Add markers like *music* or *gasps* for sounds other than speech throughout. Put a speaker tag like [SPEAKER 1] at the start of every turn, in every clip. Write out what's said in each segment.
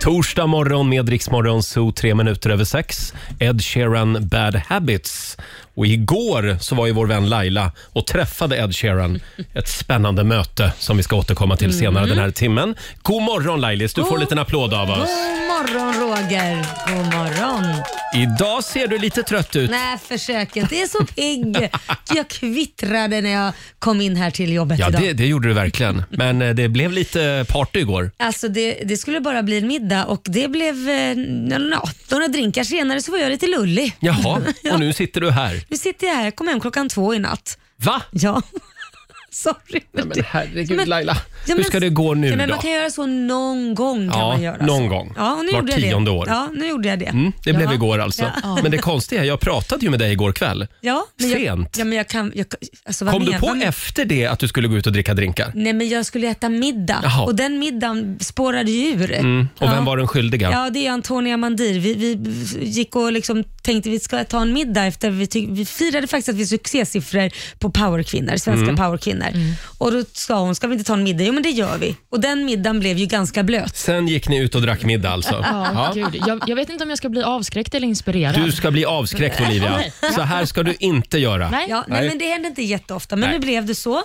[SPEAKER 1] Torsdag morgon med Riksmorgon Zoo, tre minuter över sex. Ed Sheeran, Bad Habits. Och igår så var ju vår vän Laila och träffade Ed Sheeran. Ett spännande möte som vi ska återkomma till senare den här timmen. God morgon Lailis, du får en
[SPEAKER 2] God-
[SPEAKER 1] liten applåd av oss.
[SPEAKER 2] God morgon Roger. God morgon.
[SPEAKER 1] Idag ser du lite trött ut.
[SPEAKER 2] Nej, försök inte. Jag är så
[SPEAKER 1] *laughs*
[SPEAKER 2] pigg. Jag kvittrade när jag kom in här till jobbet
[SPEAKER 1] Ja,
[SPEAKER 2] idag.
[SPEAKER 1] det, det gjorde du verkligen. Men eh, det blev lite party igår.
[SPEAKER 2] Alltså det, det skulle bara bli en middag och det blev... Eh, nå- nå, några drinkar senare så var jag lite lullig.
[SPEAKER 1] Jaha, och nu sitter du här.
[SPEAKER 2] Nu sitter jag här. Jag kom hem klockan två i natt.
[SPEAKER 1] Va?
[SPEAKER 2] Ja. *laughs* Sorry.
[SPEAKER 1] Nej, men herregud
[SPEAKER 2] Men-
[SPEAKER 1] Laila.
[SPEAKER 2] Ja,
[SPEAKER 1] Hur
[SPEAKER 2] men-
[SPEAKER 1] ska det gå nu
[SPEAKER 2] ja, men
[SPEAKER 1] då?
[SPEAKER 2] Man kan göra så någon gång. Kan
[SPEAKER 1] Ja,
[SPEAKER 2] man göra
[SPEAKER 1] någon
[SPEAKER 2] så.
[SPEAKER 1] gång.
[SPEAKER 2] Ja, och nu
[SPEAKER 1] Vart
[SPEAKER 2] gjorde jag
[SPEAKER 1] tionde
[SPEAKER 2] det.
[SPEAKER 1] år.
[SPEAKER 2] Ja, nu gjorde jag det.
[SPEAKER 1] Mm, det blev
[SPEAKER 2] Ja.
[SPEAKER 1] igår alltså.
[SPEAKER 2] Ja.
[SPEAKER 1] Men det konstiga är, jag pratade ju med dig igår kväll.
[SPEAKER 2] Ja, men Jag,
[SPEAKER 1] Sent.
[SPEAKER 2] ja, men jag kan, jag, alltså, vad
[SPEAKER 1] Kom du
[SPEAKER 2] men-
[SPEAKER 1] på
[SPEAKER 2] vad men-
[SPEAKER 1] efter det att du skulle gå ut och dricka drinkar?
[SPEAKER 2] Nej, men jag skulle äta middag
[SPEAKER 1] Jaha.
[SPEAKER 2] och den middagen spårade ju ur.
[SPEAKER 1] Mm. Och vem var den skyldiga?
[SPEAKER 2] Ja, det är Antonia Mandir. Vi, vi gick och liksom tänkte vi ska ta en middag efter vi, ty- vi firade faktiskt att vi succésiffror på powerkvinnor, svenska
[SPEAKER 1] Mm.
[SPEAKER 2] powerkvinnor. Och då sa hon, ska vi inte ta en middag? Jo, men det gör vi. Och den middagen blev ju ganska blöt.
[SPEAKER 1] Sen gick ni ut och drack middag alltså?
[SPEAKER 3] Ja,
[SPEAKER 1] Ja.
[SPEAKER 3] Gud. Jag, jag vet inte om jag ska bli avskräckt eller inspirerad.
[SPEAKER 1] Du ska bli avskräckt Olivia. Så här ska du inte göra.
[SPEAKER 3] Nej?
[SPEAKER 2] Ja, nej,
[SPEAKER 1] Nej.
[SPEAKER 2] men det hände inte jätteofta, men
[SPEAKER 1] Nej.
[SPEAKER 2] nu blev det så.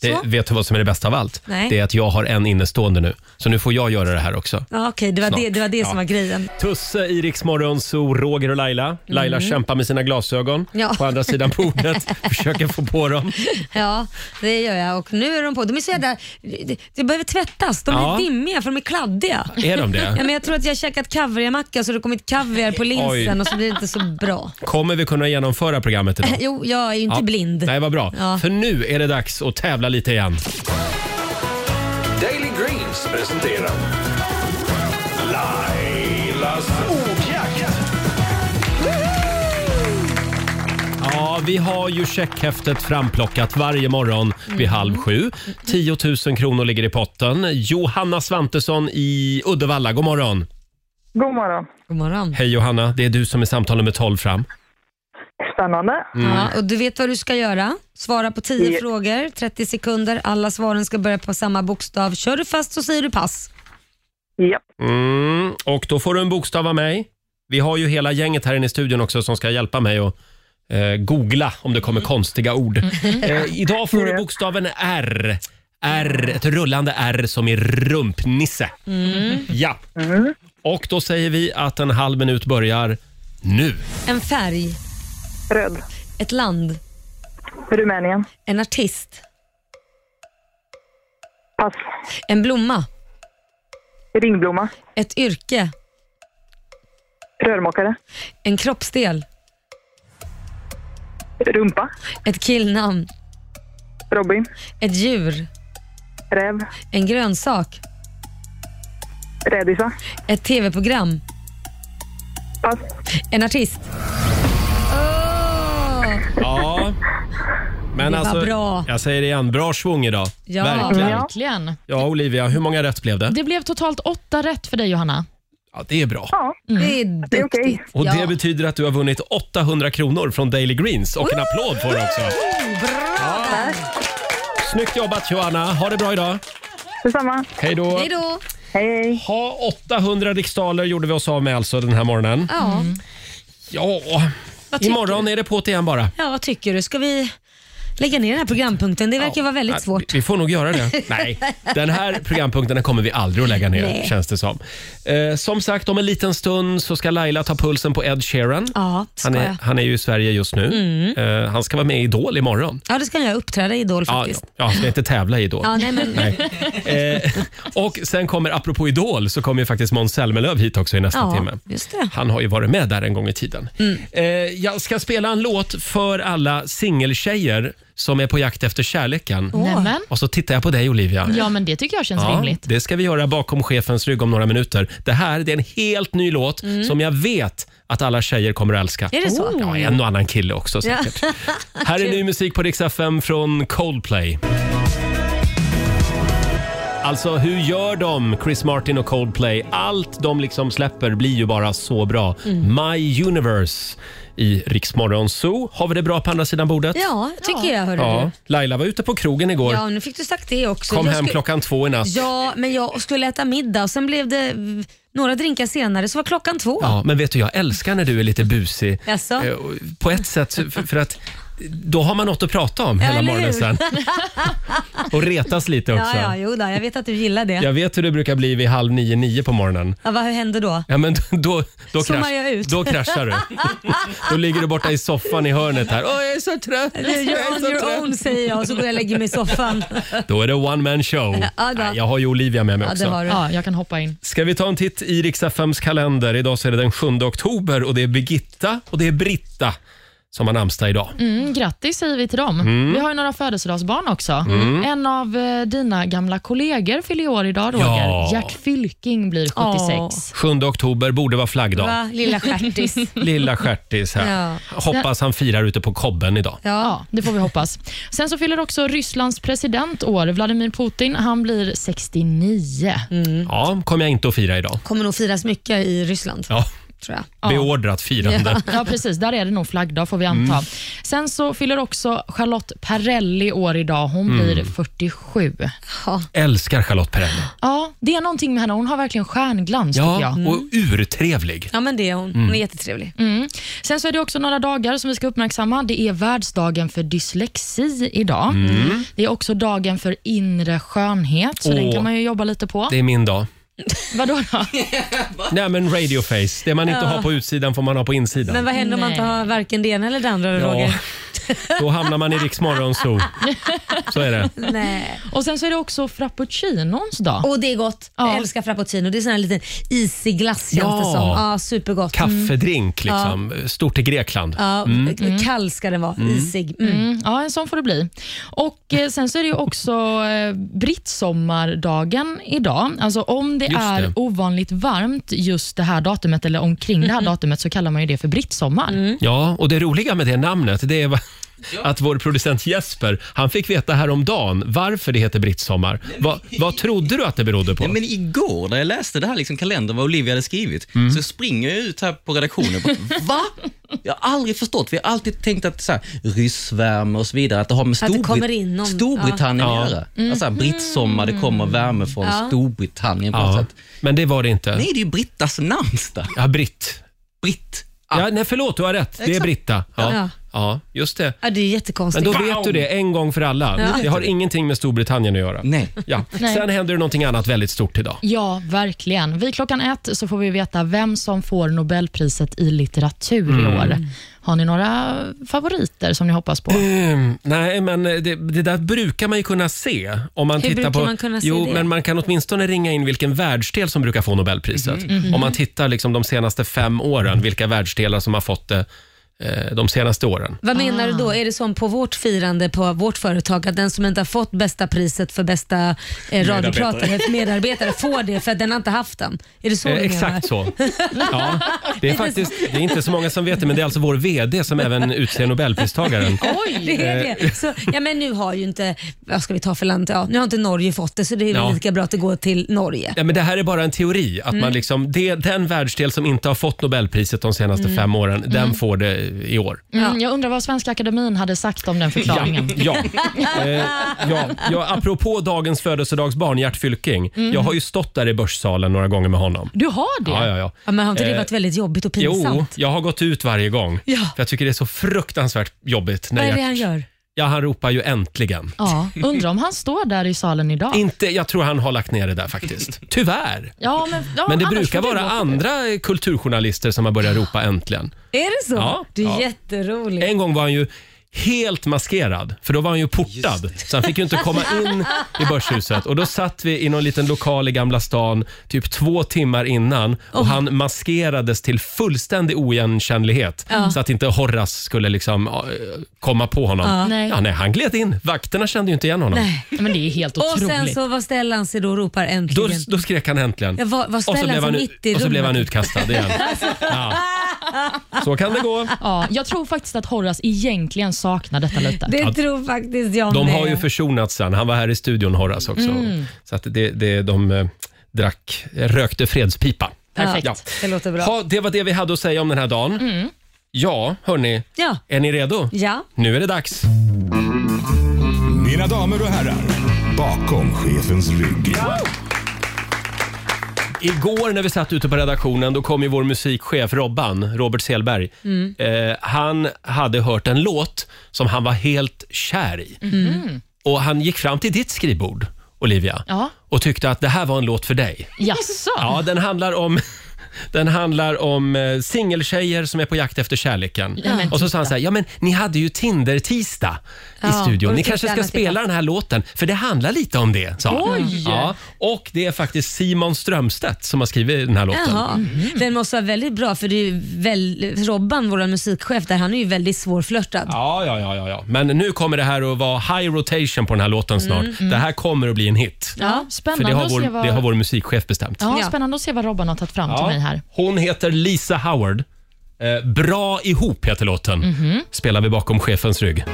[SPEAKER 1] Det,
[SPEAKER 2] Så.
[SPEAKER 1] vet du vad som är det bästa av allt?
[SPEAKER 2] Nej.
[SPEAKER 1] Det är att jag har en innestående nu. Så nu får jag göra det här också.
[SPEAKER 2] Ja, okej, det var
[SPEAKER 1] Snart.
[SPEAKER 2] det, det, var det
[SPEAKER 1] Ja.
[SPEAKER 2] som var grejen.
[SPEAKER 1] Tusse i Rix Morgon, så Roger och Laila. Laila kämpar med sina glasögon
[SPEAKER 2] Mm. Ja.
[SPEAKER 1] på andra sidan
[SPEAKER 2] *laughs*
[SPEAKER 1] bordet. Försöker få på dem.
[SPEAKER 2] Ja, det gör jag. Och nu är de på. De är så jävla... Det, det behöver tvättas. De
[SPEAKER 1] Ja.
[SPEAKER 2] är dimmiga för de är kladdiga.
[SPEAKER 1] Är de det?
[SPEAKER 2] Ja, men jag tror att jag har käkat kaviarmacka så det har kommit kaviar på linsen
[SPEAKER 1] Oj.
[SPEAKER 2] och så blir det inte så bra.
[SPEAKER 1] Kommer vi kunna genomföra programmet
[SPEAKER 2] *laughs*
[SPEAKER 1] idag?
[SPEAKER 2] Jo, jag är ju inte
[SPEAKER 1] Ja.
[SPEAKER 2] blind.
[SPEAKER 1] Nej, vad bra.
[SPEAKER 2] Ja.
[SPEAKER 1] För nu är det dags att tävla lite igen.
[SPEAKER 4] Daily Greens presenterar Lailas ordjakt.
[SPEAKER 1] Ja, vi har ju checkhäftet framplockat varje morgon vid halv sju. 10 000 kronor ligger i potten. Johanna Svantesson i Uddevalla, god morgon.
[SPEAKER 5] God morgon.
[SPEAKER 2] God morgon.
[SPEAKER 1] Hej Johanna, det är du som är samtal nummer 12 fram.
[SPEAKER 5] Spännande.
[SPEAKER 1] Mm.
[SPEAKER 2] Ja, och du vet vad du ska göra. Svara på 10
[SPEAKER 5] Ja.
[SPEAKER 2] frågor, 30 sekunder. Alla svaren ska börja på samma bokstav. Kör du fast så säger du pass.
[SPEAKER 5] Ja.
[SPEAKER 1] Mm, och då får du en bokstav av mig. Vi har ju hela gänget här inne i studion också som ska hjälpa mig att eh, googla om det kommer konstiga ord.
[SPEAKER 2] Mm.
[SPEAKER 1] Eh, idag får du bokstaven R. R, ett rullande R som i rumpnisse.
[SPEAKER 2] Mm.
[SPEAKER 1] Ja. Och då säger vi att en halv minut börjar nu.
[SPEAKER 2] En färg,
[SPEAKER 5] Röd.
[SPEAKER 2] ett land,
[SPEAKER 5] Rumänien.
[SPEAKER 2] en artist,
[SPEAKER 5] Pass.
[SPEAKER 2] en blomma,
[SPEAKER 5] Ringblomma.
[SPEAKER 2] ett yrke,
[SPEAKER 5] Rörmokare.
[SPEAKER 2] en kroppsdel,
[SPEAKER 5] Rumpa.
[SPEAKER 2] ett killnamn,
[SPEAKER 5] Robin.
[SPEAKER 2] ett djur,
[SPEAKER 5] Räv.
[SPEAKER 2] en grönsak,
[SPEAKER 5] Rädisa.
[SPEAKER 2] ett tv-program,
[SPEAKER 5] Pass.
[SPEAKER 2] en artist. Åh!
[SPEAKER 1] Ja. Men
[SPEAKER 2] Det var
[SPEAKER 1] alltså,
[SPEAKER 2] bra.
[SPEAKER 1] jag säger det igen, bra svung idag.
[SPEAKER 2] Ja.
[SPEAKER 1] Verkligen. Ja.
[SPEAKER 5] Ja.
[SPEAKER 3] Verkligen.
[SPEAKER 1] Olivia, hur många rätt blev det?
[SPEAKER 3] Det blev totalt åtta rätt för dig, Johanna.
[SPEAKER 1] Ja, det är bra.
[SPEAKER 5] Mm. Ja.
[SPEAKER 2] Det är duktigt.
[SPEAKER 5] Det är okej.
[SPEAKER 1] Och
[SPEAKER 2] Ja.
[SPEAKER 1] Det betyder att du har vunnit 800 kronor från Daily Greens och en applåd får du också.
[SPEAKER 2] Bra där.
[SPEAKER 1] Snyggt jobbat Johanna, ha det bra idag.
[SPEAKER 5] Detsamma.
[SPEAKER 1] Hej då.
[SPEAKER 2] Hej då.
[SPEAKER 5] Hej, hej.
[SPEAKER 1] Ha 800 riksdaler gjorde vi oss av med alltså den här morgonen.
[SPEAKER 2] Ja.
[SPEAKER 5] Mm.
[SPEAKER 1] Ja,
[SPEAKER 2] Vad tycker
[SPEAKER 1] imorgon är det på igen bara.
[SPEAKER 2] ja, vad tycker du? Ska vi lägga ner den här programpunkten? Det verkar vara
[SPEAKER 1] Nej,
[SPEAKER 2] väldigt svårt.
[SPEAKER 1] Vi, vi får nog göra
[SPEAKER 2] *laughs*
[SPEAKER 1] det. Nej, den här programpunkten den kommer vi aldrig att lägga ner
[SPEAKER 2] Nej.
[SPEAKER 1] känns det som. Eh, som sagt, om en liten stund så ska Laila ta pulsen på Ed Sheeran.
[SPEAKER 2] Ja, det
[SPEAKER 1] Han
[SPEAKER 2] ska
[SPEAKER 1] är,
[SPEAKER 2] jag. Mm.
[SPEAKER 1] han är ju i Sverige just nu. Eh, han ska vara med i Idol imorgon.
[SPEAKER 2] Ja, det ska jag uppträda i Idol
[SPEAKER 1] Ja,
[SPEAKER 2] faktiskt.
[SPEAKER 1] ja, han ska inte tävla i Idol.
[SPEAKER 2] Ja, nej, men,
[SPEAKER 1] Eh, och sen kommer, apropå Idol, så kommer ju faktiskt Måns Zelmerlöw hit också i nästa
[SPEAKER 2] ja Mm.
[SPEAKER 1] timme.
[SPEAKER 2] just det.
[SPEAKER 1] Han har ju varit med där en gång i tiden. Eh, jag ska spela en låt för alla singeltjejer som är på jakt efter kärleken.
[SPEAKER 2] Mm.
[SPEAKER 3] Nämen.
[SPEAKER 1] Och så tittar jag på dig Olivia.
[SPEAKER 3] Ja, men det tycker jag känns
[SPEAKER 1] Ja,
[SPEAKER 3] rimligt.
[SPEAKER 1] det ska vi göra bakom chefens rygg om några minuter. Det här det är en helt ny låt som jag vet att alla tjejer kommer att älska.
[SPEAKER 2] Mm. Är det så?
[SPEAKER 1] Ja, en och annan kille också säkert.
[SPEAKER 2] *laughs*
[SPEAKER 1] Här är ny musik på Rix FM från Coldplay. Alltså hur gör de, Chris Martin och Coldplay? Allt de liksom släpper blir ju bara så bra.
[SPEAKER 2] Mm.
[SPEAKER 1] My Universe i Rix Morgon Zoo. Har vi det bra på andra sidan bordet?
[SPEAKER 2] Ja, tycker jag. Hörde
[SPEAKER 1] Ja. Laila var ute på krogen igår.
[SPEAKER 2] du. Ja, nu fick du sagt det också.
[SPEAKER 1] Kom
[SPEAKER 2] Jag
[SPEAKER 1] hem
[SPEAKER 2] skulle-
[SPEAKER 1] klockan två i natt.
[SPEAKER 2] Ja, men jag skulle äta middag och sen blev det Några drinkar senare så var klockan två.
[SPEAKER 1] Ja, men vet du, jag älskar när du är lite busig.
[SPEAKER 2] Jaså?
[SPEAKER 1] Eh, och På ett sätt, för, för att då har man något att prata om hela
[SPEAKER 2] eller
[SPEAKER 1] morgonen
[SPEAKER 2] hur? *laughs*
[SPEAKER 1] sen. Och retas lite också.
[SPEAKER 2] Ja, ja, jo då, jag vet att du gillar det.
[SPEAKER 1] Jag vet hur det brukar bli vid halv nio, nio på morgonen.
[SPEAKER 2] Ja, vad hände då?
[SPEAKER 1] Ja, men då, då,
[SPEAKER 2] Zoomar
[SPEAKER 1] krasch,
[SPEAKER 2] jag ut?
[SPEAKER 1] då kraschar du. då ligger du borta i soffan i hörnet här. Åh, jag är så trött. *laughs* Jag
[SPEAKER 2] You're
[SPEAKER 1] är
[SPEAKER 2] on
[SPEAKER 1] så
[SPEAKER 2] your
[SPEAKER 1] trött.
[SPEAKER 2] own säger jag och så går jag och lägger mig i soffan.
[SPEAKER 1] Då är det one man show.
[SPEAKER 2] Ja, då.
[SPEAKER 1] Nej, jag har ju Olivia med mig
[SPEAKER 2] Ja, det
[SPEAKER 1] också.
[SPEAKER 2] har du.
[SPEAKER 3] Ja, jag kan hoppa in.
[SPEAKER 1] Ska vi ta en titt i Riks-FMs kalender? Idag så är det den 7 oktober och det är Birgitta och det är Britta som har namnsdag idag.
[SPEAKER 3] Mm, grattis säger vi till dem.
[SPEAKER 1] Mm.
[SPEAKER 3] Vi har ju några födelsedagsbarn också. En av eh, dina gamla kollegor fyller år idag, Roger.
[SPEAKER 1] Ja.
[SPEAKER 3] Gert Fylking blir 76.
[SPEAKER 2] Åh.
[SPEAKER 1] 7 oktober borde vara flaggdag.
[SPEAKER 2] Va?
[SPEAKER 1] *laughs*
[SPEAKER 2] Lilla stjärtis.
[SPEAKER 1] Lilla stjärtis här.
[SPEAKER 2] *laughs* Ja.
[SPEAKER 1] Hoppas han firar ute på kobben idag.
[SPEAKER 3] Ja, det får vi hoppas. Sen så fyller också Rysslands president år. Vladimir Putin, han blir 69.
[SPEAKER 2] Mm.
[SPEAKER 1] Ja, kommer jag inte att fira idag.
[SPEAKER 2] Kommer nog firas mycket i Ryssland,
[SPEAKER 1] Ja,
[SPEAKER 2] tror jag.
[SPEAKER 1] beordrat firande.
[SPEAKER 3] *laughs* Ja, precis. Där är det nog flaggdag, får vi
[SPEAKER 1] Mm.
[SPEAKER 3] anta. Sen så fyller också Charlotte Perrelli år idag. Hon
[SPEAKER 1] Mm.
[SPEAKER 3] blir 47.
[SPEAKER 1] Älskar Charlotte Perrelli.
[SPEAKER 3] Ja, det är någonting med henne. Hon har verkligen stjärnglans, tycker
[SPEAKER 1] Ja,
[SPEAKER 3] jag.
[SPEAKER 1] och
[SPEAKER 2] Mm.
[SPEAKER 1] urtrevlig.
[SPEAKER 2] Ja, men det är hon. Hon är jättetrevlig.
[SPEAKER 3] Mm. Sen så är det också några dagar som vi ska uppmärksamma. Det är världsdagen för dyslexi idag. Det är också dagen för inre skönhet, så
[SPEAKER 1] Mm. Åh.
[SPEAKER 3] den kan man ju jobba lite på.
[SPEAKER 1] Det är min dag.
[SPEAKER 3] Vadå då?
[SPEAKER 1] Nej men radioface. Det man inte har på utsidan får man ha på insidan.
[SPEAKER 2] Men vad händer om man inte
[SPEAKER 3] Nej.
[SPEAKER 2] har varken det ena eller det andra, Roger?
[SPEAKER 1] då hamnar man i Riks
[SPEAKER 2] *laughs*
[SPEAKER 1] Morgonzoo. Så är det.
[SPEAKER 2] Nej.
[SPEAKER 3] Och sen så är det också frappuccinons dag.
[SPEAKER 2] Och det är gott. Jag älskar frappuccino. Det är sån här liten isig glass känns det
[SPEAKER 1] Ja.
[SPEAKER 2] som. Ja, supergott.
[SPEAKER 1] Kaffedrink liksom. Stort i Grekland.
[SPEAKER 2] Ja,
[SPEAKER 1] Mm.
[SPEAKER 2] Kall ska den vara. Isig. Mm.
[SPEAKER 3] Mm, ja, en sån får det bli. Och eh, Sen så är det ju också eh, brittsommardagen idag. Alltså Om det
[SPEAKER 1] Just
[SPEAKER 3] är
[SPEAKER 1] det.
[SPEAKER 3] ovanligt varmt just det här datumet eller omkring det här datumet så kallar man ju det för brittsommar.
[SPEAKER 1] Ja, och det roliga med det namnet det är va- att vår producent Jesper, han fick veta häromdagen varför det heter brittsommar. Va, vad trodde du att det berodde på?
[SPEAKER 6] Nej, men igår när jag läste det här liksom, kalendern, vad Olivia hade skrivit,
[SPEAKER 1] Mm.
[SPEAKER 6] så springer jag ut här på redaktionen och bara, va? Jag har aldrig förstått. Vi har alltid tänkt att så här, ryssvärme och så vidare, att det har med
[SPEAKER 2] Att det kommer
[SPEAKER 6] Storbrit-
[SPEAKER 2] in någon- Mm.
[SPEAKER 6] Storbritannien
[SPEAKER 1] ja.
[SPEAKER 6] att göra. Alltså, här, brittsommar, det kommer värme från Storbritannien på något
[SPEAKER 1] Ja,
[SPEAKER 6] sätt.
[SPEAKER 1] men det var det inte.
[SPEAKER 6] Alltså Nej, det är ju Brittas namnsdag.
[SPEAKER 1] Ja, britt.
[SPEAKER 6] Britt. Ah,
[SPEAKER 1] Ja, nej, förlåt, du har rätt. Det är
[SPEAKER 6] Exakt.
[SPEAKER 1] Britta. Ja,
[SPEAKER 2] Ja.
[SPEAKER 1] ja just det.
[SPEAKER 2] Ja, det är
[SPEAKER 1] Men
[SPEAKER 2] jättekonstigt.
[SPEAKER 1] då vet du det en gång för alla. Det har ingenting med Storbritannien att göra.
[SPEAKER 6] Nej.
[SPEAKER 1] Ja.
[SPEAKER 3] Nej.
[SPEAKER 1] Sen händer det någonting annat väldigt stort idag.
[SPEAKER 3] Ja, verkligen. Vid klockan ett så får vi veta vem som får Nobelpriset i litteratur
[SPEAKER 1] Mm.
[SPEAKER 3] i år. Har ni några favoriter som ni hoppas på?
[SPEAKER 1] Mm, nej, men det, det där brukar man ju kunna se. Om man
[SPEAKER 2] Hur
[SPEAKER 1] tittar
[SPEAKER 2] brukar
[SPEAKER 1] på,
[SPEAKER 2] man kunna se
[SPEAKER 1] jo,
[SPEAKER 2] det?
[SPEAKER 1] men man kan åtminstone ringa in vilken världsdel som brukar få Nobelpriset.
[SPEAKER 2] Mm,
[SPEAKER 1] Om man tittar liksom de senaste fem åren, vilka världsdelar som har fått det eh, de senaste åren.
[SPEAKER 2] Vad menar du då? Är det som på vårt firande på vårt företag att den som inte har fått bästa priset för bästa eh, radiopratare, *laughs* medarbetare, får det för att den har inte haft den? Är det så
[SPEAKER 1] Eh,
[SPEAKER 2] du menar?
[SPEAKER 1] exakt
[SPEAKER 2] *laughs*
[SPEAKER 1] så. Ja, det är faktiskt det är inte så många som vet det, men det är alltså vår VD som även utser Nobelpristagaren.
[SPEAKER 2] Oj! *laughs* Det är
[SPEAKER 1] Eh.
[SPEAKER 2] det. Så, ja, men nu har ju inte, vad ska vi ta för land? Ja, nu har inte Norge fått det så det är väl
[SPEAKER 1] Ja.
[SPEAKER 2] lika bra att det går till Norge.
[SPEAKER 1] Ja, men det här är bara en teori. Att
[SPEAKER 2] Mm.
[SPEAKER 1] man liksom, det, den världsdel som inte har fått Nobelpriset de senaste
[SPEAKER 2] Mm.
[SPEAKER 1] fem åren, den får det i år.
[SPEAKER 3] Mm, jag undrar vad Svenska Akademin hade sagt om den
[SPEAKER 1] Ja,
[SPEAKER 3] förklaringen.
[SPEAKER 1] ja. Eh, ja, ja, apropå dagens födelsedagsbarn Gert Fylking. Jag har ju stått där i Börssalen några gånger med honom.
[SPEAKER 3] Du har det?
[SPEAKER 1] Ja, ja, ja.
[SPEAKER 2] Mm. Ja, men har inte det varit väldigt jobbigt och
[SPEAKER 1] Eh, Jo,
[SPEAKER 2] pinsamt?
[SPEAKER 1] jag har gått ut varje gång.
[SPEAKER 2] Ja.
[SPEAKER 1] För jag tycker det är så fruktansvärt jobbigt. När
[SPEAKER 2] Vad är det
[SPEAKER 1] Gert-
[SPEAKER 2] han gör?
[SPEAKER 1] ja, han ropar ju äntligen.
[SPEAKER 3] Ja, undrar om han står där i salen idag?
[SPEAKER 1] Inte, jag tror han har lagt ner det där faktiskt.
[SPEAKER 2] *laughs*
[SPEAKER 1] Tyvärr.
[SPEAKER 3] Ja, men, ja,
[SPEAKER 1] Men det
[SPEAKER 3] annars
[SPEAKER 1] brukar
[SPEAKER 3] får du
[SPEAKER 1] vara
[SPEAKER 3] gå.
[SPEAKER 1] andra eh, kulturjournalister som har börjat ropa äntligen.
[SPEAKER 2] Är det så?
[SPEAKER 1] Ja,
[SPEAKER 2] det är
[SPEAKER 1] ja.
[SPEAKER 2] jätteroligt.
[SPEAKER 1] En gång var han ju helt maskerad, för då var han ju portad. Så han fick ju inte komma in i Börshuset. Och då satt vi i någon liten lokal i Gamla stan typ två timmar innan och han maskerades till fullständig oigenkännlighet. Så att inte Horras skulle liksom eh, komma på honom. Ja.
[SPEAKER 3] Nej.
[SPEAKER 1] nej, han gled in. Vakterna kände ju inte igen honom.
[SPEAKER 2] Nej.
[SPEAKER 3] Men det är helt
[SPEAKER 1] Eh,
[SPEAKER 2] *laughs* Och
[SPEAKER 3] otroligt.
[SPEAKER 2] sen så vad ställer han sig då och ropar
[SPEAKER 1] Då,
[SPEAKER 2] äntligen?
[SPEAKER 1] då skrek han äntligen.
[SPEAKER 2] Ja, vad- vad
[SPEAKER 1] och, så
[SPEAKER 2] ställer
[SPEAKER 1] blev
[SPEAKER 2] han
[SPEAKER 1] han,
[SPEAKER 2] sig
[SPEAKER 1] ut-
[SPEAKER 2] mitt i
[SPEAKER 1] och så blev
[SPEAKER 2] rummet?
[SPEAKER 1] han utkastad
[SPEAKER 2] *laughs*
[SPEAKER 1] igen. Ja. Så kan det gå.
[SPEAKER 3] Ja, jag tror faktiskt att Horace egentligen saknar detta lite.
[SPEAKER 2] *laughs* det tror faktiskt jag
[SPEAKER 1] De
[SPEAKER 2] med.
[SPEAKER 1] har ju försonats sen. Han var här i studion Horace också.
[SPEAKER 2] Mm.
[SPEAKER 1] Så att det, det, de eh, drack, rökte fredspipa.
[SPEAKER 3] Perfekt.
[SPEAKER 1] Ja.
[SPEAKER 2] Det låter bra.
[SPEAKER 1] Ha, det var det vi hade att säga om den här dagen. Ja, hörni.
[SPEAKER 2] Ja.
[SPEAKER 1] Är ni redo?
[SPEAKER 2] Ja.
[SPEAKER 1] Nu är det dags.
[SPEAKER 4] Mina damer och herrar, bakom chefens rygg.
[SPEAKER 1] Igår när vi satt ute på redaktionen då kom ju vår musikchef Robban, Robert Selberg.
[SPEAKER 2] Mm.
[SPEAKER 1] Eh, han hade hört en låt som han var helt kär i.
[SPEAKER 2] Mm.
[SPEAKER 1] Och han gick fram till ditt skrivbord, Olivia,
[SPEAKER 3] Ja.
[SPEAKER 1] och tyckte att det här var en låt för dig.
[SPEAKER 3] Jaså?
[SPEAKER 1] Ja, den handlar om *laughs* den handlar om eh, singeltjejer som är på jakt efter kärleken.
[SPEAKER 3] Ja, men
[SPEAKER 1] och så sa han
[SPEAKER 3] titta.
[SPEAKER 1] så här, ja men ni hade ju Tinder-tisdag i
[SPEAKER 2] Ja,
[SPEAKER 1] studion.
[SPEAKER 2] och
[SPEAKER 1] Ni
[SPEAKER 2] då
[SPEAKER 1] kanske
[SPEAKER 2] tyckte
[SPEAKER 1] ska
[SPEAKER 2] han att det
[SPEAKER 1] spela den här låten, för det handlar lite om det, sa han.
[SPEAKER 3] Oj.
[SPEAKER 1] Ja, och det är faktiskt Simon Strömstedt som har skrivit den här låten.
[SPEAKER 2] Jaha.
[SPEAKER 1] Mm.
[SPEAKER 2] Den måste vara väldigt bra för det är ju väl, Robban, vår musikchef, där han är ju väldigt svårflörtad.
[SPEAKER 1] Ja, ja, ja, ja, ja. Men nu kommer det här att vara high rotation på den här låten snart. Det här kommer att bli en hit.
[SPEAKER 3] Mm, Ja,
[SPEAKER 1] För det
[SPEAKER 3] spännande
[SPEAKER 1] har
[SPEAKER 3] att se
[SPEAKER 1] vår,
[SPEAKER 3] vad...
[SPEAKER 1] det har vår musikchef bestämt.
[SPEAKER 3] Ja,
[SPEAKER 2] Ja.
[SPEAKER 3] spännande att se vad Robban har tagit fram till
[SPEAKER 1] Ja.
[SPEAKER 3] mig här.
[SPEAKER 1] Hon heter Lisa Howard. Eh, Bra ihop heter låten.
[SPEAKER 3] Mhm.
[SPEAKER 1] Spelar vi bakom chefens rygg.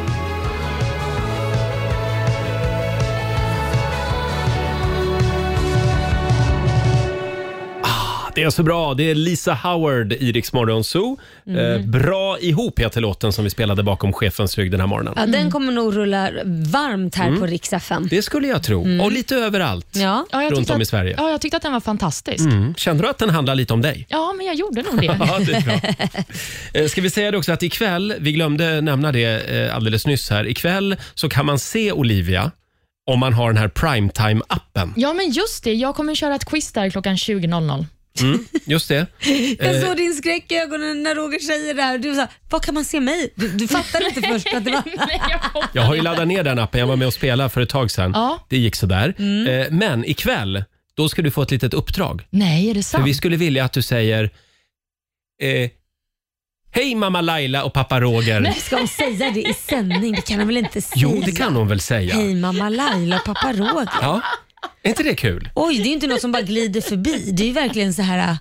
[SPEAKER 1] Ah, Det är så bra. Det är Lisa Howard i Rix Morgon Zoo. Eh,
[SPEAKER 3] Mhm.
[SPEAKER 1] bra ihop heter låten som vi spelade bakom chefens rygg den här morgonen.
[SPEAKER 2] Ja, Den kommer nog rulla varmt här på Rix FM.
[SPEAKER 1] Mm. Det skulle jag tro. Och lite överallt.
[SPEAKER 2] Ja.
[SPEAKER 3] Mm. Ja, jag
[SPEAKER 1] Runt
[SPEAKER 3] tyckte
[SPEAKER 1] om i
[SPEAKER 3] att-
[SPEAKER 1] Sverige.
[SPEAKER 3] Ja, jag tyckte att den var fantastisk.
[SPEAKER 1] Mm. Kände du att den handlar lite om dig?
[SPEAKER 3] Ja, men jag gjorde nog
[SPEAKER 1] *laughs*
[SPEAKER 3] det.
[SPEAKER 1] Ja, det är bra.
[SPEAKER 3] *laughs*
[SPEAKER 1] Eh, Ska vi säga det också att ikväll, vi glömde nämna det eh, alldeles nyss här, ikväll så kan man se Olivia om man har den här primetime-appen.
[SPEAKER 3] Ja, men just det. Jag kommer köra ett quiz där klockan
[SPEAKER 2] *laughs*
[SPEAKER 3] 20.00.
[SPEAKER 1] Just det. Eh.
[SPEAKER 2] Jag såg din skräck i ögonen när Roger säger det här. Du sa, vad kan man se mig? Du, du fattade inte
[SPEAKER 3] *laughs*
[SPEAKER 2] först att det var...
[SPEAKER 3] Nej, jag kommer-
[SPEAKER 1] Jag har ju laddat ner den appen, jag var med och spelade för ett tag sedan.
[SPEAKER 3] Ja.
[SPEAKER 1] Det gick sådär. Mm. Men ikväll, då ska du få ett litet uppdrag.
[SPEAKER 3] Nej, är det
[SPEAKER 1] För
[SPEAKER 3] sant?
[SPEAKER 1] vi skulle vilja att du säger eh, Hej mamma Laila och pappa Roger.
[SPEAKER 2] Ska hon säga det i sändning? Det kan hon väl inte säga?
[SPEAKER 1] Jo, det kan hon väl säga.
[SPEAKER 2] Hej mamma Laila och pappa Roger.
[SPEAKER 1] Ja. Är inte det kul?
[SPEAKER 2] Oj, det är ju inte något som bara glider förbi. Det är ju verkligen så här äh,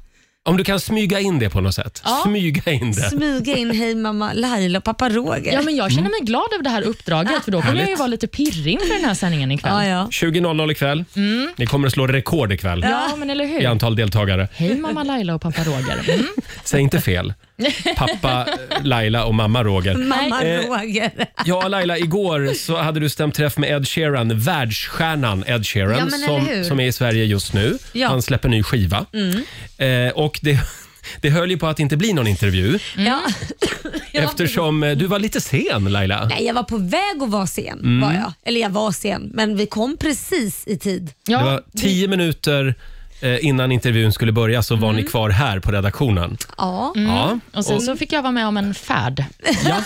[SPEAKER 1] Om du kan smyga in det på något sätt.
[SPEAKER 3] Ja.
[SPEAKER 1] Smyga in det.
[SPEAKER 2] äh, smyga in hej mamma Laila och pappa Roger.
[SPEAKER 3] Ja, men jag känner mig glad över det här uppdraget, för då kommer jag ju
[SPEAKER 1] Mm. Härligt.
[SPEAKER 3] vara lite pirrig inför den här sändningen ikväll.
[SPEAKER 2] ja, ja.
[SPEAKER 1] 20.00 ikväll.
[SPEAKER 2] Mm.
[SPEAKER 1] Ni kommer att slå rekord ikväll
[SPEAKER 3] Ja, men eller
[SPEAKER 1] i
[SPEAKER 3] hur?
[SPEAKER 1] antal deltagare.
[SPEAKER 3] Hej mamma Laila och pappa Roger. Mm.
[SPEAKER 1] Säg inte
[SPEAKER 2] *laughs*
[SPEAKER 1] fel. Pappa eh, Laila och mamma Roger.
[SPEAKER 2] Mamma
[SPEAKER 1] Eh,
[SPEAKER 2] Roger.
[SPEAKER 1] Ja, Laila, igår så hade du stämt träff med Ed Sheeran, världsstjärnan Ed Sheeran
[SPEAKER 2] Ja, men eller
[SPEAKER 1] som,
[SPEAKER 2] hur?
[SPEAKER 1] som är i Sverige just nu.
[SPEAKER 2] Ja. Mm.
[SPEAKER 1] Han släpper ny skiva. Eh, och det, det höll ju på att inte bli någon intervju
[SPEAKER 3] Mm.
[SPEAKER 2] Ja.
[SPEAKER 1] eftersom eh, du var lite sen Laila.
[SPEAKER 2] Nej, jag var på väg att vara sen.
[SPEAKER 1] Mm.
[SPEAKER 2] Var jag. Eller jag var sen, men vi kom precis i tid.
[SPEAKER 1] Det
[SPEAKER 3] Ja,
[SPEAKER 1] var tio minuter eh, innan intervjun skulle börja så var
[SPEAKER 2] Mm.
[SPEAKER 1] ni kvar här på redaktionen.
[SPEAKER 2] Ja.
[SPEAKER 1] Ja,
[SPEAKER 3] och sen så fick jag vara med om en färd.
[SPEAKER 1] Ja,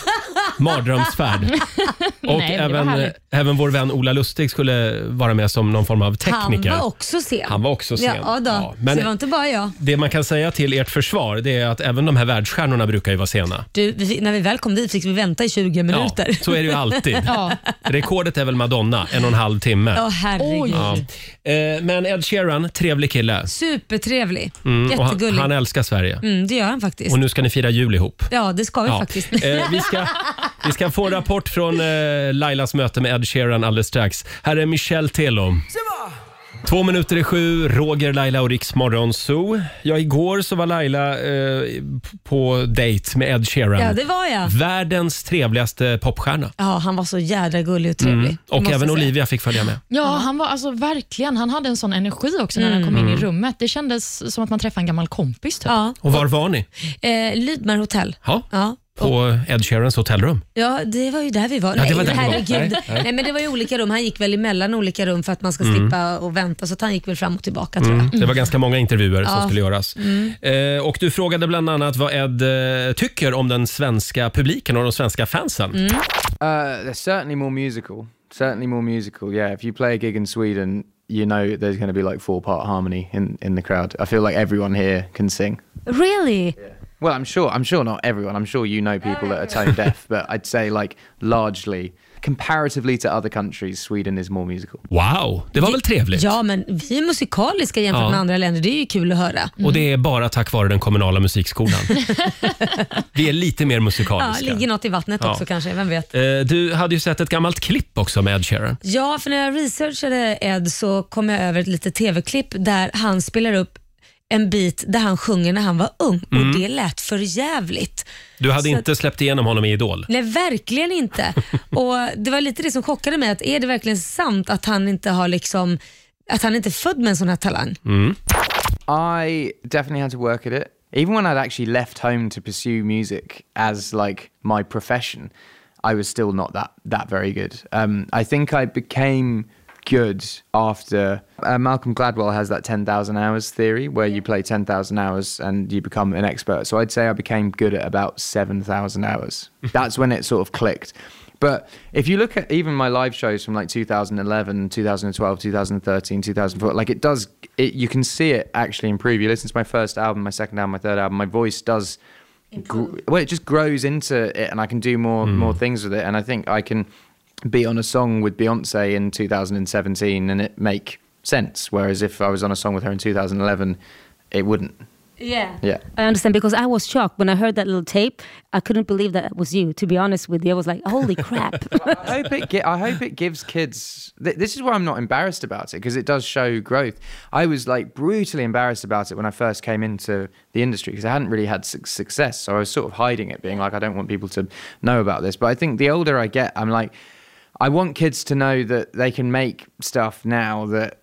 [SPEAKER 1] mardrömsfärd.
[SPEAKER 3] Nej, men
[SPEAKER 1] Och
[SPEAKER 3] det var
[SPEAKER 1] även, eh,
[SPEAKER 3] härligt.
[SPEAKER 1] även vår vän Ola Lustig skulle vara med som någon form av tekniker.
[SPEAKER 2] Han var också sen.
[SPEAKER 1] Han var också sen.
[SPEAKER 2] Ja, då.
[SPEAKER 1] Ja, men-
[SPEAKER 2] men... Så det var inte bara jag.
[SPEAKER 1] Det man kan säga till ert försvar det är att även de här världsstjärnorna brukar ju vara sena.
[SPEAKER 2] Du, vi, fick- när vi väl kom dit fick vi vänta i 20
[SPEAKER 1] Ja,
[SPEAKER 2] minuter.
[SPEAKER 1] så
[SPEAKER 2] *laughs*
[SPEAKER 1] är det ju alltid.
[SPEAKER 3] Ja.
[SPEAKER 1] Rekordet är väl Madonna, en och en halv timme.
[SPEAKER 2] Åh
[SPEAKER 3] Oj.
[SPEAKER 2] herregud.
[SPEAKER 1] Ja. Eh, Men Ed Sheeran, trevlig kille. Mm,
[SPEAKER 2] Supertrevlig.
[SPEAKER 1] Och han,
[SPEAKER 2] Jättegullig.
[SPEAKER 1] han älskar Sverige.
[SPEAKER 2] mm, det gör han faktiskt.
[SPEAKER 1] Och nu ska ni fira jul ihop.
[SPEAKER 2] Ja, det ska vi
[SPEAKER 1] Ja.
[SPEAKER 2] faktiskt. *laughs*
[SPEAKER 1] Eh, vi, ska, vi ska få rapport från eh, Lailas möte med Ed Sheeran alldeles strax. Här är Michelle Tello. Två minuter i sju, Roger, Laila och Riks Morgonzoo. Ja, igår så var Laila eh, på dejt med Ed Sheeran.
[SPEAKER 2] Ja, det var jag.
[SPEAKER 1] Världens trevligaste popstjärna.
[SPEAKER 2] Ja, han var så jädra gullig och trevlig. det
[SPEAKER 1] Mm, Och
[SPEAKER 2] måste
[SPEAKER 1] även
[SPEAKER 2] jag säga.
[SPEAKER 1] Olivia fick följa med.
[SPEAKER 3] Ja, han var alltså verkligen, han hade en sån energi också när
[SPEAKER 1] Mm.
[SPEAKER 3] han kom in i rummet. Det kändes som att man träffade en gammal kompis. Typ.
[SPEAKER 2] Ja.
[SPEAKER 1] Och var var ni?
[SPEAKER 2] Eh, Lydmar hotell.
[SPEAKER 1] Ja,
[SPEAKER 2] Ja.
[SPEAKER 1] på Ed Sheerans hotellrum.
[SPEAKER 2] ja, det var ju där vi var.
[SPEAKER 1] Ja, det var där vi var.
[SPEAKER 2] herregud.
[SPEAKER 1] Nej, Mm. nej.
[SPEAKER 2] Nej, men det var ju olika rum. Han gick väl emellan olika rum för att man ska slippa och vänta, så att han gick väl fram och tillbaka tror jag.
[SPEAKER 1] Det var ganska många intervjuer som skulle göras.
[SPEAKER 2] Mm.
[SPEAKER 1] Eh, och Du frågade bland annat vad Ed eh, tycker om den svenska publiken och de svenska fansen.
[SPEAKER 2] Mm.
[SPEAKER 7] Uh, they're certainly more musical. Certainly more musical. Yeah, if you play a gig in Sweden, you know there's going to be like four-part harmony in in the crowd. I feel like everyone here can sing.
[SPEAKER 2] Really?
[SPEAKER 7] Well, I'm sure. I'm sure not everyone. I'm sure you know people that are tone deaf, but I'd say like largely, comparatively to other countries, Sweden is more musical.
[SPEAKER 1] Wow, det var väl trevligt?
[SPEAKER 2] Ja, men vi är musikaliska jämfört
[SPEAKER 1] Ja.
[SPEAKER 2] med andra länder. Det är ju kul att höra.
[SPEAKER 1] Och det är bara tack vare den kommunala
[SPEAKER 2] *laughs*
[SPEAKER 1] musikskolan. Vi är lite mer
[SPEAKER 2] Ja,
[SPEAKER 1] musikaliska.
[SPEAKER 2] ligger något i vattnet
[SPEAKER 1] Ja.
[SPEAKER 2] också kanske, vem vet?
[SPEAKER 1] Eh, du hade ju sett ett gammalt klipp också med Ed Sheeran.
[SPEAKER 2] Ja, för när jag researchade Ed så kom jag över ett litet tv-klipp där han spelar upp en bit där han sjunger när han var ung och det lät för jävligt.
[SPEAKER 1] Du hade
[SPEAKER 2] Så att-
[SPEAKER 1] inte släppt igenom honom i Idol.
[SPEAKER 2] Nej, verkligen inte. och Det var lite det som chockade mig, att är det
[SPEAKER 8] Mm.
[SPEAKER 2] verkligen sant att han inte har liksom att han inte är född med en sån här talang.
[SPEAKER 7] I definitely had to work at it. Even when I'd actually left home to pursue music as like my profession, I was still not that that very good. Um, I think I became good after uh, Malcolm Gladwell has that 10,000 hours theory where you play 10,000 hours and you become an expert. So I'd say I became good at about 7,000 hours. That's when it sort of clicked. But if you look at even my live shows from like 2011, 2012, 2013, 2004, like it does, it, you can see it actually improve. You listen to my first album, my second album, my third album, my voice does. Gr- well, it just grows into it, and I can do more more things with it. And I think I can be on a song with Beyonce in 2017 and it make sense. Whereas if I was on a song with her in 2011, it wouldn't.
[SPEAKER 2] Yeah.
[SPEAKER 7] Yeah.
[SPEAKER 8] I understand because I was shocked when I heard that little tape. I couldn't believe that was you. To be honest with you, I was like, "Holy crap!"
[SPEAKER 7] I hope it. Gi- I hope it gives kids. Th- this is why I'm not embarrassed about it because it does show growth. I was like brutally embarrassed about it when I first came into the industry because I hadn't really had su- success, so I was sort of hiding it, being like, I don't want people to know about this. But I think the older I get, I'm like, I want kids to know that they can make stuff now that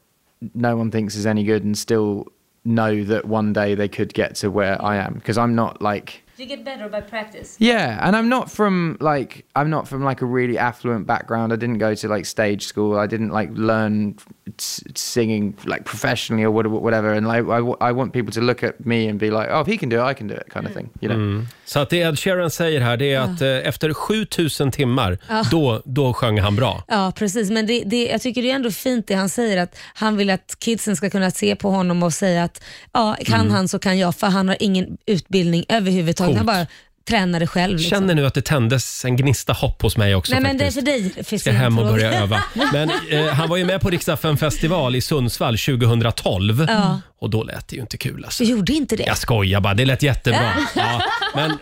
[SPEAKER 7] no one thinks is any good, and still know that one day they could get to where I am because I'm not like.
[SPEAKER 2] You get better by practice.
[SPEAKER 7] Yeah, and I'm not from like I'm not from like a really affluent background. I didn't go to like stage school. I didn't like learn s- singing like professionally or whatever. whatever. And like I, w- I want people to look at me and be like, oh, if he can do it, I can do it, kind of thing. You know?
[SPEAKER 1] Så att det Ed Sheeran säger här det är att eh, efter 7000 timmar, då, då sjöng han bra.
[SPEAKER 2] Ja, precis. Men det, det, jag tycker det är ändå fint det han säger, att han vill att kidsen ska kunna se på honom och säga att ja, kan
[SPEAKER 1] Mm.
[SPEAKER 2] han så kan jag, för han har ingen utbildning överhuvudtaget. Han
[SPEAKER 1] Coolt.
[SPEAKER 2] bara tränar det själv. Liksom.
[SPEAKER 1] Känner nu att det tändes en gnista hopp hos mig också
[SPEAKER 2] Nej, men det är
[SPEAKER 1] faktiskt.
[SPEAKER 2] för dig. Fisk,
[SPEAKER 1] ska hem och börja öva. Men eh, han var ju med på Riksdagen festival i Sundsvall 2012 och då lät det ju inte kul alltså.
[SPEAKER 2] Du *laughs* gjorde inte det?
[SPEAKER 1] Jag skojar bara, det lät jättebra. Ja, men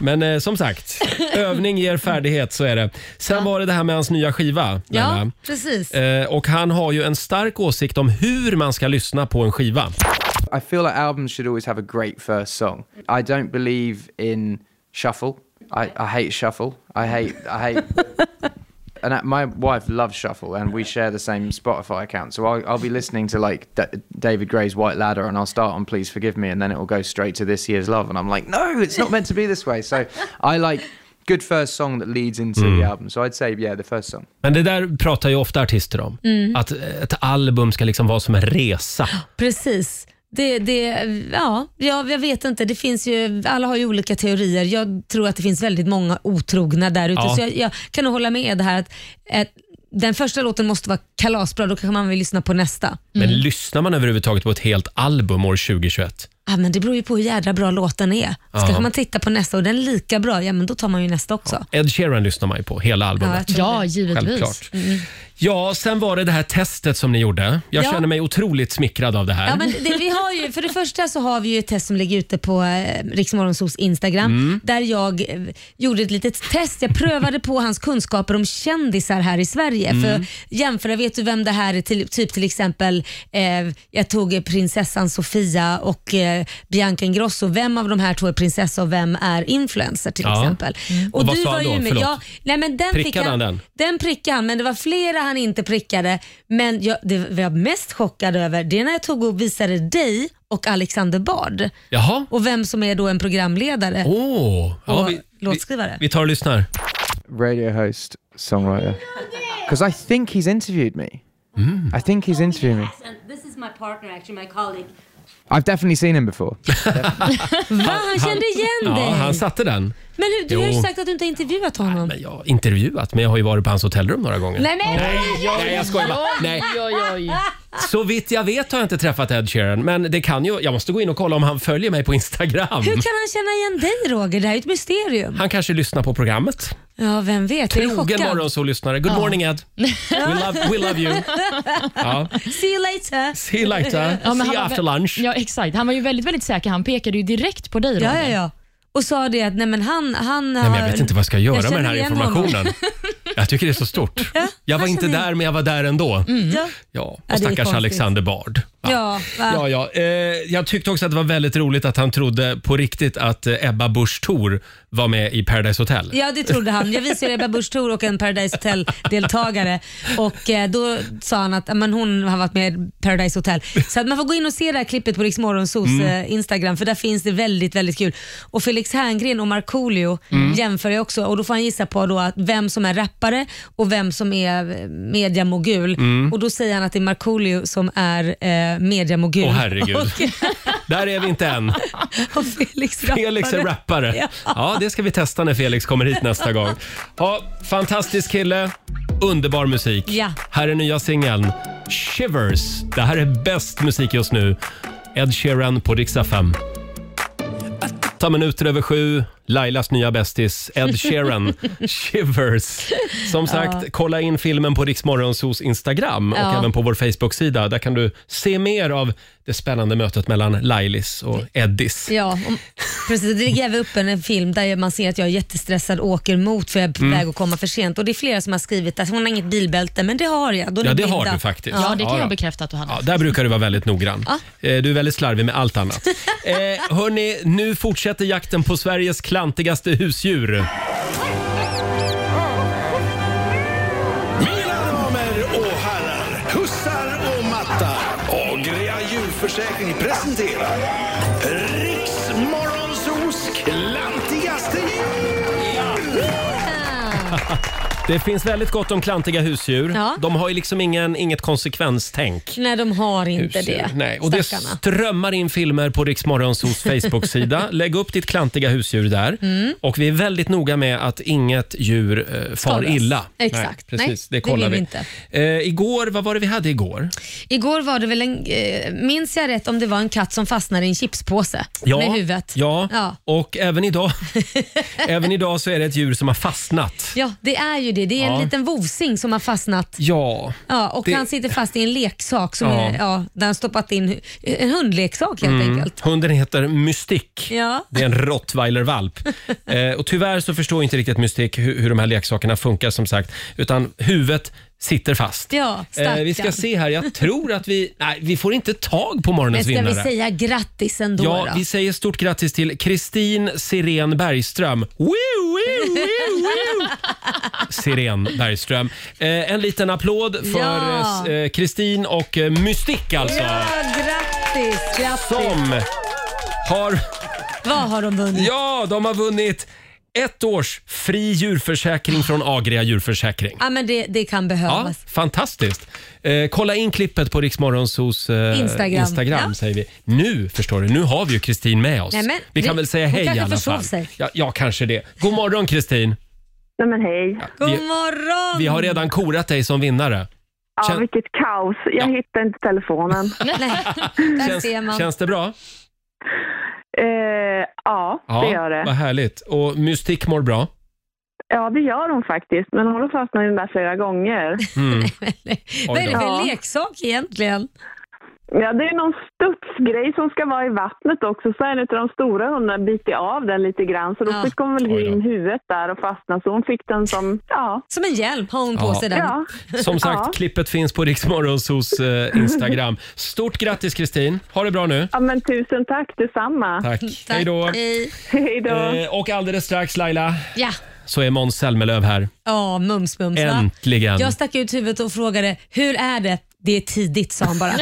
[SPEAKER 1] men eh, som sagt, övning ger färdighet, så är det. Sen var det det här med hans nya skiva.
[SPEAKER 2] Ja,
[SPEAKER 1] Laila.
[SPEAKER 2] precis.
[SPEAKER 1] Eh, och han har ju en stark åsikt om hur man ska lyssna på en skiva.
[SPEAKER 7] I feel like albums should always have a great first song. I don't believe in shuffle. I, I hate shuffle. I hate I hate. and uh, my wife loves shuffle, and we share the same Spotify account. So I'll, I'll be listening to like D- David Gray's White Ladder, and I'll start on Please Forgive Me, and then it will go straight to This Year's Love, and I'm like, no, it's not meant to be this way. So I like good first song that leads into the album. So I'd say yeah, the first song.
[SPEAKER 1] Men det där pratar ju ofta artister om. Att ett album ska liksom vara som en resa.
[SPEAKER 2] Precis. Det, det, ja, jag, jag vet inte. Det finns ju, alla har ju olika teorier. Jag tror att det finns väldigt många otrogna där ute.
[SPEAKER 1] Ja.
[SPEAKER 2] Så jag, jag kan nog hålla med det här att, att den första låten måste vara kalasbra, då kanske man vill lyssna på nästa.
[SPEAKER 1] Men lyssnar man överhuvudtaget på ett helt album år 2021?
[SPEAKER 2] Ah, men det beror ju på hur jädra bra låten är. Så kanske man tittar på nästa och den är lika bra, ja men då tar man ju nästa också.
[SPEAKER 1] Ed Sheeran lyssnar man ju på, hela albumet.
[SPEAKER 2] Ja, jag tror
[SPEAKER 3] Ja,
[SPEAKER 2] det.
[SPEAKER 3] givetvis.
[SPEAKER 1] Självklart. Ja, sen var det det här testet som ni gjorde. Jag
[SPEAKER 2] Ja.
[SPEAKER 1] känner mig otroligt smickrad av det här.
[SPEAKER 2] Ja, men det, vi har ju, för det första så har vi ju ett test som ligger ute på eh, Riksmorgonsols Instagram
[SPEAKER 1] Mm.
[SPEAKER 2] där jag eh, gjorde ett litet test. Jag prövade på hans kunskaper om kändisar här i Sverige.
[SPEAKER 1] Mm.
[SPEAKER 2] För jämföra, vet du vem det här är? Till, typ till exempel, eh, jag tog prinsessan Sofia och eh, Bianca Ingrosso. Vem av de här två är prinsessa och vem är influencer till
[SPEAKER 1] Ja. Mm.
[SPEAKER 2] exempel?
[SPEAKER 1] Och vad sa han då?
[SPEAKER 2] med.
[SPEAKER 1] Förlåt.
[SPEAKER 2] Ja, nej, men den fick
[SPEAKER 1] Prickade han den?
[SPEAKER 2] den prickade han, men det var flera han inte prickade. Men jag, det var jag mest chockad över, det är när jag tog och visade dig och Alexander Bard.
[SPEAKER 1] Jaha.
[SPEAKER 2] Och vem som är då en programledare
[SPEAKER 1] Åh. Ja,
[SPEAKER 2] och
[SPEAKER 1] vi, vi,
[SPEAKER 2] låtskrivare.
[SPEAKER 1] vi tar och lyssnar.
[SPEAKER 7] radio host, songwriter. Because I think he's interviewed me. I think he's interviewed me.
[SPEAKER 1] Oh.
[SPEAKER 8] This is my partner, actually, my colleague.
[SPEAKER 7] I've definitely seen him *laughs* before.
[SPEAKER 2] Va? Ah, Han kände igen dig?
[SPEAKER 1] Ja, han satte den.
[SPEAKER 2] Men hur, du har ju
[SPEAKER 1] Jo.
[SPEAKER 2] sagt att du inte har intervjuat honom.
[SPEAKER 1] Men jag har intervjuat, men jag har ju varit på hans hotellrum några gånger.
[SPEAKER 2] *laughs* Nej, men,
[SPEAKER 1] Nej, jag skojar bara. Nej.
[SPEAKER 3] Oj, oj, oj.
[SPEAKER 1] Så vitt jag vet har jag inte träffat Ed Sheeran, men det kan ju... Jag måste gå in och kolla om han följer mig på Instagram.
[SPEAKER 2] Hur kan han känna igen dig Roger? Det här är ju ett mysterium.
[SPEAKER 1] Han kanske lyssnar på programmet.
[SPEAKER 2] Ja, vem vet? jag är
[SPEAKER 1] Trogen
[SPEAKER 2] chockad.
[SPEAKER 1] morgonsålyssnare. Good morning
[SPEAKER 2] *laughs*
[SPEAKER 1] Ed. We love, we love you. Ja.
[SPEAKER 2] See you later.
[SPEAKER 1] See you later.
[SPEAKER 3] Ja, men
[SPEAKER 1] See
[SPEAKER 3] han
[SPEAKER 1] you
[SPEAKER 3] var
[SPEAKER 1] after
[SPEAKER 3] vä-
[SPEAKER 1] lunch.
[SPEAKER 3] Ja, exakt. Han var ju väldigt, väldigt säker. Han pekade ju direkt på dig, Roger.
[SPEAKER 2] Ja, ja, ja. Och sa det att nej men han, han *laughs*
[SPEAKER 1] Nej, men jag vet inte vad jag ska göra med den här informationen. Jag tycker det är så stort.
[SPEAKER 2] Ja,
[SPEAKER 1] Jag var
[SPEAKER 2] här
[SPEAKER 1] inte
[SPEAKER 2] känner Mm.
[SPEAKER 1] där, men jag var där ändå.
[SPEAKER 2] Ja.
[SPEAKER 1] Ja,
[SPEAKER 2] det är
[SPEAKER 1] och stackars
[SPEAKER 2] konstigt.
[SPEAKER 1] Alexander Bard. va?
[SPEAKER 2] Ja, va?
[SPEAKER 1] Ja, ja. Eh, jag tyckte också att det var väldigt roligt att han trodde på riktigt att eh, Ebba Busch Thor var med i Paradise Hotel.
[SPEAKER 2] Ja, det trodde han. Jag visade Ebba Busch Thor och en Paradise Hotel-deltagare och eh, då sa han att "Ja, men hon har varit med i Paradise Hotel. Så att man får gå in och se det här klippet på Rix Morgonzos
[SPEAKER 1] Mm.
[SPEAKER 2] eh, Instagram för där finns det väldigt, väldigt kul. Och Felix Herngren och Markoolio
[SPEAKER 1] Mm.
[SPEAKER 2] jämför jag också och då får han gissa på då att vem som är rappare och vem som är eh, mediamogul.
[SPEAKER 1] Mm.
[SPEAKER 2] Och då säger han att det är Markoolio som är eh, mediamogul.
[SPEAKER 1] Åh herregud. Där är vi inte än.
[SPEAKER 2] *laughs* Och, och Felix,
[SPEAKER 1] Felix är
[SPEAKER 2] rappare.
[SPEAKER 1] rappare.
[SPEAKER 2] Ja.
[SPEAKER 1] Ja, det ska vi testa när Felix kommer hit nästa gång. Ja, fantastisk kille, underbar musik.
[SPEAKER 2] Ja.
[SPEAKER 1] Här är nya singeln Shivers. Det här är bäst musik just nu. Ed Sheeran på riksdag 5. Åtta minuter över sju. Lailas nya bästis Ed
[SPEAKER 2] *laughs*
[SPEAKER 1] Sheeran, Shivers. Som sagt, kolla in filmen på Riksmorgonsos Instagram och
[SPEAKER 2] Ja.
[SPEAKER 1] även på vår Facebook-sida. Där kan du se mer av det spännande mötet mellan Lailis och Eddis.
[SPEAKER 2] *laughs* Ja, om, precis. Det ligger även upp en film där man ser att jag är jättestressad och åker mot för jag är på
[SPEAKER 1] Mm.
[SPEAKER 2] väg att komma för sent. Och Det är flera som har skrivit att hon har inget bilbälte, men det har jag. Då är
[SPEAKER 1] Ja,
[SPEAKER 2] ni
[SPEAKER 1] det har
[SPEAKER 2] blinda.
[SPEAKER 1] du faktiskt.
[SPEAKER 3] Ja, det kan
[SPEAKER 1] Ja, ja.
[SPEAKER 3] jag bekräfta att du hade.
[SPEAKER 1] Ja, där brukar du vara väldigt noggrann. Eh, Du är väldigt slarvig med allt
[SPEAKER 2] *laughs*
[SPEAKER 1] annat. Eh, hörni, nu fortsätter jakten på Sveriges klantigaste husdjur.
[SPEAKER 4] Mina damer och herrar, hussar och mattar. Agria djurförsäkring presenterar Riksmorgonsos klantigaste djur.
[SPEAKER 1] Det finns väldigt gott om klantiga husdjur.
[SPEAKER 2] Ja.
[SPEAKER 1] De har ju liksom ingen, inget konsekvenstänk.
[SPEAKER 2] Nej, de har inte
[SPEAKER 1] Husdjur.
[SPEAKER 2] det.
[SPEAKER 1] Nej, och det
[SPEAKER 2] stackarna.
[SPEAKER 1] strömmar in filmer på Riksmorgonsos
[SPEAKER 2] *laughs*
[SPEAKER 1] Facebook-sida. Lägg upp ditt klantiga husdjur där.
[SPEAKER 2] Mm.
[SPEAKER 1] Och vi är väldigt noga med att inget djur eh, far
[SPEAKER 2] Skadas.
[SPEAKER 1] illa.
[SPEAKER 2] Exakt.
[SPEAKER 1] Nej, precis.
[SPEAKER 2] Nej,
[SPEAKER 1] det
[SPEAKER 2] det
[SPEAKER 1] kollar
[SPEAKER 2] vill vi
[SPEAKER 1] vi.
[SPEAKER 2] inte.
[SPEAKER 1] Eh, igår, vad var det vi hade igår?
[SPEAKER 2] Igår var det väl en, eh, minns jag rätt, om det var en katt som fastnade i en chipspåse med huvudet.
[SPEAKER 1] Ja,
[SPEAKER 2] Ja.
[SPEAKER 1] och även
[SPEAKER 2] *laughs*
[SPEAKER 1] idag, även idag så är det ett djur som har fastnat.
[SPEAKER 2] Ja, det är ju det. Det är
[SPEAKER 1] Ja.
[SPEAKER 2] en liten vovsing som har fastnat.
[SPEAKER 1] Ja,
[SPEAKER 2] Ja, och
[SPEAKER 1] Det-
[SPEAKER 2] han sitter fast i en leksak som
[SPEAKER 1] Ja. Mm.
[SPEAKER 2] Är, ja, där han stoppat in en hundleksak helt enkelt.
[SPEAKER 1] hunden heter Mystik.
[SPEAKER 2] Ja.
[SPEAKER 1] Det är en rottweilervalp.
[SPEAKER 2] *laughs*
[SPEAKER 1] eh, och tyvärr så förstår inte riktigt Mystik hur, hur de här leksakerna funkar som sagt, utan huvudet sitter fast.
[SPEAKER 2] Ja,
[SPEAKER 1] Eh, vi ska
[SPEAKER 2] stackarn.
[SPEAKER 1] se här, jag tror att vi... Nej, vi får inte tag på
[SPEAKER 2] Men
[SPEAKER 1] morgonens
[SPEAKER 2] ska vi
[SPEAKER 1] vinnare.
[SPEAKER 2] säga grattis ändå?
[SPEAKER 1] Ja,
[SPEAKER 2] då?
[SPEAKER 1] vi säger stort grattis till Kristin Siren Bergström. Woo, woo, woo, woo. Siren Bergström. Eh, en liten applåd
[SPEAKER 2] Ja.
[SPEAKER 1] för eh, Kristin och eh, Mystik alltså.
[SPEAKER 2] Ja, grattis! grattis.
[SPEAKER 1] Som har...
[SPEAKER 2] Vad har de vunnit?
[SPEAKER 1] Ja, de har vunnit ett års fri djurförsäkring från Agria djurförsäkring.
[SPEAKER 2] Ja, men det, det kan
[SPEAKER 1] Ja,
[SPEAKER 2] behövas.
[SPEAKER 1] fantastiskt. Eh, kolla in klippet på Riksmorgonsos eh,
[SPEAKER 2] Instagram.
[SPEAKER 1] Instagram
[SPEAKER 2] Ja.
[SPEAKER 1] säger vi. Nu förstår du, nu har vi ju Kristin med oss.
[SPEAKER 2] Nej, men
[SPEAKER 1] vi kan
[SPEAKER 2] det-
[SPEAKER 1] väl säga
[SPEAKER 2] hon
[SPEAKER 1] hej i
[SPEAKER 2] kanske
[SPEAKER 1] alla
[SPEAKER 2] försov
[SPEAKER 1] fall.
[SPEAKER 2] sig.
[SPEAKER 1] Ja, ja, kanske det. God morgon Kristin.
[SPEAKER 5] Nej men hej.
[SPEAKER 2] God
[SPEAKER 1] Vi,
[SPEAKER 2] morgon!
[SPEAKER 1] vi har redan korat dig som vinnare.
[SPEAKER 5] Ja,
[SPEAKER 1] Kän-
[SPEAKER 5] vilket kaos. Jag hittar inte *laughs* telefonen.
[SPEAKER 2] Nej, där ser man.
[SPEAKER 1] Känns, känns det bra?
[SPEAKER 5] Eh, ja, det gör
[SPEAKER 1] Vad
[SPEAKER 5] det.
[SPEAKER 1] härligt. Och Mystik mår bra?
[SPEAKER 5] Ja, det gör hon faktiskt. Men hon har fastnat i den där flera gånger.
[SPEAKER 1] Mm.
[SPEAKER 2] Vad är det för
[SPEAKER 5] Ja.
[SPEAKER 2] leksak egentligen?
[SPEAKER 5] Ja, det är någon studsgrej som ska vara i vattnet också. Så en av de stora hundarna biter av den lite grann. Så då
[SPEAKER 2] Ja.
[SPEAKER 5] fick hon
[SPEAKER 1] Oj
[SPEAKER 5] väl
[SPEAKER 1] då.
[SPEAKER 5] in huvudet där och fastna. Så hon fick den som, ja.
[SPEAKER 2] Som en hjälm har hon på
[SPEAKER 1] Ja.
[SPEAKER 2] sig den.
[SPEAKER 5] ja.
[SPEAKER 1] Som sagt,
[SPEAKER 5] Ja.
[SPEAKER 1] klippet finns på Riksmorgonsos eh, Instagram. Stort grattis Kristin. Ha det bra nu.
[SPEAKER 5] ja, men tusen tack detsamma.
[SPEAKER 1] Tack.
[SPEAKER 2] Tack.
[SPEAKER 1] Hej då.
[SPEAKER 2] Hej.
[SPEAKER 5] *laughs* Hej då.
[SPEAKER 1] Eh, och alldeles strax Laila
[SPEAKER 2] Ja,
[SPEAKER 1] så är Måns Zelmerlöw här.
[SPEAKER 2] ja mums mums va?
[SPEAKER 1] Äntligen!
[SPEAKER 2] Jag stack ut huvudet och frågade hur är det? Det är tidigt sa han
[SPEAKER 5] *laughs*
[SPEAKER 2] bara.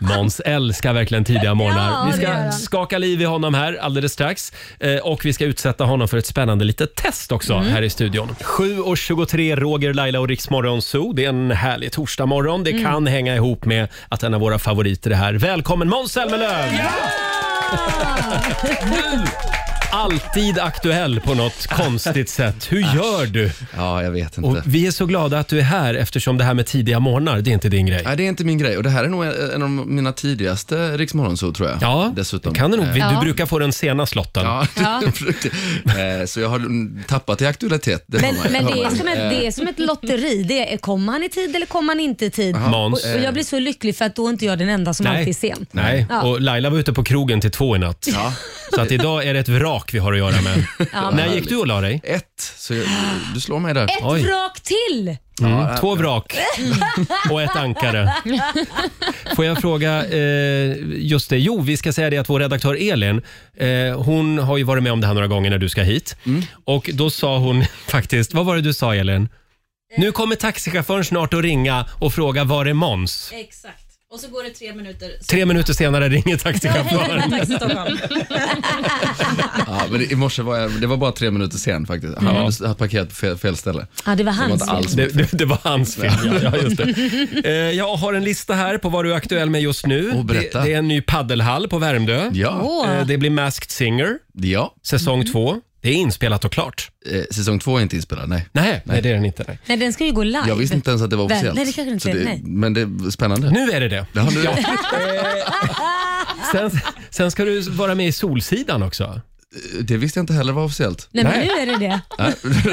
[SPEAKER 1] Måns älskar verkligen tidiga morgnar.
[SPEAKER 2] Ja,
[SPEAKER 1] vi
[SPEAKER 2] det gör
[SPEAKER 1] ska
[SPEAKER 2] han.
[SPEAKER 1] skaka liv i honom här alldeles strax. Eh, och vi ska utsätta honom för ett spännande litet test också
[SPEAKER 2] Mm.
[SPEAKER 1] här i studion. 7.23, Roger, Laila och Riksmorgon Zoo. Det är en härlig torsdagmorgon.
[SPEAKER 2] Mm.
[SPEAKER 1] Det kan hänga ihop med att en av våra favoriter är här. Välkommen Måns Zelmerlöw! Nu! Alltid aktuell på något konstigt sätt. Hur gör du?
[SPEAKER 9] Ja, jag vet
[SPEAKER 1] Och
[SPEAKER 9] inte.
[SPEAKER 1] vi är så glada att du är här eftersom det här med tidiga morgnar, det är inte din grej.
[SPEAKER 9] Nej, det är inte min grej. Och det här är nog en av mina tidigaste Rix Morgonzoo, tror jag.
[SPEAKER 1] Ja,
[SPEAKER 9] dessutom. Eh,
[SPEAKER 1] kan det nog. Du
[SPEAKER 3] Ja.
[SPEAKER 1] brukar få den sena slotten.
[SPEAKER 9] Ja, *laughs* jag försökte. Eh, så jag har mm, tappat i aktualitet. Det har
[SPEAKER 2] Men,
[SPEAKER 9] man-
[SPEAKER 2] men
[SPEAKER 9] har
[SPEAKER 2] det, är
[SPEAKER 9] man.
[SPEAKER 2] som
[SPEAKER 9] Eh,
[SPEAKER 2] ett, det är som ett lotteri. Det är, kommer han i tid eller kommer han inte i tid?
[SPEAKER 1] Måns.
[SPEAKER 2] Och, och jag blir så lycklig för att då är inte jag den enda som
[SPEAKER 1] Nej.
[SPEAKER 2] alltid är sen.
[SPEAKER 1] Nej,
[SPEAKER 2] Ja.
[SPEAKER 1] och Laila var ute på krogen till två i natt.
[SPEAKER 9] Ja.
[SPEAKER 1] Så att idag är det ett vrak vi har att göra med. När gick du och la dig?
[SPEAKER 9] Ett, så jag, du slår mig där.
[SPEAKER 2] Ett
[SPEAKER 1] Oj.
[SPEAKER 2] vrak till!
[SPEAKER 1] Mm, två vrak och ett ankare. Får jag fråga, eh, just det, jo vi ska säga det att vår redaktör Elin, eh, hon har ju varit med om det här några gånger när du ska hit. Och då sa hon *laughs* faktiskt, vad var det du sa Elin? Nu kommer taxichauffören snart att ringa och fråga var är Måns?
[SPEAKER 10] Exakt. Och så går det tre minuter.
[SPEAKER 1] Tre minuter senare ringer
[SPEAKER 9] *laughs*
[SPEAKER 1] taxichauffören.
[SPEAKER 9] Ja, men i morse var jag, det var bara tre minuter sen faktiskt. Han hade hade parkerat på fel, fel ställe.
[SPEAKER 2] Ja, det var
[SPEAKER 9] Det var
[SPEAKER 2] hans
[SPEAKER 9] inte
[SPEAKER 2] fel.
[SPEAKER 9] alls
[SPEAKER 1] Det, det, det var hans fel. Ja, ja, just
[SPEAKER 9] *laughs*
[SPEAKER 1] det. Eh, jag har en lista här på vad du är aktuell med just nu.
[SPEAKER 9] Åh, berätta.
[SPEAKER 1] det, det är en ny paddelhall på Värmdö.
[SPEAKER 9] Ja,
[SPEAKER 2] Åh. Mm.
[SPEAKER 1] Eh, Det blir Masked Singer,
[SPEAKER 9] ja.
[SPEAKER 1] säsong två. Det är inspelat och klart.
[SPEAKER 9] Eh, säsong två är inte inspelad, nej.
[SPEAKER 1] Nej, nej. det är den inte. Nej.
[SPEAKER 2] Nej, den ska ju gå live.
[SPEAKER 9] Jag visste inte ens att det var
[SPEAKER 2] Väl-
[SPEAKER 9] officiellt.
[SPEAKER 2] nej, det kanske inte
[SPEAKER 9] Så
[SPEAKER 2] är,
[SPEAKER 9] det-
[SPEAKER 2] nej.
[SPEAKER 9] Men det är spännande.
[SPEAKER 1] Nu är det det.
[SPEAKER 9] Ja, nu,
[SPEAKER 1] Sen, sen ska du vara med i Solsidan också.
[SPEAKER 9] Det visste jag inte heller var officiellt.
[SPEAKER 2] Nej, men
[SPEAKER 1] Nej.
[SPEAKER 2] nu är det
[SPEAKER 9] *laughs*
[SPEAKER 2] det.
[SPEAKER 9] Nej,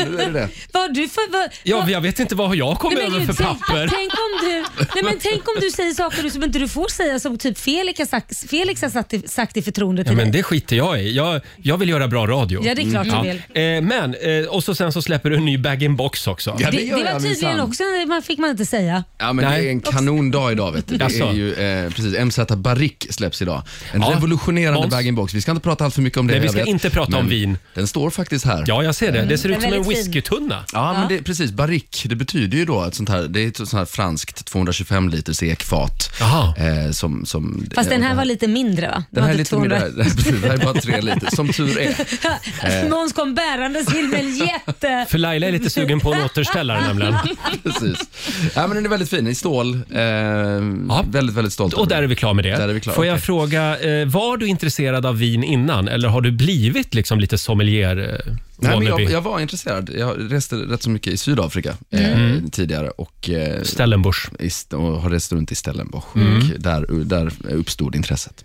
[SPEAKER 9] nu är det det.
[SPEAKER 2] Vad har du för... Vad,
[SPEAKER 1] Ja,
[SPEAKER 2] vad-
[SPEAKER 1] jag vet inte vad jag kom
[SPEAKER 2] Nej, men
[SPEAKER 1] över
[SPEAKER 2] gud,
[SPEAKER 1] för
[SPEAKER 2] tänk,
[SPEAKER 1] papper.
[SPEAKER 2] Tänk om, du, nej, men tänk om du säger saker som inte du får säga som typ Felix har sagt, Felix har sagt, i, sagt i förtroende
[SPEAKER 1] Ja,
[SPEAKER 2] till
[SPEAKER 1] men
[SPEAKER 2] dig.
[SPEAKER 1] det skiter jag i. Jag, jag vill göra bra radio.
[SPEAKER 2] Ja, det är klart du
[SPEAKER 9] Mm.
[SPEAKER 2] vill.
[SPEAKER 1] Eh, men, eh, och så sen så släpper du en ny bag-in-box också.
[SPEAKER 9] Ja,
[SPEAKER 2] Det,
[SPEAKER 9] gör
[SPEAKER 2] det var
[SPEAKER 9] jag
[SPEAKER 2] tydligen
[SPEAKER 9] minsann.
[SPEAKER 2] också, man fick man inte säga.
[SPEAKER 9] Ja, men
[SPEAKER 1] Nej.
[SPEAKER 9] det är en kanondag idag. Vet du. Det
[SPEAKER 1] Jaså?
[SPEAKER 9] är ju, eh, precis, MZ Barrick släpps idag. En
[SPEAKER 1] Ja.
[SPEAKER 9] revolutionerande
[SPEAKER 1] Måns?
[SPEAKER 9] bag-in-box. Vi ska inte prata allt för mycket om det.
[SPEAKER 1] Nej, vi ska
[SPEAKER 9] jag vet.
[SPEAKER 1] inte prata om
[SPEAKER 9] Men
[SPEAKER 1] vin.
[SPEAKER 9] Den står faktiskt här.
[SPEAKER 1] Ja, jag ser det. Det ser
[SPEAKER 2] Mm,
[SPEAKER 1] ut
[SPEAKER 2] den
[SPEAKER 1] som
[SPEAKER 2] är
[SPEAKER 1] en
[SPEAKER 2] väldigt fin.
[SPEAKER 1] whiskytunna.
[SPEAKER 9] Ja, men det, precis. Barrick, det betyder ju då ett sånt här, det är ett sånt här franskt 225 liters ekfat.
[SPEAKER 1] Jaha.
[SPEAKER 9] Eh, som, som,
[SPEAKER 2] Fast den
[SPEAKER 9] eh,
[SPEAKER 2] här var lite mindre va? Det
[SPEAKER 9] den
[SPEAKER 2] var typ
[SPEAKER 9] här är
[SPEAKER 2] inte 200. *laughs*
[SPEAKER 9] lite mer där. Precis, *laughs* det här är bara tre liter, som tur *laughs* är. Eh.
[SPEAKER 2] Måns kom bärandes till med en jätte...
[SPEAKER 1] För Laila är lite sugen på en återställare
[SPEAKER 9] *laughs*
[SPEAKER 1] nämligen.
[SPEAKER 9] Precis. Ja, men den är väldigt fin, i stål. Eh, Väldigt, väldigt stolt.
[SPEAKER 1] Och
[SPEAKER 9] över
[SPEAKER 1] där är
[SPEAKER 9] den.
[SPEAKER 1] vi klar med det.
[SPEAKER 9] Där är vi klar,
[SPEAKER 1] Får jag
[SPEAKER 9] okej.
[SPEAKER 1] fråga, eh, var du intresserad av vin innan eller har du blivit liksom lite sommelier eh,
[SPEAKER 9] Nej, men
[SPEAKER 1] wannabe?
[SPEAKER 9] jag, jag var intresserad. Jag reste rätt så mycket i Sydafrika
[SPEAKER 1] Mm.
[SPEAKER 9] eh, tidigare och, eh,
[SPEAKER 1] Stellenbosch.
[SPEAKER 9] i st- och har rest runt i Stellenbosch.
[SPEAKER 1] Mm.
[SPEAKER 9] Och där, där uppstod intresset.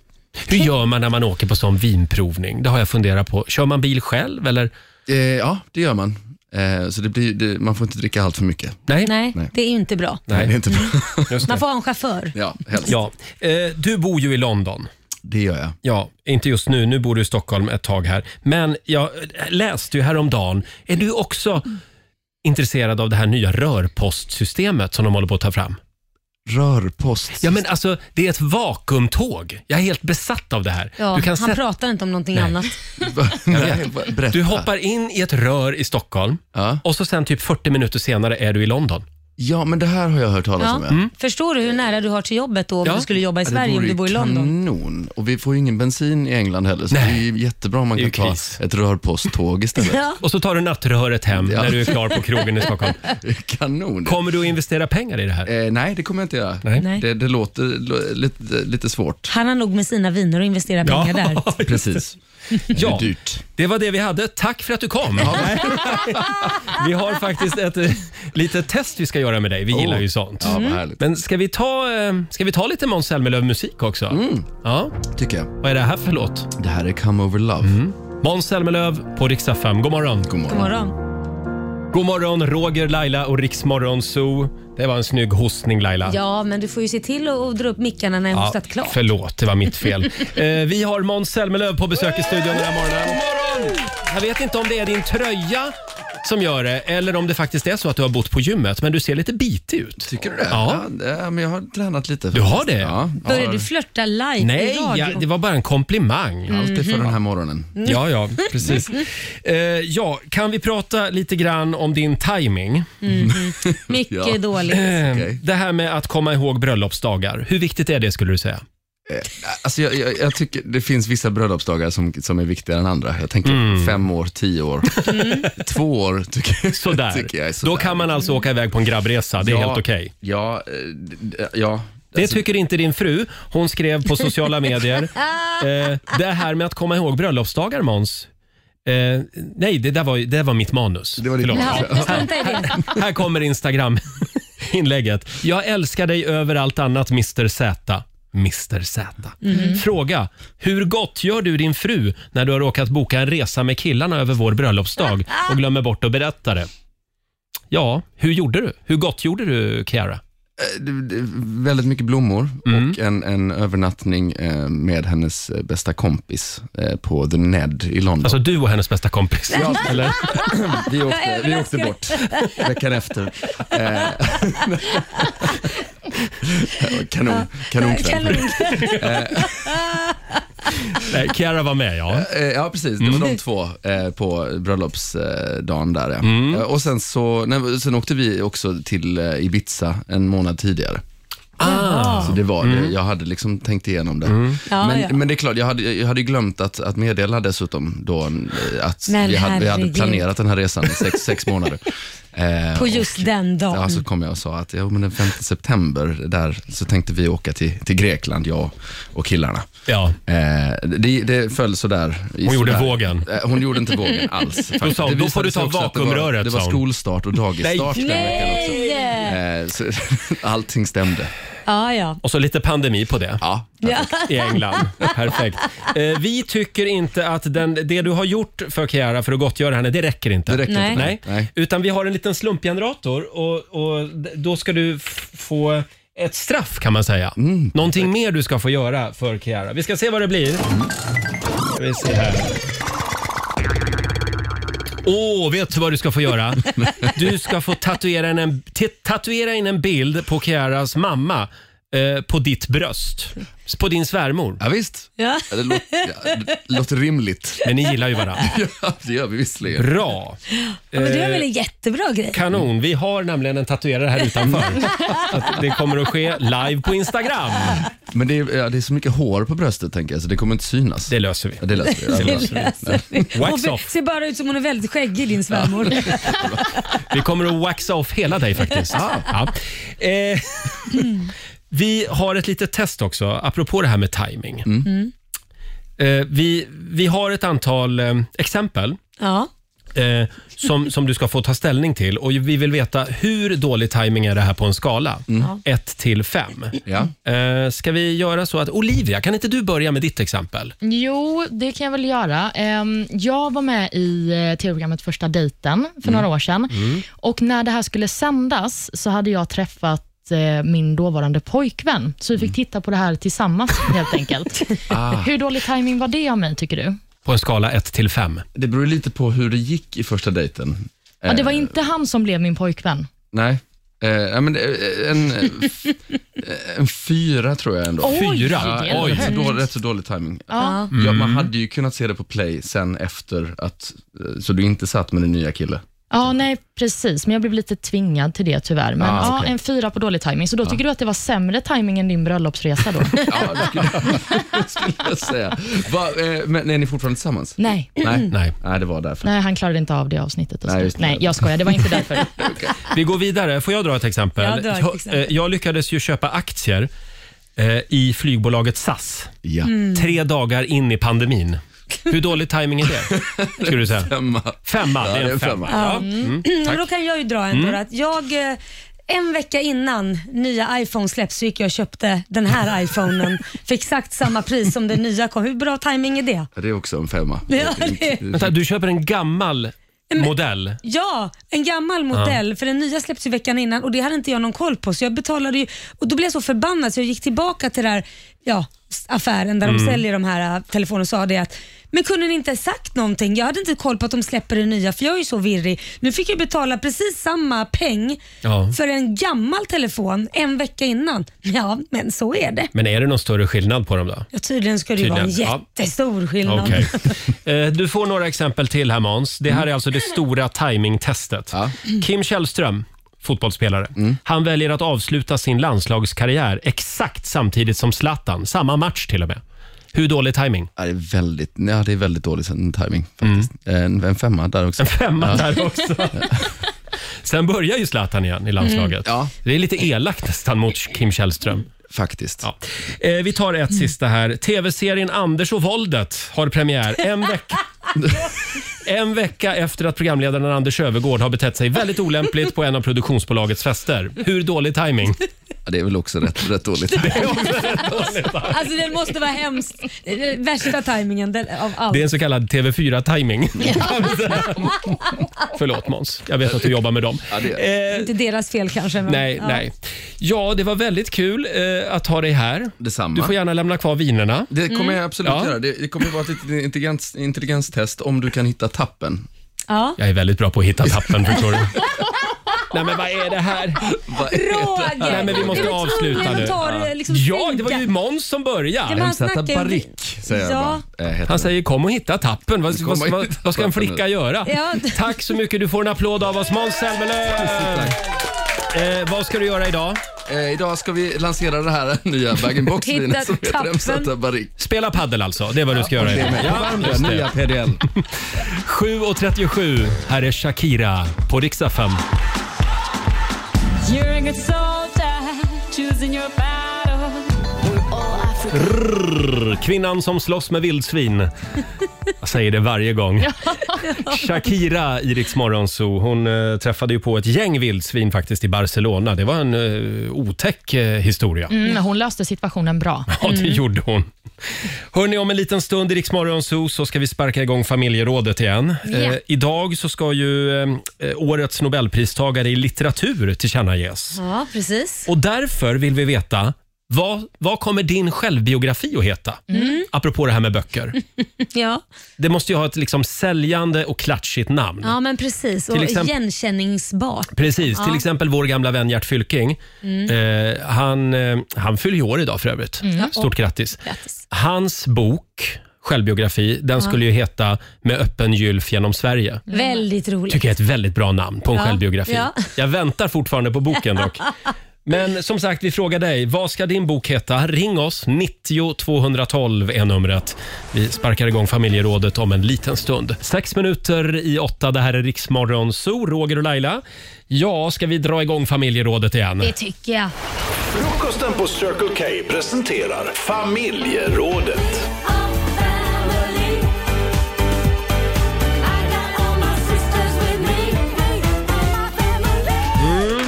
[SPEAKER 1] Hur gör man när man åker på sån vinprovning? Det har jag funderat på. Kör man bil själv eller?
[SPEAKER 9] Eh, ja, det gör man. Eh, så det blir, det, man får inte dricka allt för mycket.
[SPEAKER 1] Nej.
[SPEAKER 2] Nej, det är ju inte bra.
[SPEAKER 1] Nej.
[SPEAKER 9] Det är inte bra.
[SPEAKER 2] Man får ha en chaufför.
[SPEAKER 9] *laughs* ja, helst.
[SPEAKER 1] Ja. Eh, du bor ju i London.
[SPEAKER 9] Det gör jag.
[SPEAKER 1] Ja, inte just nu. Nu bor du i Stockholm ett tag här. Men jag läste ju häromdagen. Är du också intresserad av det här nya rörpostsystemet som de håller på att ta fram?
[SPEAKER 9] Rörpost.
[SPEAKER 1] Ja, men alltså, det är ett vakuumtåg. Jag är helt besatt av det här.
[SPEAKER 2] Ja,
[SPEAKER 1] du kan
[SPEAKER 2] han
[SPEAKER 1] sätta-
[SPEAKER 2] pratar inte om någonting
[SPEAKER 1] Nej.
[SPEAKER 2] annat.
[SPEAKER 9] *laughs* Nej, va- berätta.
[SPEAKER 1] Du hoppar in i ett rör i Stockholm
[SPEAKER 9] Ja.
[SPEAKER 1] och så sen typ 40 minuter senare är du i London.
[SPEAKER 9] ja, men det här har jag hört talas
[SPEAKER 2] Ja. Mm.
[SPEAKER 9] om. Ja.
[SPEAKER 2] Förstår du hur nära du har till jobbet då om
[SPEAKER 1] Ja.
[SPEAKER 2] du skulle jobba i
[SPEAKER 9] Ja,
[SPEAKER 2] Sverige om
[SPEAKER 9] vore
[SPEAKER 2] du
[SPEAKER 9] ju
[SPEAKER 2] bor i London?
[SPEAKER 9] kanon. Och vi får ju ingen bensin i England heller, så
[SPEAKER 1] Nej.
[SPEAKER 9] det är ju jättebra om man
[SPEAKER 1] Det är
[SPEAKER 9] kan
[SPEAKER 1] ju
[SPEAKER 9] ta
[SPEAKER 1] kris.
[SPEAKER 9] ett rörposttåg istället.
[SPEAKER 2] *laughs* Ja.
[SPEAKER 1] Och så tar du nattröret hem
[SPEAKER 9] Ja.
[SPEAKER 1] när du är klar på krogen i Stockholm.
[SPEAKER 9] kanon.
[SPEAKER 1] Kommer du att investera pengar i det här?
[SPEAKER 9] Eh, nej, det kommer jag inte göra.
[SPEAKER 1] Nej.
[SPEAKER 2] Nej.
[SPEAKER 9] Det, det låter lo- lite, lite svårt.
[SPEAKER 2] Han har nog med sina viner och investerar pengar
[SPEAKER 9] *laughs*
[SPEAKER 1] *laughs*
[SPEAKER 2] där.
[SPEAKER 9] Precis.
[SPEAKER 1] Ja,
[SPEAKER 9] Det är dyrt.
[SPEAKER 1] det var det vi hade. Tack för att du kom. *laughs* vi har faktiskt ett eh, litet test vi ska göra med dig. Vi gillar ju sånt.
[SPEAKER 9] Ja,
[SPEAKER 2] Mm.
[SPEAKER 9] vad härligt.
[SPEAKER 1] Men ska vi ta, eh, ska vi ta lite Måns Zelmerlöw-musik också? Ja,
[SPEAKER 9] Tycker jag.
[SPEAKER 1] vad är det här för låt?
[SPEAKER 9] Det här är Come Over Love.
[SPEAKER 1] Mm. Måns Zelmerlöw på riksdag 5. God morgon.
[SPEAKER 9] God
[SPEAKER 2] God
[SPEAKER 9] morgon.
[SPEAKER 2] morgon.
[SPEAKER 1] God morgon, Roger, Laila och Riksmorgon Zoo. Det var en snygg hostning, Laila.
[SPEAKER 2] Ja, men du får ju se till att att dra upp mickarna när jag
[SPEAKER 1] Ja,
[SPEAKER 2] hostat klart.
[SPEAKER 1] Förlåt, det var mitt
[SPEAKER 2] *laughs*
[SPEAKER 1] fel. eh, vi har Måns Zelmerlöw på besök i studion den här morgonen. Jag vet inte om det är din tröja som gör det eller om det faktiskt är så att du har bott på gymmet, men du ser lite bitig ut.
[SPEAKER 9] Tycker du det?
[SPEAKER 1] Ja.
[SPEAKER 9] det- men jag har tränat lite.
[SPEAKER 1] Du har
[SPEAKER 9] faktiskt.
[SPEAKER 1] det?
[SPEAKER 9] Ja. jag
[SPEAKER 2] Börjar
[SPEAKER 9] har-
[SPEAKER 2] du flörta live i
[SPEAKER 1] Nej,
[SPEAKER 2] radio? Mm.
[SPEAKER 1] jag, det var bara en komplimang.
[SPEAKER 9] Alltid för
[SPEAKER 2] Mm-hmm.
[SPEAKER 9] den här morgonen.
[SPEAKER 1] Ja, ja, precis. Eh, ja, kan vi prata lite grann om din timing?
[SPEAKER 2] Mycket
[SPEAKER 9] Ja.
[SPEAKER 2] dåligt.
[SPEAKER 1] Eh,
[SPEAKER 9] Okej.
[SPEAKER 1] Det här med att komma ihåg bröllopsdagar. Hur viktigt är det skulle du säga?
[SPEAKER 9] Alltså jag, jag, jag tycker det finns vissa bröllopsdagar som, som är viktigare än andra. Jag tänker
[SPEAKER 1] Mm.
[SPEAKER 9] fem år, tio år, två år tycker,
[SPEAKER 1] Sådär.
[SPEAKER 9] tycker jag är sådär.
[SPEAKER 1] Då kan man alltså åka iväg på en grabbresa. Det är
[SPEAKER 9] Ja,
[SPEAKER 1] helt okej.
[SPEAKER 9] Ja, eh, d- d- ja. Alltså,
[SPEAKER 1] Det tycker inte din fru. Hon skrev på sociala medier. Eh, det här med att komma ihåg bröllopsdagar, Måns. Eh, nej, det där var, ju- det var mitt manus.
[SPEAKER 9] Det var ditt
[SPEAKER 1] Förlåt.
[SPEAKER 9] manus,
[SPEAKER 2] Ja, strunta i
[SPEAKER 9] *laughs*
[SPEAKER 2] det.
[SPEAKER 1] Här kommer *laughs* Instagram-inlägget. Jag älskar dig över allt annat, Mr Z. Mr Z. Fråga. Hur gott gör du din fru när du har råkat boka en resa med killarna över vår bröllopsdag och glömmer bort att berätta det? Ja, hur gjorde du? Hur gott gjorde du, Kiara?
[SPEAKER 9] eh, d- d- väldigt mycket blommor
[SPEAKER 1] Mm.
[SPEAKER 9] och en, en övernattning eh, med hennes eh, bästa kompis eh, på The Ned i London. Alltså
[SPEAKER 1] du och hennes bästa kompis?
[SPEAKER 9] Ja,
[SPEAKER 1] eller?
[SPEAKER 9] vi, åkte, vi åkte
[SPEAKER 2] överraskar.
[SPEAKER 9] bort veckan efter. Eh, *laughs* kanon, kanonkväll.
[SPEAKER 1] Nej, Kiara Eh, var med ja.
[SPEAKER 9] Ja precis, det var de två eh, på bröllopsdagen där ja. Eh, Och sen så, nej, sen åkte vi också till eh, Ibiza en månad tidigare.
[SPEAKER 1] Ah.
[SPEAKER 9] Så det var det. Jag hade liksom tänkt igenom det.
[SPEAKER 2] Ja,
[SPEAKER 9] men,
[SPEAKER 2] ja.
[SPEAKER 9] men det är klart, jag hade, jag hade ju glömt att, att meddela dessutom då eh, att
[SPEAKER 2] Men
[SPEAKER 9] vi hade, vi hade
[SPEAKER 2] herregud.
[SPEAKER 9] planerat den här resan
[SPEAKER 2] *laughs*
[SPEAKER 9] i sex, sex månader. Eh,
[SPEAKER 2] På
[SPEAKER 9] och-
[SPEAKER 2] just den dagen.
[SPEAKER 9] Ja, alltså, så kom jag och sa att ja, men den 5 september där så tänkte vi åka till, till Grekland, jag och killarna.
[SPEAKER 1] Ja.
[SPEAKER 9] Eh, det, det föll sådär. i
[SPEAKER 1] Hon gjorde
[SPEAKER 9] sådär.
[SPEAKER 1] vågen.
[SPEAKER 9] Eh, Hon gjorde inte vågen alls. faktiskt.
[SPEAKER 1] Då sa hon,
[SPEAKER 9] Det
[SPEAKER 1] "Då får
[SPEAKER 9] visade
[SPEAKER 1] du ta
[SPEAKER 9] sig också att det var-
[SPEAKER 1] vakuumröret",
[SPEAKER 9] Det var
[SPEAKER 1] sa hon.
[SPEAKER 9] skolstart och dagisstart
[SPEAKER 1] Nej.
[SPEAKER 9] den veckan också.
[SPEAKER 2] Nej!
[SPEAKER 9] Eh, så, *laughs* allting stämde.
[SPEAKER 2] Ja, ja.
[SPEAKER 1] Och så lite pandemi på det.
[SPEAKER 9] Ja.
[SPEAKER 2] ja.
[SPEAKER 1] I England. Perfekt. Eh, vi tycker inte att den, det du har gjort för Kiara för att gottgöra henne, det räcker inte.
[SPEAKER 9] Det räcker
[SPEAKER 2] Nej.
[SPEAKER 9] inte.
[SPEAKER 1] Nej. Utan vi har en liten slumpgenerator och, och d- då ska du f- få ett straff kan man säga. Någonting mer du ska få göra för Kiara. Vi ska se vad det blir. Ska vi se här. Åh, vet du vad du ska få göra? Du ska få tatuera in en, t- tatuera in en bild på Kiaras mamma eh, på ditt bröst. På din svärmor.
[SPEAKER 9] Ja, visst.
[SPEAKER 2] Ja.
[SPEAKER 9] Ja, Det låter, ja, det
[SPEAKER 1] *laughs*
[SPEAKER 9] låter rimligt.
[SPEAKER 1] Men ni gillar ju varandra.
[SPEAKER 9] Ja, det gör vi visserligen.
[SPEAKER 1] Bra.
[SPEAKER 2] Men det är väl
[SPEAKER 1] Eh,
[SPEAKER 2] en jättebra grej?
[SPEAKER 1] Kanon. Vi har nämligen en tatuerare här utanför. Att det kommer att ske live på Instagram.
[SPEAKER 9] Men det är, ja, det är så mycket hår på bröstet tänker jag, så det kommer inte synas.
[SPEAKER 1] Det löser vi.
[SPEAKER 9] Ja, det löser vi. Ja, det löser vi.
[SPEAKER 2] Löser vi.
[SPEAKER 1] Wax
[SPEAKER 2] Hon
[SPEAKER 1] off.
[SPEAKER 2] ser bara ut som hon är väldigt skäggig din svärmor.
[SPEAKER 1] Vi kommer att waxa off hela dig faktiskt. Ja. Eh, vi har ett litet test också, apropå det här med timing. Eh, vi, vi har ett antal eh, exempel
[SPEAKER 2] Ja.
[SPEAKER 1] eh, som, som du ska få ta ställning till. Och Vi vill veta hur dålig timing är det här på en skala? 1 till 5.
[SPEAKER 9] Ja.
[SPEAKER 1] Eh, ska vi göra så att Olivia, kan inte du börja med ditt exempel?
[SPEAKER 3] Jo, det kan jag väl göra. Ehm, Jag var med i eh, tv-programmet Första dejten för några
[SPEAKER 9] Mm.
[SPEAKER 3] år sedan. Och när det här skulle sändas så hade jag träffat eh, min dåvarande pojkvän, så vi
[SPEAKER 9] Mm.
[SPEAKER 3] fick titta på det här
[SPEAKER 9] *laughs*
[SPEAKER 3] tillsammans helt enkelt.
[SPEAKER 9] Ah.
[SPEAKER 3] Hur dålig timing var det av mig, tycker du?
[SPEAKER 1] På en skala 1 till 5.
[SPEAKER 9] Det beror ju lite på hur det gick i första dejten.
[SPEAKER 3] Ja,
[SPEAKER 9] Eh.
[SPEAKER 3] det var inte han som blev min pojkvän.
[SPEAKER 9] Nej. Eh, ja, men, eh, en, eh, en fyra tror jag ändå.
[SPEAKER 1] Fyra.
[SPEAKER 9] Ja,
[SPEAKER 3] det är
[SPEAKER 9] rätt, så
[SPEAKER 3] högt.
[SPEAKER 9] dålig, rätt så dålig timing.
[SPEAKER 3] Ja.
[SPEAKER 2] Mm,
[SPEAKER 9] Ja,
[SPEAKER 1] Mm.
[SPEAKER 9] man hade ju kunnat se det på play sen efter att, eh, så du inte satt med din nya kille.
[SPEAKER 3] ja, nej precis, men jag blev lite tvingad till det tyvärr. Men
[SPEAKER 9] Ah,
[SPEAKER 3] ja,
[SPEAKER 9] okej. Ah.
[SPEAKER 3] en fyra på dålig timing. så då tycker du att det var sämre timing än din bröllopsresa
[SPEAKER 9] *laughs*
[SPEAKER 3] då?
[SPEAKER 9] Ja, det skulle, det skulle jag säga. Va, eh, men är ni fortfarande tillsammans?
[SPEAKER 3] nej.
[SPEAKER 9] Nej. Mm.
[SPEAKER 1] Nej.
[SPEAKER 9] Nej, det var därför.
[SPEAKER 3] Nej, han klarade inte av det avsnittet. Och
[SPEAKER 9] Nej,
[SPEAKER 3] nej,
[SPEAKER 9] just det.
[SPEAKER 3] nej, jag skojar. Det var inte därför.
[SPEAKER 1] Vi går vidare. Får jag dra ett exempel?
[SPEAKER 2] Ja, dra ett
[SPEAKER 1] Jag-
[SPEAKER 2] exempel.
[SPEAKER 1] eh, Jag lyckades ju köpa aktier eh, i flygbolaget SAS
[SPEAKER 9] Ja.
[SPEAKER 2] Mm.
[SPEAKER 1] tre dagar in i pandemin. Hur dålig timing är
[SPEAKER 2] *laughs*
[SPEAKER 1] det? Skulle du säga?
[SPEAKER 9] Femma.
[SPEAKER 1] Femma, det är en femma. Ja.
[SPEAKER 2] Mm. Men då kan jag ju dra en då, att jag eh, en vecka innan nya iPhone släpps så gick jag och köpte den här *laughs* iPhonen för exakt samma pris som den nya kom. Hur bra timing är det?
[SPEAKER 9] Ja, Det är också en femma.
[SPEAKER 2] Ja, det-
[SPEAKER 1] Vänta, du köper en gammal modell.
[SPEAKER 2] Ja, en gammal modell för den nya släpps ju veckan innan och det hade inte jag någon koll på så jag betalade ju och då blev jag så förbannad så jag gick tillbaka till den här ja, s- affären där
[SPEAKER 1] Mm.
[SPEAKER 2] de säljer de här äh, telefonerna och sa det att men kunde ni inte ha sagt någonting? Jag hade inte koll på att de släpper det nya för jag är ju så virrig. Nu fick jag betala precis samma peng
[SPEAKER 1] Ja.
[SPEAKER 2] för en gammal telefon en vecka innan. *laughs* Ja, men så är det.
[SPEAKER 1] Men är det någon större skillnad på dem då?
[SPEAKER 2] Ja, tydligen ska det ju vara en
[SPEAKER 1] Tydligen, ja.
[SPEAKER 2] jättestor skillnad.
[SPEAKER 1] Okej. *laughs* Eh, Du får några exempel till här Måns. Det här är alltså det stora timingtestet.
[SPEAKER 9] Mm. Ja.
[SPEAKER 1] Kim Källström, fotbollsspelare, han väljer att avsluta sin landslagskarriär exakt samtidigt som Zlatan, samma match till och med. Hur dålig timing? *laughs*
[SPEAKER 9] Ja, det, är väldigt, ja, det är väldigt dålig sen- timing
[SPEAKER 1] Mm.
[SPEAKER 9] faktiskt. En, en femma där också.
[SPEAKER 1] Femma där också.
[SPEAKER 9] *laughs*
[SPEAKER 1] Sen börjar ju Zlatan igen i landslaget.
[SPEAKER 9] Mm. Ja.
[SPEAKER 1] Det är lite elakt nästan mot Kim Källström.
[SPEAKER 9] Faktiskt.
[SPEAKER 1] Ja. Eh, vi tar ett sista här. TV-serien Anders och våldet har premiär en vecka. En vecka efter att programledaren Anders Övergård har betett sig väldigt olämpligt på en av produktionsbolagets fester. Hur dålig timing?
[SPEAKER 9] Ja, det är väl också rätt,
[SPEAKER 1] *laughs*
[SPEAKER 9] rätt dåligt.
[SPEAKER 2] Alltså den måste vara hemskt. Det är den Värsta tajmingen den- av allt.
[SPEAKER 1] Det är en så kallad TV4-timing. Förlåt Måns, jag vet att du jobbar med dem. Eh,
[SPEAKER 2] Inte deras fel kanske. Men,
[SPEAKER 1] nej,
[SPEAKER 2] ja.
[SPEAKER 1] nej. Ja, det var väldigt kul eh, att ha dig här. Du får gärna lämna kvar vinerna.
[SPEAKER 9] Det kommer
[SPEAKER 2] Mm.
[SPEAKER 9] jag absolut
[SPEAKER 1] Ja.
[SPEAKER 9] göra. Det, det kommer vara ett litet intelligens, intelligenstest om du kan hitta tappen.
[SPEAKER 2] Ja.
[SPEAKER 1] Jag är väldigt bra på att hitta tappen, förstår du. Nej men vad är det här?
[SPEAKER 2] Roger!
[SPEAKER 1] Nej men vi måste
[SPEAKER 2] Du var tvungen
[SPEAKER 1] avsluta
[SPEAKER 2] att
[SPEAKER 1] nu.
[SPEAKER 2] ta det, liksom,
[SPEAKER 1] ja, det
[SPEAKER 2] stryka.
[SPEAKER 1] var ju Måns som
[SPEAKER 2] Ja,
[SPEAKER 1] började.
[SPEAKER 2] men han Hemsätta snackar ju- barrick, säger jag Ja.
[SPEAKER 9] bara. Eh,
[SPEAKER 1] Han säger kom och hitta tappen. Vad,
[SPEAKER 9] Kom och
[SPEAKER 1] vad, vad,
[SPEAKER 9] hitta
[SPEAKER 1] vad ska en
[SPEAKER 9] tappen
[SPEAKER 1] flicka
[SPEAKER 9] nu.
[SPEAKER 1] göra?
[SPEAKER 2] Ja.
[SPEAKER 1] Tack så mycket. Du får en applåd av oss, Måns Zelmerlöw. Eh, vad ska du göra idag?
[SPEAKER 9] Eh, idag ska vi lansera det här *laughs* nya bag-in-box-vinet *laughs* som heter Hemsätta barrick.
[SPEAKER 1] Spela paddel alltså, det är vad du ska göra
[SPEAKER 9] det är
[SPEAKER 1] idag.
[SPEAKER 9] med. Varmt
[SPEAKER 1] just det.
[SPEAKER 9] nya PDL.
[SPEAKER 1] *laughs* 7.37, här är Shakira på riksdag 5.
[SPEAKER 11] You're a good soldier, choosing your battle. We're all African.
[SPEAKER 1] Brrr, kvinnan som slåss med vildsvin. Jag säger det varje gång. Shakira i Rix Morgon Zoo, hon eh, träffade ju på ett gäng vildsvin faktiskt i Barcelona. Det var en eh, otäck eh, historia.
[SPEAKER 3] Mm, hon löste situationen bra.
[SPEAKER 1] Ja, det gjorde hon. Hörni, om en liten stund i Rix Morgon Zoo så ska vi sparka igång familjerådet igen.
[SPEAKER 3] Ja.
[SPEAKER 1] Eh, idag så ska ju eh, årets nobelpristagare i litteratur tillkännages.
[SPEAKER 2] Ja, precis.
[SPEAKER 1] Och därför vill vi veta vad, vad kommer din självbiografi att heta?
[SPEAKER 2] Mm.
[SPEAKER 1] Apropå det här med böcker.
[SPEAKER 2] *laughs* Ja.
[SPEAKER 1] Det måste ju ha ett liksom säljande och klatschigt namn.
[SPEAKER 2] ja, men precis. Och
[SPEAKER 1] Till exempel-
[SPEAKER 2] igenkänningsbart.
[SPEAKER 1] Precis,
[SPEAKER 2] Ja.
[SPEAKER 1] till exempel vår gamla vän Gert Fylking.
[SPEAKER 2] Mm.
[SPEAKER 1] Eh, han, eh, han fyller ju år idag för övrigt.
[SPEAKER 2] Mm.
[SPEAKER 1] Stort grattis. Hans bok, självbiografi, den
[SPEAKER 2] Ja.
[SPEAKER 1] skulle ju heta Med öppen gylf genom Sverige.
[SPEAKER 2] Väldigt roligt.
[SPEAKER 1] Tycker jag är ett väldigt bra namn på en
[SPEAKER 2] Ja.
[SPEAKER 1] självbiografi.
[SPEAKER 2] Ja.
[SPEAKER 1] Jag väntar fortfarande på boken
[SPEAKER 2] *laughs*
[SPEAKER 1] dock. Men som sagt, vi frågar dig. Vad ska din bok heta? Ring oss. 90 212 är numret. Vi sparkar igång familjerådet om en liten stund. Sex minuter i åtta. Det här är Riksmorgon Zoo, Roger och Laila. Ja, ska vi dra igång familjerådet igen?
[SPEAKER 2] Det tycker jag.
[SPEAKER 4] Frukosten på Circle K presenterar Familjerådet.
[SPEAKER 1] Mm.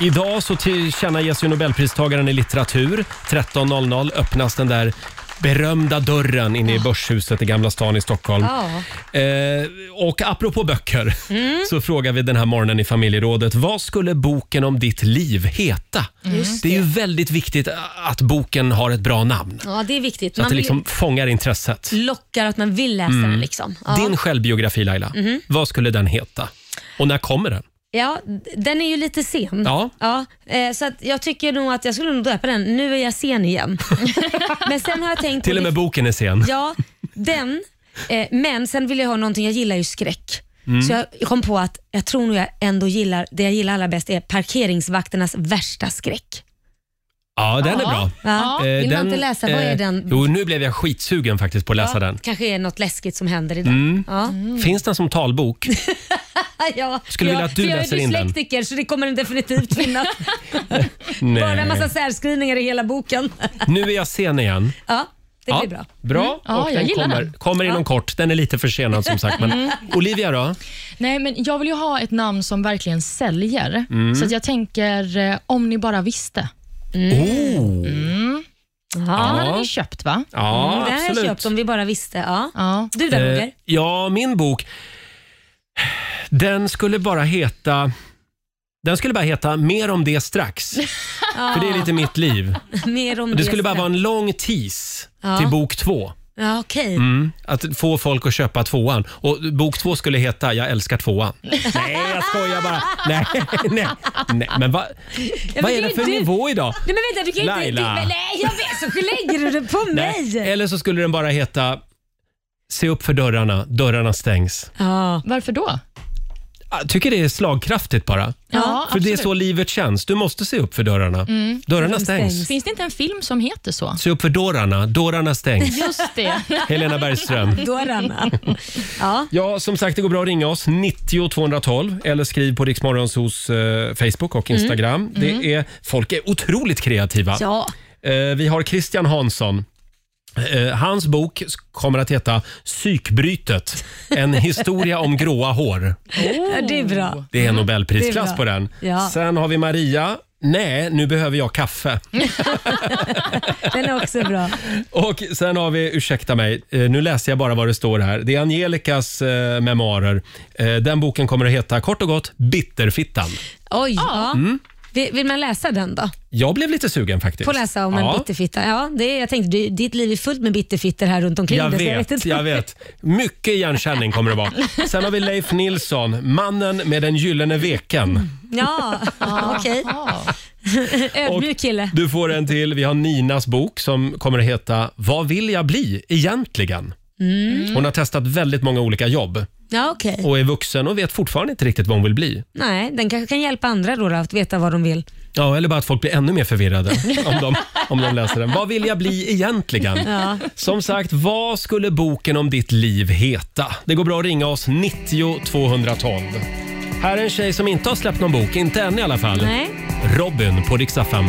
[SPEAKER 1] Idag så tillkännages ju Nobelpristagaren i litteratur. 13.00 öppnas den där berömda dörren inne i Börshuset i Gamla stan i Stockholm.
[SPEAKER 11] Ja.
[SPEAKER 1] Eh, och apropå böcker
[SPEAKER 2] Mm.
[SPEAKER 1] så frågar vi den här morgonen i familjerådet. Vad skulle boken om ditt liv heta?
[SPEAKER 2] Mm. Just
[SPEAKER 1] Det är ju väldigt viktigt att boken har ett bra namn.
[SPEAKER 2] Ja, det är viktigt.
[SPEAKER 1] Så att
[SPEAKER 2] Man
[SPEAKER 1] det
[SPEAKER 2] vill-
[SPEAKER 1] liksom fångar intresset.
[SPEAKER 2] lockar att man vill läsa
[SPEAKER 1] Mm.
[SPEAKER 2] den. Liksom. Ja.
[SPEAKER 1] Din självbiografi Laila,
[SPEAKER 2] Mhm.
[SPEAKER 1] vad skulle den heta? Och när kommer den?
[SPEAKER 2] Ja, d- den är ju lite sen.
[SPEAKER 1] Ja.
[SPEAKER 2] eh, så att jag tycker nog att jag skulle nog döpa den “Nu är jag
[SPEAKER 1] *laughs*
[SPEAKER 2] sen igen”. men sen har jag tänkt...
[SPEAKER 1] Till och med boken är sen.
[SPEAKER 2] Ja, den. Eh, men sen vill jag ha någonting, jag gillar ju skräck.
[SPEAKER 1] Mm.
[SPEAKER 2] Så jag kom på att jag tror nog jag ändå gillar, det jag gillar allra bäst är parkeringsvakternas värsta skräck.
[SPEAKER 1] Ja, den är
[SPEAKER 2] Ja.
[SPEAKER 1] bra.
[SPEAKER 2] Ja.
[SPEAKER 1] Eh,
[SPEAKER 2] Vill man inte läsa, vad är
[SPEAKER 1] eh,
[SPEAKER 2] den?
[SPEAKER 1] Jo, nu blev jag skitsugen faktiskt på att läsa
[SPEAKER 2] ja,
[SPEAKER 1] den.
[SPEAKER 2] kanske är något läskigt som händer idag.
[SPEAKER 1] Mm.
[SPEAKER 2] Ja. Ah,
[SPEAKER 1] Finns den som talbok?
[SPEAKER 2] ja,
[SPEAKER 1] Skulle vilja
[SPEAKER 2] ja,
[SPEAKER 1] att du
[SPEAKER 2] för jag är
[SPEAKER 1] läser in den. Eh.
[SPEAKER 2] dyslektiker så det kommer den definitivt
[SPEAKER 1] *laughs*
[SPEAKER 2] finnas.
[SPEAKER 1] Nej.
[SPEAKER 2] *laughs* Bara en massa särskrivningar i hela boken.
[SPEAKER 1] Nu är jag sen igen.
[SPEAKER 2] ja, det
[SPEAKER 1] Ja,
[SPEAKER 2] blir bra. Mm.
[SPEAKER 1] Bra.
[SPEAKER 3] Ja,
[SPEAKER 1] och
[SPEAKER 3] jag
[SPEAKER 1] den
[SPEAKER 3] gillar
[SPEAKER 1] kommer,
[SPEAKER 3] den.
[SPEAKER 1] kommer inom
[SPEAKER 3] Ja.
[SPEAKER 1] kort. Den är lite försenad som sagt. Men
[SPEAKER 3] Mm.
[SPEAKER 1] Olivia då?
[SPEAKER 3] Nej, men jag vill ju ha ett namn som verkligen säljer.
[SPEAKER 1] Mm.
[SPEAKER 3] Så att jag tänker, eh, om ni bara visste.
[SPEAKER 1] Oh.
[SPEAKER 3] Mm. Den hade ni köpt va?
[SPEAKER 1] Ja,
[SPEAKER 2] Mm, den har jag
[SPEAKER 1] absolut.
[SPEAKER 2] köpt om vi bara visste. Ja. Du då
[SPEAKER 1] Eh,
[SPEAKER 2] Roger? *laughs*
[SPEAKER 1] ja, min bok. Den skulle bara heta... Den skulle bara heta Mer om det
[SPEAKER 2] *laughs*
[SPEAKER 1] strax. För det är lite mitt liv.
[SPEAKER 2] Mer om
[SPEAKER 1] Och Det skulle bara
[SPEAKER 2] sen.
[SPEAKER 1] vara en lång tease
[SPEAKER 2] Ja.
[SPEAKER 1] till bok två.
[SPEAKER 2] Ja, okej.
[SPEAKER 1] Mm, att få folk att köpa tvåan. Och bok två skulle heta Jag älskar
[SPEAKER 2] *laughs*
[SPEAKER 1] tvåan. Nej, jag skojar bara. Nej, *laughs* nej, nej. Men vad,
[SPEAKER 2] men
[SPEAKER 1] vad
[SPEAKER 2] det
[SPEAKER 1] är
[SPEAKER 2] är
[SPEAKER 1] det för
[SPEAKER 2] du.
[SPEAKER 1] nivå idag?
[SPEAKER 2] Nej men vänta, du kan ju inte...
[SPEAKER 1] Laila.
[SPEAKER 2] Men nej, jag vet, så lägger du det på mig.
[SPEAKER 1] *laughs* Nej. Eller så skulle den bara heta Se upp för dörrarna, dörrarna stängs.
[SPEAKER 3] Varför då?
[SPEAKER 1] Jag tycker det är slagkraftigt bara.
[SPEAKER 3] Ja,
[SPEAKER 1] för det är
[SPEAKER 3] absolut.
[SPEAKER 1] så livet känns. Du måste se upp för dörrarna.
[SPEAKER 3] Mm.
[SPEAKER 1] Dörrarna stängs.
[SPEAKER 3] Finns det inte en film som heter så?
[SPEAKER 1] Se upp för dörrarna,
[SPEAKER 3] *laughs*
[SPEAKER 1] dörrarna stängs.
[SPEAKER 3] Just det.
[SPEAKER 1] Helena Bergström. *laughs*
[SPEAKER 2] Dörrarna. Ja.
[SPEAKER 1] Ja, som sagt, det går bra att ringa oss. 90 212 eller skriv på Riksmorgons hos eh, Facebook och
[SPEAKER 2] Mm.
[SPEAKER 1] Instagram.
[SPEAKER 2] Mm.
[SPEAKER 1] Det är, folk är otroligt kreativa.
[SPEAKER 2] Ja.
[SPEAKER 1] Eh, vi har Christian Hansson. Eh, hans bok s- kommer att heta Psykbrytet. En historia om gråa hår.
[SPEAKER 2] Ja, det är bra.
[SPEAKER 1] Det är en Nobelprisklass
[SPEAKER 2] Mm. Det är bra.
[SPEAKER 1] på den.
[SPEAKER 2] Ja.
[SPEAKER 1] Sen har vi Maria. Nej, nu behöver jag
[SPEAKER 2] *laughs*
[SPEAKER 1] kaffe.
[SPEAKER 2] Den är också bra.
[SPEAKER 1] Och sen har vi, ursäkta mig, eh, nu läser jag bara vad det står här. Det är Angelicas eh, memoarer. Eh, den boken kommer att heta kort och gott Bitterfittan.
[SPEAKER 2] Oj. Ja.
[SPEAKER 1] Mm.
[SPEAKER 2] Vill vill man läsa den då?
[SPEAKER 1] Jag blev lite sugen faktiskt.
[SPEAKER 2] Få läsa om en
[SPEAKER 1] Ja.
[SPEAKER 2] bitterfitta. Ja, det är, jag tänkte, du, ditt liv är fullt med bitterfittor här runt omkring
[SPEAKER 1] Jag
[SPEAKER 2] dig, så jag vet
[SPEAKER 1] vet,
[SPEAKER 2] inte.
[SPEAKER 1] jag vet. Mycket igenkänning kommer det vara. Sen har vi Leif Nilsson, mannen med den gyllene
[SPEAKER 2] Mm.
[SPEAKER 1] veken.
[SPEAKER 2] *laughs* Ja, okej. Ödmjuk kille.
[SPEAKER 1] Du får en till. Vi har Ninas bok som kommer att heta Vad vill jag bli egentligen?
[SPEAKER 2] Mm.
[SPEAKER 1] Hon har testat väldigt många olika jobb
[SPEAKER 2] Ja, okej.
[SPEAKER 1] och är vuxen och vet fortfarande inte riktigt vad hon vill bli.
[SPEAKER 2] Nej, den kanske kan hjälpa andra då, då att veta vad de vill.
[SPEAKER 1] Ja, eller bara att folk blir ännu mer förvirrade om de, om
[SPEAKER 2] *laughs*
[SPEAKER 1] de läser den. Vad vill jag bli egentligen?
[SPEAKER 2] Ja.
[SPEAKER 1] Som sagt, vad skulle boken om ditt liv heta? Det går bra att ringa oss 90 212. Här är en tjej som inte har släppt någon bok, inte än i alla fall.
[SPEAKER 2] Nej.
[SPEAKER 1] Robin på riksdag 5.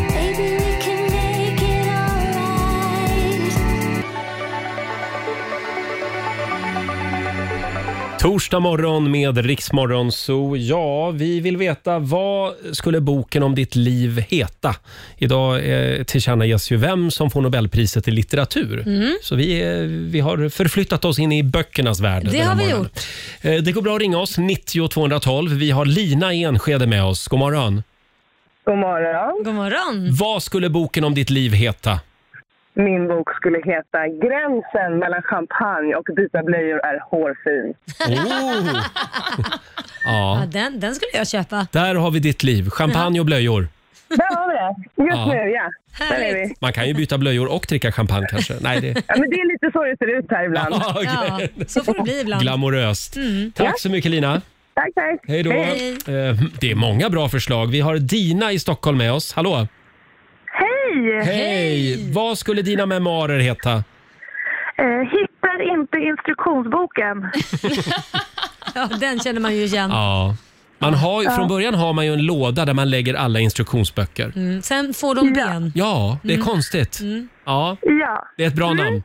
[SPEAKER 1] Torsdag morgon med Riksmorgon Zoo. Ja, vi vill veta vad skulle boken om ditt liv heta? Idag eh, tillkännages ju vem som får Nobelpriset i litteratur.
[SPEAKER 2] Mm.
[SPEAKER 1] Så vi, eh, vi har förflyttat oss in i böckernas värld.
[SPEAKER 2] Det
[SPEAKER 1] den här
[SPEAKER 2] har vi
[SPEAKER 1] morgonen. Eh, det går bra att ringa oss, 90 212. Vi har Lina i Enskede med oss. God morgon.
[SPEAKER 12] God morgon.
[SPEAKER 2] God morgon.
[SPEAKER 1] Vad skulle boken om ditt liv heta?
[SPEAKER 12] Min bok skulle heta Gränsen mellan champagne och byta blöjor är hårfin.
[SPEAKER 1] Oh.
[SPEAKER 2] Ja,
[SPEAKER 1] *laughs* Ja,
[SPEAKER 2] den, den skulle jag köpa.
[SPEAKER 1] där har vi ditt liv. Champagne och blöjor.
[SPEAKER 12] Där har vi det. Just
[SPEAKER 1] Ja.
[SPEAKER 12] nu, ja. Där är vi.
[SPEAKER 1] Man kan ju byta blöjor och dricka champagne kanske. Nej, det...
[SPEAKER 12] Ja, men det är lite så det ser ut här ibland.
[SPEAKER 1] *laughs* Ja, okej.
[SPEAKER 2] Ja, så får det bli ibland.
[SPEAKER 1] Glamoröst.
[SPEAKER 2] Mm.
[SPEAKER 1] Tack så mycket Lina.
[SPEAKER 12] Tack, tack.
[SPEAKER 1] Hej då. Eh, Det är många bra förslag. Vi har Dina i Stockholm med oss. Hallå!
[SPEAKER 13] Hej!
[SPEAKER 1] Hej! Vad skulle dina memoarer heta?
[SPEAKER 13] Eh, hittar inte
[SPEAKER 2] *laughs*
[SPEAKER 13] instruktionsboken.
[SPEAKER 2] Ja, den känner man ju igen.
[SPEAKER 1] Ja. Man har, ju-
[SPEAKER 2] Ja.
[SPEAKER 1] från början har man ju en låda där man lägger alla instruktionsböcker.
[SPEAKER 2] Mm. Sen får de ben.
[SPEAKER 1] Ja, det är
[SPEAKER 2] Mm.
[SPEAKER 1] konstigt.
[SPEAKER 2] Mm.
[SPEAKER 1] Ja,
[SPEAKER 13] Ja.
[SPEAKER 1] det är ett bra namn.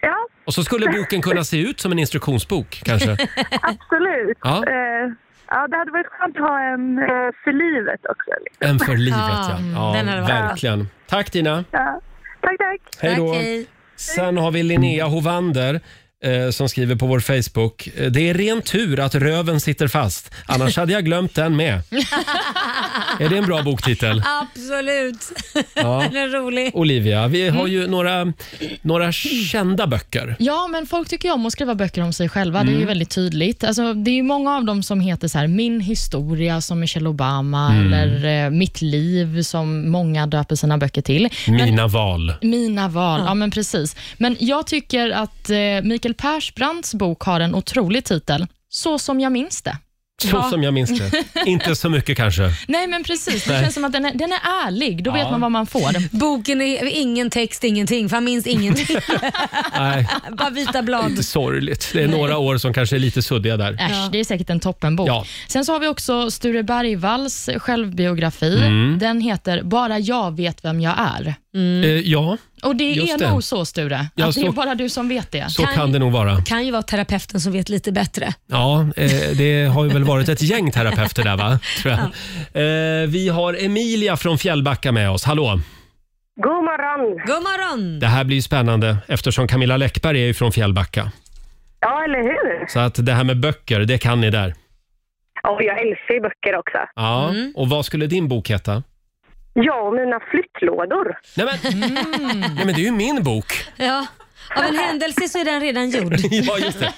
[SPEAKER 13] Ja.
[SPEAKER 1] Och så skulle boken kunna se ut som en instruktionsbok
[SPEAKER 13] *laughs*
[SPEAKER 1] kanske.
[SPEAKER 13] Absolut.
[SPEAKER 1] Ja.
[SPEAKER 13] Eh, ja, det hade varit skönt att ha en eh, för livet också. Liksom.
[SPEAKER 1] En för livet ja.
[SPEAKER 13] Mm,
[SPEAKER 1] ja
[SPEAKER 13] den hade varit bra.
[SPEAKER 1] verkligen. Tack Dina.
[SPEAKER 13] Ja. Tack, tack.
[SPEAKER 1] Hej då. Sen har vi Linnea Hovander eh, som skriver på vår Facebook. eh, Det är ren tur att röven sitter fast, annars hade jag glömt
[SPEAKER 13] *laughs*
[SPEAKER 1] den med. Är det en bra boktitel?
[SPEAKER 2] Absolut.
[SPEAKER 1] Ja.
[SPEAKER 2] Den är rolig.
[SPEAKER 1] Olivia, vi
[SPEAKER 13] Mm.
[SPEAKER 1] har ju några, några kända böcker.
[SPEAKER 3] Ja, men folk tycker ju om att skriva böcker om sig själva. Det är ju
[SPEAKER 1] Mm.
[SPEAKER 3] väldigt tydligt. Alltså, det är ju många av dem som heter så här, Min historia som Michelle Obama
[SPEAKER 1] Mm.
[SPEAKER 3] eller eh, Mitt liv som många döper sina böcker till. Men,
[SPEAKER 1] Mina val.
[SPEAKER 3] mina val, ja. men precis. Men jag tycker att eh, Mikael Persbrandts bok har en otrolig titel. Så som jag minns det.
[SPEAKER 1] Så
[SPEAKER 3] Ja.
[SPEAKER 1] som jag minns det. Inte så mycket kanske.
[SPEAKER 3] Nej, men precis. Det
[SPEAKER 1] Nej.
[SPEAKER 3] känns som att den är, den är ärlig. Då
[SPEAKER 1] Ja.
[SPEAKER 3] vet man vad man *laughs* får.
[SPEAKER 2] Boken är ingen text, ingenting, för han
[SPEAKER 1] *laughs*
[SPEAKER 2] minns ingenting.
[SPEAKER 1] Nej,
[SPEAKER 2] Bara vita blad.
[SPEAKER 1] lite sorgligt. Det är några år som kanske är lite suddiga där.
[SPEAKER 3] Äsch, det är säkert en toppenbok.
[SPEAKER 1] Ja.
[SPEAKER 3] Sen så har vi också Sture Bergvalls självbiografi.
[SPEAKER 1] Mm.
[SPEAKER 3] Den heter Bara jag vet vem jag är.
[SPEAKER 1] Eh, ja,
[SPEAKER 3] Och det
[SPEAKER 1] Just
[SPEAKER 3] är
[SPEAKER 1] det.
[SPEAKER 3] nog så, Sture,
[SPEAKER 1] Ja,
[SPEAKER 3] att det
[SPEAKER 1] så-
[SPEAKER 3] är bara du som vet det.
[SPEAKER 1] så kan det nog vara.
[SPEAKER 2] Kan ju vara terapeuten som vet lite bättre.
[SPEAKER 1] Ja, eh, det har ju väl varit ett gäng terapeuter där va? Tror jag. Eh, vi har Emilia från Fjällbacka med oss. Hallå!
[SPEAKER 2] God morgon. God morgon.
[SPEAKER 1] Det här blir ju spännande eftersom Camilla Läckberg är ju från Fjällbacka.
[SPEAKER 13] Ja, eller hur?
[SPEAKER 1] Så att det här med böcker, det kan ni där.
[SPEAKER 13] Och jag älskar ju böcker också.
[SPEAKER 1] Ja, och vad skulle din bok heta?
[SPEAKER 13] Jag och mina flyttlådor.
[SPEAKER 1] Nej men, nej, men det är ju min bok.
[SPEAKER 2] Ja. Av en händelse så är den redan gjord.
[SPEAKER 1] *laughs* Ja, just det.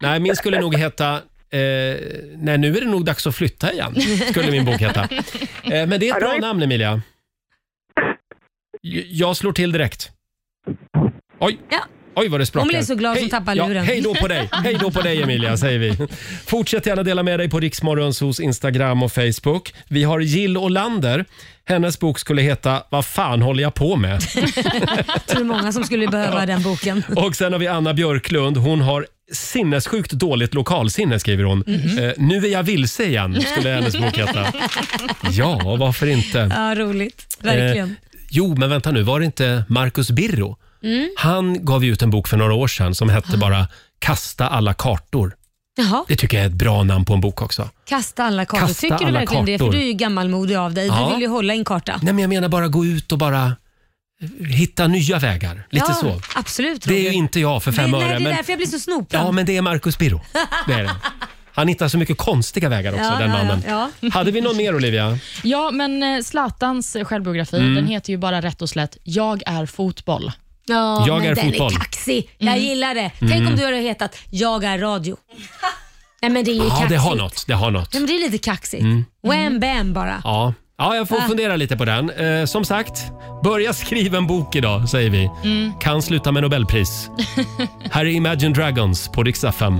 [SPEAKER 1] Nej, min skulle nog heta eh, Nej, nu är det nog dags att flytta igen, skulle min bok heta. Eh, men det är ett bra namn, Emilia. J- Jag slår till direkt. Oj! Oj, vad det sprakar.
[SPEAKER 2] Hon blev så glad som tappade
[SPEAKER 1] ja,
[SPEAKER 2] luren.
[SPEAKER 1] Hej då på dig! Hej då på dig, Emilia, säger vi. Fortsätt gärna dela med dig på Riksmorgons hos Instagram och Facebook. Vi har Jill Olander. Hennes bok skulle heta Vad fan håller jag på med?
[SPEAKER 2] Jag tror det är många som skulle behöva den boken.
[SPEAKER 1] Och sen har vi Anna Björklund. Hon har sinnessjukt dåligt lokalsinne skriver hon.
[SPEAKER 2] Mhm.
[SPEAKER 1] Eh, nu är jag vilse igen, skulle hennes bok
[SPEAKER 2] *laughs*
[SPEAKER 1] heta. Ja, varför inte?
[SPEAKER 2] Ja, roligt. Verkligen.
[SPEAKER 1] Eh, jo, men vänta nu, var det inte Marcus Birro?
[SPEAKER 2] Mm. Ah.
[SPEAKER 1] Han gav ju ut en bok för några år sedan som hette bara Kasta alla kartor.
[SPEAKER 2] Jaha.
[SPEAKER 1] Det tycker jag är ett bra namn på en bok också.
[SPEAKER 2] Kasta alla kartor.
[SPEAKER 1] Kasta
[SPEAKER 2] Tycker du
[SPEAKER 1] alla
[SPEAKER 2] verkligen det? För
[SPEAKER 1] kartor.
[SPEAKER 2] du är ju gammalmodig av dig.
[SPEAKER 1] Ja.
[SPEAKER 2] Du vill ju hålla i en karta.
[SPEAKER 1] Nej, men jag menar bara gå ut och bara eh, hitta nya vägar. Lite
[SPEAKER 2] ja,
[SPEAKER 1] så.
[SPEAKER 2] Absolut
[SPEAKER 1] Det är ju
[SPEAKER 2] Roger.
[SPEAKER 1] inte jag för fem
[SPEAKER 2] det, nej,
[SPEAKER 1] öre.
[SPEAKER 2] Det är
[SPEAKER 1] Men,
[SPEAKER 2] därför jag blir så snopen.
[SPEAKER 1] ja, men det är Marcus
[SPEAKER 2] *laughs*
[SPEAKER 1] Birro. Det är det. Han hittar så mycket konstiga vägar också,
[SPEAKER 3] Ja,
[SPEAKER 1] den
[SPEAKER 3] ja, ja,
[SPEAKER 1] mannen.
[SPEAKER 3] ja.
[SPEAKER 1] Hade vi någon mer, Olivia?
[SPEAKER 3] Ja, men eh, Zlatans självbiografi,
[SPEAKER 1] Mm.
[SPEAKER 3] den heter ju bara rätt och slätt Jag är fotboll.
[SPEAKER 2] Ja,
[SPEAKER 1] Jag
[SPEAKER 2] men
[SPEAKER 1] är
[SPEAKER 2] den
[SPEAKER 1] fotboll.
[SPEAKER 2] är kaxig. Jag gillar det. Tänk
[SPEAKER 1] Mm.
[SPEAKER 2] om du hade hetat Jag är radio. Nej men det är ju
[SPEAKER 1] Ja,
[SPEAKER 2] kaxigt.
[SPEAKER 1] det har något. Det har något.
[SPEAKER 2] Ja, men det är lite kaxigt.
[SPEAKER 1] Mm.
[SPEAKER 2] Wham bam bara.
[SPEAKER 1] Ja. ja, jag får
[SPEAKER 2] Ah.
[SPEAKER 1] fundera lite på den. Eh, som sagt, börja skriva en bok idag, säger vi.
[SPEAKER 2] Mm.
[SPEAKER 1] Kan sluta med Nobelpris. här är Imagine Dragons på riksdag 5.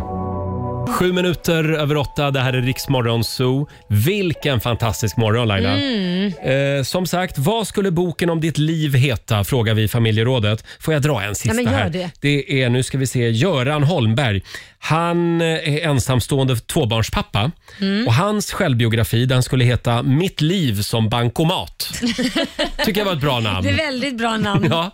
[SPEAKER 1] Sju minuter över åtta, det här är Riksmorgon Zoo. Vilken fantastisk morgon Laila!
[SPEAKER 2] Mm.
[SPEAKER 1] Eh, som sagt, vad skulle boken om ditt liv heta? Frågar vi familjerådet. Får jag dra en sista
[SPEAKER 2] Ja, men gör
[SPEAKER 1] här?
[SPEAKER 2] det.
[SPEAKER 1] det är, nu ska vi se, Göran Holmberg. Han eh, är ensamstående tvåbarnspappa.
[SPEAKER 2] Mm.
[SPEAKER 1] Och hans självbiografi den skulle heta Mitt liv som
[SPEAKER 2] *laughs*
[SPEAKER 1] bankomat. Tycker jag var ett bra namn.
[SPEAKER 2] Det är väldigt
[SPEAKER 1] *laughs*
[SPEAKER 2] bra namn.
[SPEAKER 1] Ja,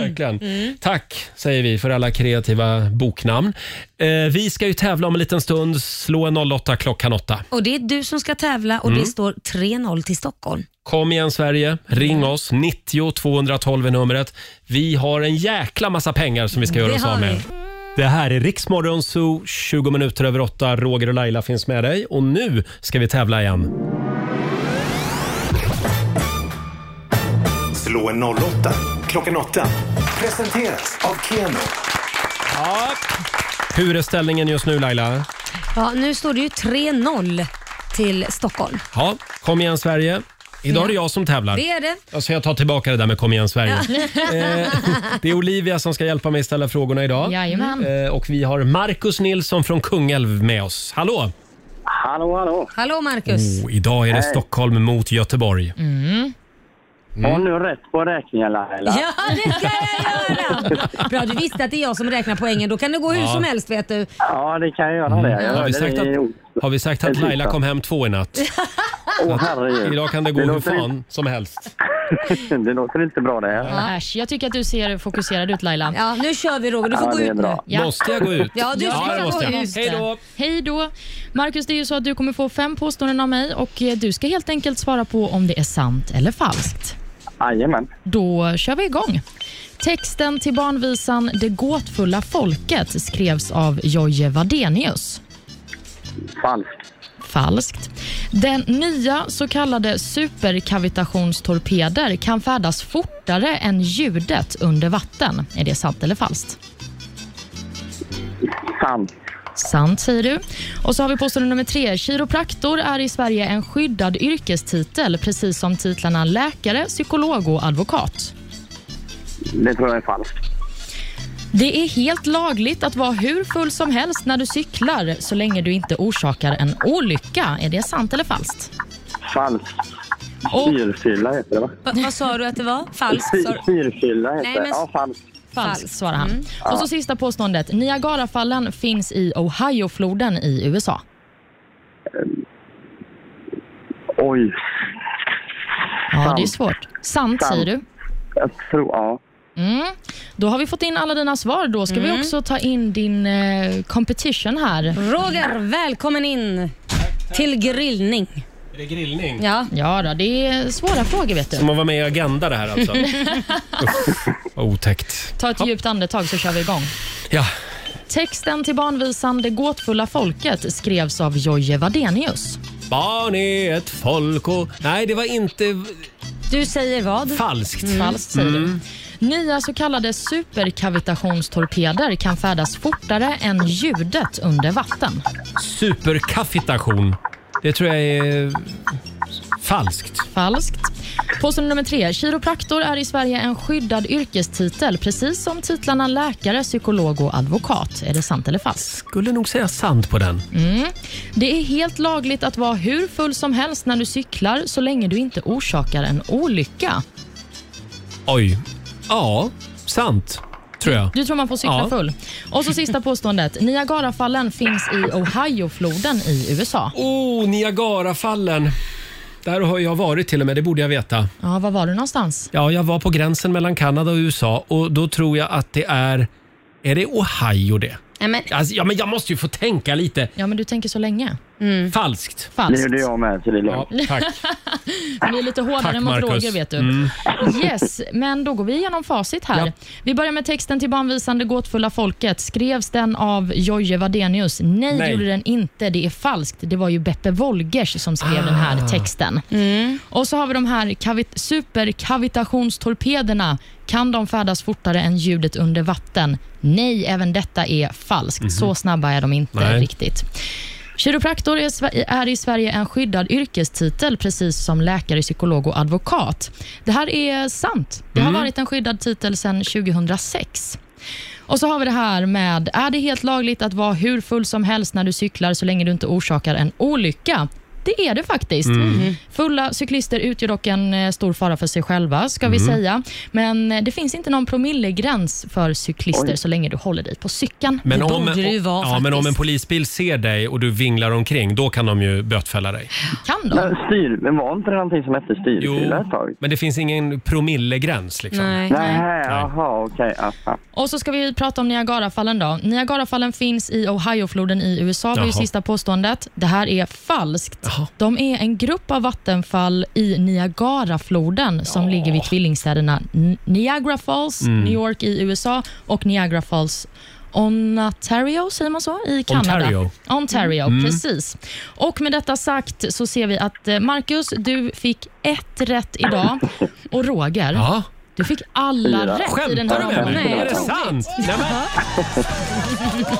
[SPEAKER 1] verkligen. Tack säger vi för alla kreativa boknamn. Eh, vi ska ju tävla om en liten stund. Slå en 08 klockan 8.
[SPEAKER 2] Och det är du som ska tävla och
[SPEAKER 1] Mm.
[SPEAKER 2] det står 3-0 till Stockholm.
[SPEAKER 1] Kom igen Sverige, ring
[SPEAKER 2] Mm.
[SPEAKER 1] oss. 90 212 är numret. Vi har en jäkla massa pengar som vi ska göra
[SPEAKER 2] Det
[SPEAKER 1] oss
[SPEAKER 2] har
[SPEAKER 1] av med.
[SPEAKER 2] vi.
[SPEAKER 1] Det här är Riksmorgon Zoo, 20 minuter över 8. Roger och Laila finns med dig och nu ska vi tävla igen.
[SPEAKER 4] Slå en 08 klockan 8. Presenteras av Keno.
[SPEAKER 1] Hur är ställningen just nu Laila?
[SPEAKER 2] Ja, nu står det ju 3-0 till Stockholm.
[SPEAKER 1] Ja, kom igen Sverige. Idag är det
[SPEAKER 2] Ja.
[SPEAKER 1] jag som tävlar.
[SPEAKER 2] Det är det.
[SPEAKER 1] Alltså jag tar tillbaka det där med Kom igen Sverige. Eh,
[SPEAKER 2] Ja.
[SPEAKER 1] Det är Olivia som ska hjälpa mig ställa frågorna idag.
[SPEAKER 3] Jajamän.
[SPEAKER 1] Eh, Och vi har Markus Nilsson från Kungälv med oss. Hallå!
[SPEAKER 14] Hallå, hallå.
[SPEAKER 2] Hallå Marcus.
[SPEAKER 1] Oh, idag är det
[SPEAKER 14] Hej.
[SPEAKER 1] Stockholm mot Göteborg.
[SPEAKER 2] Mm.
[SPEAKER 14] Har nu rätt på räkningen Laila?
[SPEAKER 2] Ja, det ska jag göra! Bra, du visste att det är jag som räknar poängen. Då kan det gå hur
[SPEAKER 1] Ja.
[SPEAKER 2] som helst vet du.
[SPEAKER 14] Ja, det kan jag göra det. Jag
[SPEAKER 1] Mm. Har,
[SPEAKER 14] hörde
[SPEAKER 1] vi sagt
[SPEAKER 14] det i ord.
[SPEAKER 1] att, har vi sagt
[SPEAKER 14] En
[SPEAKER 1] att
[SPEAKER 14] tisdag.
[SPEAKER 1] Laila kom hem två i natt?
[SPEAKER 14] Åh
[SPEAKER 1] Att
[SPEAKER 14] herregud.
[SPEAKER 1] *laughs* Idag kan det gå hur
[SPEAKER 14] låter
[SPEAKER 1] fan som helst.
[SPEAKER 14] inte- det låter inte bra det. här.
[SPEAKER 3] Äsch, jag tycker att du ser fokuserad ut Laila.
[SPEAKER 2] Ja, nu kör vi Roger. Du får
[SPEAKER 14] Ja,
[SPEAKER 2] gå
[SPEAKER 14] det är
[SPEAKER 2] ut
[SPEAKER 14] bra.
[SPEAKER 2] nu. Ja.
[SPEAKER 1] Måste jag gå ut?
[SPEAKER 2] Ja, du ska
[SPEAKER 1] det
[SPEAKER 2] gå
[SPEAKER 1] måste jag.
[SPEAKER 2] ut.
[SPEAKER 1] Hej då!
[SPEAKER 3] Hej då! Marcus, det är ju så att du kommer få fem påståenden av mig och eh, du ska helt enkelt svara på om det är sant eller falskt.
[SPEAKER 14] Jajamän.
[SPEAKER 3] Då kör vi igång. Texten till barnvisan Det gåtfulla folket skrevs av Jojje Wadenius.
[SPEAKER 14] Falskt.
[SPEAKER 3] Falskt. Den nya så kallade superkavitationstorpeder kan färdas fortare än ljudet under vatten. Är det sant eller falskt?
[SPEAKER 14] Sant.
[SPEAKER 3] Sant säger du. Och så har vi påstående nummer tre. Kiropraktor är i Sverige en skyddad yrkestitel precis som titlarna läkare, psykolog och advokat.
[SPEAKER 14] Det tror jag är falskt.
[SPEAKER 3] Det är helt lagligt att vara hur full som helst när du cyklar så länge du inte orsakar en olycka. Är det sant eller falskt?
[SPEAKER 14] Falskt.
[SPEAKER 3] Och-
[SPEAKER 14] Syrfylla heter det va?
[SPEAKER 2] Va, vad sa du att det var? Falskt? sa
[SPEAKER 14] Sy-
[SPEAKER 2] du?
[SPEAKER 14] Syrfylla heter
[SPEAKER 2] Nej,
[SPEAKER 14] det.
[SPEAKER 2] men-
[SPEAKER 14] Ja, falskt.
[SPEAKER 3] Falskt svarar han.
[SPEAKER 14] Ja.
[SPEAKER 3] Och så sista påståendet. Niagarafallen finns i Ohiofloden i USA.
[SPEAKER 14] Oj.
[SPEAKER 3] Ja, det är
[SPEAKER 14] Sant.
[SPEAKER 3] svårt.
[SPEAKER 14] Sant.
[SPEAKER 3] Sant säger du.
[SPEAKER 14] Jag tror, ja.
[SPEAKER 3] Mm. Då har vi fått in alla dina svar. Då ska vi också ta in din eh, competition här.
[SPEAKER 2] Roger, välkommen in till grillning.
[SPEAKER 1] Är det grillning?
[SPEAKER 2] Ja.
[SPEAKER 3] Ja, då, det är svåra frågor vet du.
[SPEAKER 1] Som att vara med i Agenda det här
[SPEAKER 2] *laughs*
[SPEAKER 1] alltså. Vad Otäckt.
[SPEAKER 3] Ta ett djupt andetag så kör vi igång.
[SPEAKER 1] Ja,
[SPEAKER 3] Texten till barnvisan Det gåtfulla folket skrevs av Jojje Wadenius.
[SPEAKER 1] barn är ett folk och... Nej, det var inte...
[SPEAKER 2] Du säger vad?
[SPEAKER 1] Falskt.
[SPEAKER 3] Mm. Falskt säger
[SPEAKER 1] Mm.
[SPEAKER 3] du. Nya så kallade superkavitationstorpeder kan färdas fortare än ljudet under vatten.
[SPEAKER 1] Superkaffitation. Det tror jag är eh, falskt.
[SPEAKER 3] Falskt. Påstående nummer tre. Kiropraktor är i Sverige en skyddad yrkestitel precis som titlarna läkare, psykolog och advokat. Är det sant eller falskt?
[SPEAKER 1] Skulle nog säga sant på den.
[SPEAKER 3] Mm. Det är helt lagligt att vara hur full som helst när du cyklar så länge du inte orsakar en olycka.
[SPEAKER 1] Oj. Ja, sant. Tror jag.
[SPEAKER 3] Du tror man får cykla
[SPEAKER 1] Ja.
[SPEAKER 3] full. Och så sista påståendet. Niagarafallen finns i Ohiofloden i USA.
[SPEAKER 1] Oh, Niagarafallen. Där har jag varit till och med, det borde jag veta.
[SPEAKER 3] Ja, var var du någonstans?
[SPEAKER 1] Ja, jag var på gränsen mellan Kanada och USA och då tror jag att det är... Är det Ohio det?
[SPEAKER 8] Nej, men,
[SPEAKER 1] Alltså, ja, men jag måste ju få tänka lite.
[SPEAKER 3] Ja, men du tänker så länge.
[SPEAKER 1] Falskt.
[SPEAKER 3] Falskt.
[SPEAKER 14] Det gjorde jag med, så det är
[SPEAKER 1] ja,
[SPEAKER 14] lugnt.
[SPEAKER 1] Tack.
[SPEAKER 3] Men det är lite hårdare
[SPEAKER 1] Tack,
[SPEAKER 3] än vad
[SPEAKER 1] Marcus.
[SPEAKER 3] frågor vet du.
[SPEAKER 1] Mm.
[SPEAKER 3] Yes, men då går vi igenom facit här. Vi börjar med texten till barnvisande gåtfulla folket. Skrevs den av Jojje Wadenius? Nej,
[SPEAKER 11] Nej.
[SPEAKER 3] gjorde den inte. Det är falskt. Det var ju Beppe Wolgers som skrev den
[SPEAKER 1] Ah.
[SPEAKER 3] här texten. Och så har vi de här kavit- superkavitationstorpederna. Kan de färdas fortare än ljudet under vatten? Nej, även detta är falskt. Så snabba är de inte
[SPEAKER 11] Mhm. Nej.
[SPEAKER 3] riktigt. Kiropraktor är, Sve- är i Sverige en skyddad yrkestitel, precis som läkare, psykolog och advokat. Det här är sant. Det har
[SPEAKER 11] Mm.
[SPEAKER 3] varit en skyddad titel sedan 2006. Och så har vi det här med, är det helt lagligt att vara hur full som helst när du cyklar så länge du inte orsakar en olycka? Det är det faktiskt.
[SPEAKER 11] Mm.
[SPEAKER 3] Fulla cyklister utgör dock en eh, stor fara för sig själva, ska vi
[SPEAKER 11] Mm.
[SPEAKER 3] säga. Men eh, det finns inte någon promillegräns för cyklister så länge du håller dig på cykeln.
[SPEAKER 1] Men om, ja, men om en polisbil ser dig och du vinglar omkring, då kan de ju bötfälla dig.
[SPEAKER 3] Kan de?
[SPEAKER 14] Men styr, men var inte det någonting som hette styrfylla ett tag?
[SPEAKER 1] Men det finns ingen promillegräns liksom.
[SPEAKER 3] Nej.
[SPEAKER 14] Nej, jaha, okej. Okay,
[SPEAKER 3] Och så ska vi prata om Niagarafallen. då. Niagarafallen finns i Ohiofloden i USA. Det var ju
[SPEAKER 14] Jaha.
[SPEAKER 3] sista påståendet. Det här är falskt. De är en grupp av vattenfall i Niagarafloden som ligger vid tvillingstäderna N- Niagara Falls,
[SPEAKER 11] Mm.
[SPEAKER 3] New York i USA och Niagara Falls Ontario, säger man så? I Kanada.
[SPEAKER 11] Ontario.
[SPEAKER 3] Ontario,
[SPEAKER 11] Mm.
[SPEAKER 3] precis. Och med detta sagt så ser vi att eh, Marcus, du fick ett rätt idag. Och Roger, du fick alla
[SPEAKER 11] Fyra.
[SPEAKER 3] rätt i
[SPEAKER 11] Skämtar
[SPEAKER 3] den här
[SPEAKER 11] du med mig?
[SPEAKER 3] omgången.
[SPEAKER 11] Är det
[SPEAKER 3] Otroligt.
[SPEAKER 11] sant? Nej, men-
[SPEAKER 3] Ja.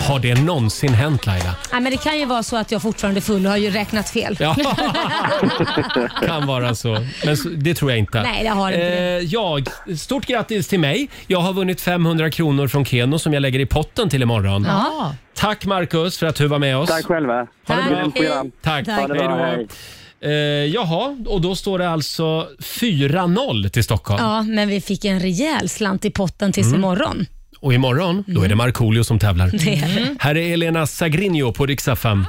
[SPEAKER 1] Har det någonsin hänt Laila?
[SPEAKER 2] Nej, men det kan ju vara så att jag fortfarande är full och har ju räknat fel. *laughs*
[SPEAKER 1] Ja. kan vara så. Men så- det tror jag inte.
[SPEAKER 2] Nej, det har inte det.
[SPEAKER 1] eh, jag, Stort grattis till mig. Jag har vunnit 500 kronor från Keno som jag lägger i potten till imorgon.
[SPEAKER 2] Ja.
[SPEAKER 1] Tack Marcus för att du var med oss.
[SPEAKER 14] Tack själva.
[SPEAKER 1] Ha det
[SPEAKER 14] Tack.
[SPEAKER 1] bra.
[SPEAKER 14] Grymt program.
[SPEAKER 1] Tack.
[SPEAKER 14] Ha det
[SPEAKER 1] Hej
[SPEAKER 14] bra,
[SPEAKER 1] då.
[SPEAKER 14] hej.
[SPEAKER 1] Eh, jaha, och då står det alltså 4-0 till Stockholm.
[SPEAKER 2] Ja, men vi fick en rejäl slant i potten tills
[SPEAKER 1] Mm.
[SPEAKER 2] imorgon.
[SPEAKER 1] Och imorgon, då är det Markoolio som tävlar.
[SPEAKER 2] Mm. Det är det.
[SPEAKER 1] Här är Elena Sagrinho på Rix FM.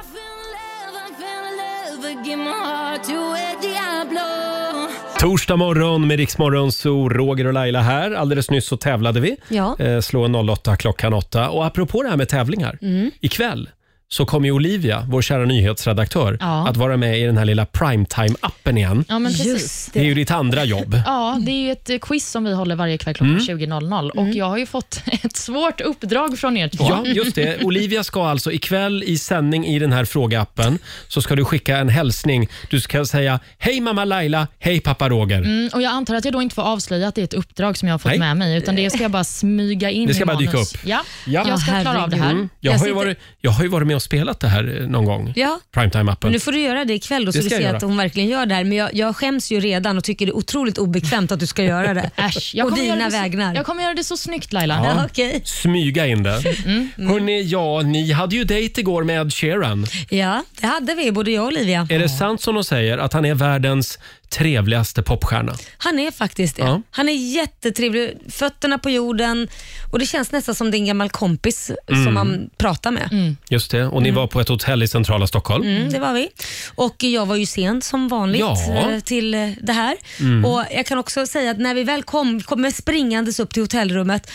[SPEAKER 1] Torsdag morgon med Riksmorgon, så Roger och Laila här. Alldeles nyss så tävlade vi.
[SPEAKER 2] Ja.
[SPEAKER 1] Eh, slå en 08 klockan 8. Och apropå det här med tävlingar.
[SPEAKER 2] Mm.
[SPEAKER 1] Ikväll så kommer ju Olivia, vår kära nyhetsredaktör,
[SPEAKER 3] Ja.
[SPEAKER 1] att vara med i den här lilla primetime-appen igen.
[SPEAKER 3] Ja, men precis. Just
[SPEAKER 1] det. är ju ditt andra jobb.
[SPEAKER 3] Ja, det är ju ett eh, quiz som vi håller varje kväll klockan
[SPEAKER 1] Mm.
[SPEAKER 3] 20.00 och jag har ju fått *laughs* ett svårt uppdrag från er två.
[SPEAKER 1] Ja, just det. Olivia ska alltså ikväll i sändning i den här frågeappen så ska du skicka en hälsning. Du ska säga “Hej mamma Laila, hej pappa Roger”.
[SPEAKER 3] Mm, och jag antar att jag då inte får avslöja att det är ett uppdrag som jag har fått
[SPEAKER 1] Nej.
[SPEAKER 3] med mig, utan det ska jag bara smyga in
[SPEAKER 1] Det ska
[SPEAKER 3] i
[SPEAKER 1] bara
[SPEAKER 3] manus.
[SPEAKER 1] dyka upp.
[SPEAKER 3] Ja, jag ska klara av det här.
[SPEAKER 1] Mm. Jag, har ju varit, jag har ju varit med och spelat det här eh, någon gång.
[SPEAKER 2] Ja.
[SPEAKER 1] Primetime-appen.
[SPEAKER 2] Men nu får du göra det ikväll då,
[SPEAKER 1] Det
[SPEAKER 2] så du
[SPEAKER 1] ska jag
[SPEAKER 2] ser
[SPEAKER 1] göra.
[SPEAKER 2] att hon verkligen gör det här. Men jag, jag skäms ju redan och tycker det är otroligt obekvämt att du ska
[SPEAKER 1] *laughs*
[SPEAKER 2] göra det.
[SPEAKER 3] Äsch, jag
[SPEAKER 2] och
[SPEAKER 3] kommer göra
[SPEAKER 2] dina
[SPEAKER 3] det så-
[SPEAKER 2] vägnar.
[SPEAKER 3] Jag kommer göra det så snyggt Laila.
[SPEAKER 1] Ja.
[SPEAKER 2] Ja, okej.
[SPEAKER 1] Smyga in det.
[SPEAKER 2] Mm,
[SPEAKER 1] Hörrni, ja, ni hade ju dejt igår med Ed Sheeran.
[SPEAKER 2] ja, det hade vi, både jag och Olivia.
[SPEAKER 1] Är det sant som de säger att han är världens trevligaste popstjärna?
[SPEAKER 2] Han är faktiskt det.
[SPEAKER 1] Ja.
[SPEAKER 2] Han är jättetrevlig. Fötterna på jorden och det känns nästan som din gammal kompis
[SPEAKER 1] Mm.
[SPEAKER 2] som man pratar med.
[SPEAKER 1] Just det, och ni var på ett hotell i centrala Stockholm.
[SPEAKER 2] Mm, det var vi. Och jag var ju sen som vanligt
[SPEAKER 1] Ja.
[SPEAKER 2] eh, till eh, det här.
[SPEAKER 1] Mm.
[SPEAKER 2] Och Jag kan också säga att när vi väl kom, vi kom springandes upp till hotellrummet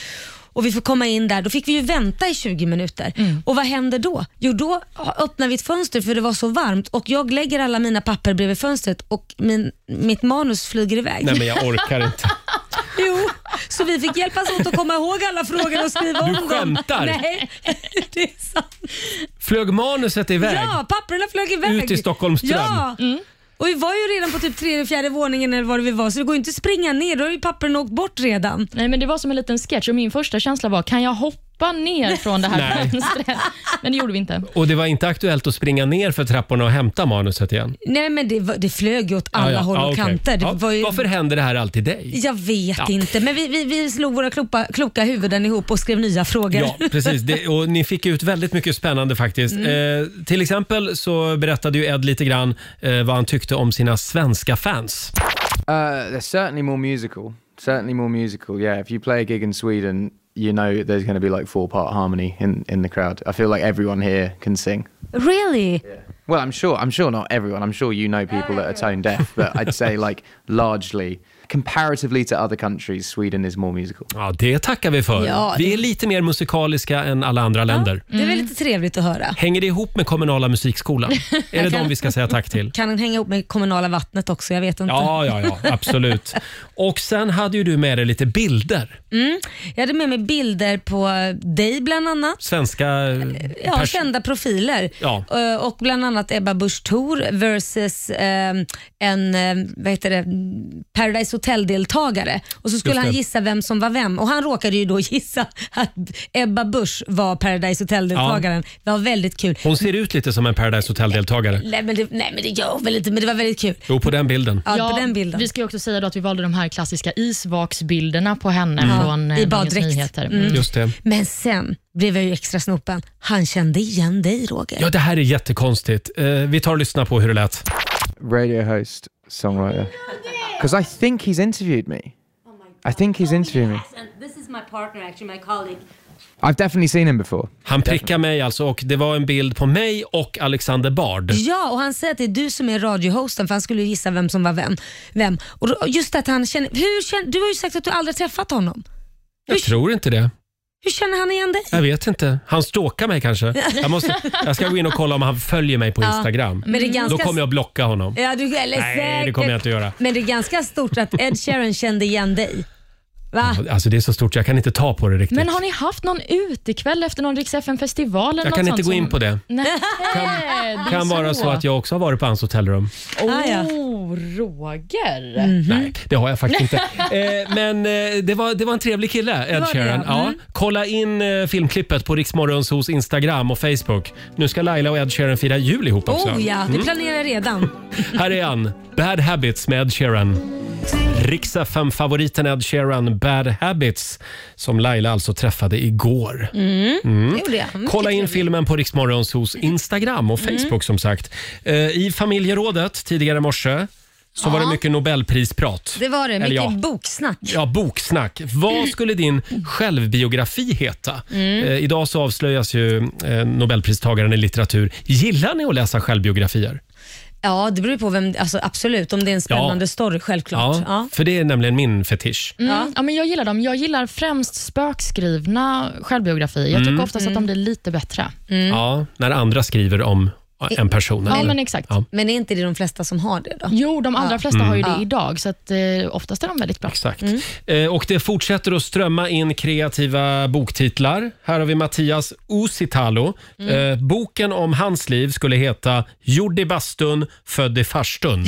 [SPEAKER 2] och vi får komma in där, då fick vi ju vänta i 20 minuter.
[SPEAKER 1] Mm.
[SPEAKER 2] Och vad händer då? Jo, då öppnar vi ett fönster för det var så varmt och jag lägger alla mina papper bredvid fönstret och min, mitt manus flyger iväg.
[SPEAKER 1] Nej, men jag orkar inte.
[SPEAKER 2] *laughs* Jo, så vi fick hjälpas åt att komma ihåg alla frågor och skriva
[SPEAKER 1] Du
[SPEAKER 2] om
[SPEAKER 1] skämtar.
[SPEAKER 2] dem. Nej, *laughs* det är sant.
[SPEAKER 1] Flög manuset iväg?
[SPEAKER 2] Ja, papperna flög iväg.
[SPEAKER 1] Ut i Mm. Stockholms ström.
[SPEAKER 2] Ja. Och vi var ju redan på typ tredje, fjärde våningen eller var det vi var, så det går ju inte att springa ner. Då har ju papperen åkt bort redan.
[SPEAKER 3] Nej, men det var som en liten sketch och min första känsla var, kan jag hoppa ner från det här
[SPEAKER 1] Nej.
[SPEAKER 3] fönstret? Men det gjorde vi inte.
[SPEAKER 1] Och det var inte aktuellt att springa ner för trapporna och hämta manuset igen?
[SPEAKER 2] Nej, men det, var, det flög ju åt alla
[SPEAKER 1] Ja, ja.
[SPEAKER 2] håll och
[SPEAKER 1] Ja, okej.
[SPEAKER 2] kanter. Det
[SPEAKER 1] Ja,
[SPEAKER 2] var ju,
[SPEAKER 1] Varför händer det här alltid dig?
[SPEAKER 2] jag vet
[SPEAKER 1] Ja.
[SPEAKER 2] inte, men vi, vi, vi slog våra kloka, kloka huvuden ihop och skrev nya frågor. *laughs*
[SPEAKER 1] Ja, precis. Det, och ni fick ut väldigt mycket spännande faktiskt.
[SPEAKER 2] Mm.
[SPEAKER 1] Eh, till exempel så berättade ju Ed lite grann eh, vad han tyckte om sina svenska fans.
[SPEAKER 7] Uh, they're certainly more musical. Certainly more musical. Yeah, if you play a gig in Sweden, you know there's going to be like four-part harmony in in the crowd. I feel like everyone here can sing.
[SPEAKER 8] Really?
[SPEAKER 7] Well, I'm sure. I'm sure not everyone. I'm sure you know people that are tone deaf, but I'd say like *laughs* largely comparatively to other countries, Sweden is more musical.
[SPEAKER 1] Ja, det tackar vi för.
[SPEAKER 2] Ja,
[SPEAKER 1] Vi är lite mer musikaliska än alla andra länder.
[SPEAKER 2] Det är väl lite trevligt att höra.
[SPEAKER 1] Hänger det ihop med kommunala
[SPEAKER 2] *laughs*
[SPEAKER 1] musikskolan? Är det
[SPEAKER 2] Jag kan-
[SPEAKER 1] dem vi ska säga tack till?
[SPEAKER 2] Kan den hänga ihop med kommunala vattnet också? Jag vet inte.
[SPEAKER 1] Ja, ja, ja, absolut. Och sen hade ju du med dig lite bilder.
[SPEAKER 2] Mm. Jag hade med mig bilder på dig bland annat.
[SPEAKER 1] Svenska... eh,
[SPEAKER 2] Ja,
[SPEAKER 1] pers-
[SPEAKER 2] kända profiler.
[SPEAKER 1] Ja.
[SPEAKER 2] Eh, Och bland annat Ebba Busch Thor versus eh, en eh, vad heter det, Paradise Hotel-deltagare. Och så skulle
[SPEAKER 15] Just
[SPEAKER 2] han
[SPEAKER 15] det.
[SPEAKER 2] gissa vem som var vem och han råkade ju då *laughs* gissa att Ebba Busch var Paradise Hotel-deltagaren. Det var väldigt kul.
[SPEAKER 1] Hon ser ut lite som en Paradise Hotel-deltagare.
[SPEAKER 2] Nej men, det, nej men det gör hon väl inte, men det var väldigt kul.
[SPEAKER 1] Jo, på den bilden.
[SPEAKER 2] Ja, på den bilden.
[SPEAKER 3] Vi ska ju också säga då att vi valde de här klassiska isvaksbilderna på henne
[SPEAKER 2] Mm.
[SPEAKER 3] från eh,
[SPEAKER 2] I
[SPEAKER 3] Dagens
[SPEAKER 2] baddräkt.
[SPEAKER 3] Nyheter.
[SPEAKER 2] Mm.
[SPEAKER 1] Just det.
[SPEAKER 2] Men sen blev jag ju extra snopen. Han kände igen dig Roger.
[SPEAKER 1] Ja, det här är jättekonstigt. Eh, vi tar och lyssnar på hur det lät.
[SPEAKER 7] Radio host, songwriter. Because I think he's interviewed me. I think he's interviewed me.
[SPEAKER 8] And this is my partner actually, my colleague.
[SPEAKER 7] I've definitely seen him before.
[SPEAKER 1] Han prickar mig alltså och det var en bild på mig och Alexander Bard.
[SPEAKER 2] Ja, och han säger att det är du som är radiohosten för han skulle ju gissa vem som var vem. vem. Och då- just att han känner, hur känner, du har ju sagt att du aldrig har träffat honom.
[SPEAKER 1] Jag tror inte det.
[SPEAKER 2] Hur känner han igen dig?
[SPEAKER 1] Jag vet inte. Han stalkar
[SPEAKER 3] *laughs*
[SPEAKER 1] mig kanske. Jag, måste, jag ska gå in och kolla om han följer mig på
[SPEAKER 2] Ja,
[SPEAKER 1] Instagram.
[SPEAKER 2] men det är ganska-
[SPEAKER 1] Mm. Då kommer jag blocka honom.
[SPEAKER 2] Ja, du, eller
[SPEAKER 1] Nej, det
[SPEAKER 2] säkert.
[SPEAKER 1] kommer jag inte göra.
[SPEAKER 2] Men det är ganska stort att Ed Sheeran kände igen dig. Va?
[SPEAKER 1] Alltså det är så stort jag kan inte ta på det riktigt.
[SPEAKER 3] Men har ni haft någon utekväll efter någon Rix FM-festival? eller
[SPEAKER 1] Jag kan
[SPEAKER 3] något
[SPEAKER 1] inte
[SPEAKER 3] sånt
[SPEAKER 1] gå
[SPEAKER 3] som-
[SPEAKER 1] in på det.
[SPEAKER 3] Nej, det är
[SPEAKER 1] kan vara så att jag också har varit på hans hotellrum.
[SPEAKER 3] Åh, Oh, Roger.
[SPEAKER 1] Nej, det har
[SPEAKER 3] *laughs*
[SPEAKER 1] jag faktiskt inte. Eh, men eh, det, var, det var en trevlig kille,
[SPEAKER 3] Det var
[SPEAKER 1] Ed
[SPEAKER 3] det,
[SPEAKER 1] Sheeran.
[SPEAKER 3] ja.
[SPEAKER 1] Ja,
[SPEAKER 3] Mm.
[SPEAKER 1] kolla in eh, filmklippet på Riksmorgonsos Instagram och Facebook. Nu ska Laila och Ed Sheeran fira jul ihop också.
[SPEAKER 2] Oh ja, det
[SPEAKER 1] Mm.
[SPEAKER 2] planerar jag redan.
[SPEAKER 1] Här är han, Bad Habits med Ed Sheeran. Riks favoriten Ed Sheeran, Bad Habits, som Laila alltså träffade igår.
[SPEAKER 2] Mm.
[SPEAKER 1] Mm.
[SPEAKER 2] Det gjorde jag. Mm.
[SPEAKER 1] Kolla in filmen på Riksmorgonsos Instagram och Facebook
[SPEAKER 2] Mm.
[SPEAKER 1] som sagt. Eh, I familjerådet tidigare i morse så var det
[SPEAKER 2] Ja.
[SPEAKER 1] mycket nobelprisprat.
[SPEAKER 2] Det var det,
[SPEAKER 1] Eller
[SPEAKER 2] mycket
[SPEAKER 1] ja,
[SPEAKER 2] boksnack.
[SPEAKER 1] Ja, boksnack. Vad skulle din självbiografi heta?
[SPEAKER 2] Mm.
[SPEAKER 1] Eh, idag så avslöjas ju eh, Nobelpristagaren i litteratur. Gillar ni att läsa självbiografier?
[SPEAKER 2] Ja, det beror ju på vem, alltså absolut om det är en spännande story självklart.
[SPEAKER 1] Ja, för det är nämligen min fetisch.
[SPEAKER 3] Mm. Ja. men jag gillar dem. Jag gillar främst spökskrivna självbiografier. Jag tycker
[SPEAKER 1] Mm.
[SPEAKER 3] oftast att de blir lite bättre.
[SPEAKER 1] Ja, när andra skriver om en person.
[SPEAKER 3] Mm. Ja,
[SPEAKER 1] eller?
[SPEAKER 3] men exakt.
[SPEAKER 1] Ja,
[SPEAKER 2] Men är inte det de flesta som har det då?
[SPEAKER 3] Jo, de allra
[SPEAKER 2] Ja.
[SPEAKER 3] flesta har ju det
[SPEAKER 2] Mm.
[SPEAKER 3] idag, så att, eh, oftast är de väldigt bra.
[SPEAKER 1] Exakt. Eh, Och det fortsätter att strömma in kreativa boktitlar. Här har vi Mattias Usitalo.
[SPEAKER 3] Mm.
[SPEAKER 1] Eh, boken om hans liv skulle heta Gjord i bastun, född
[SPEAKER 3] *laughs*
[SPEAKER 1] i farstun.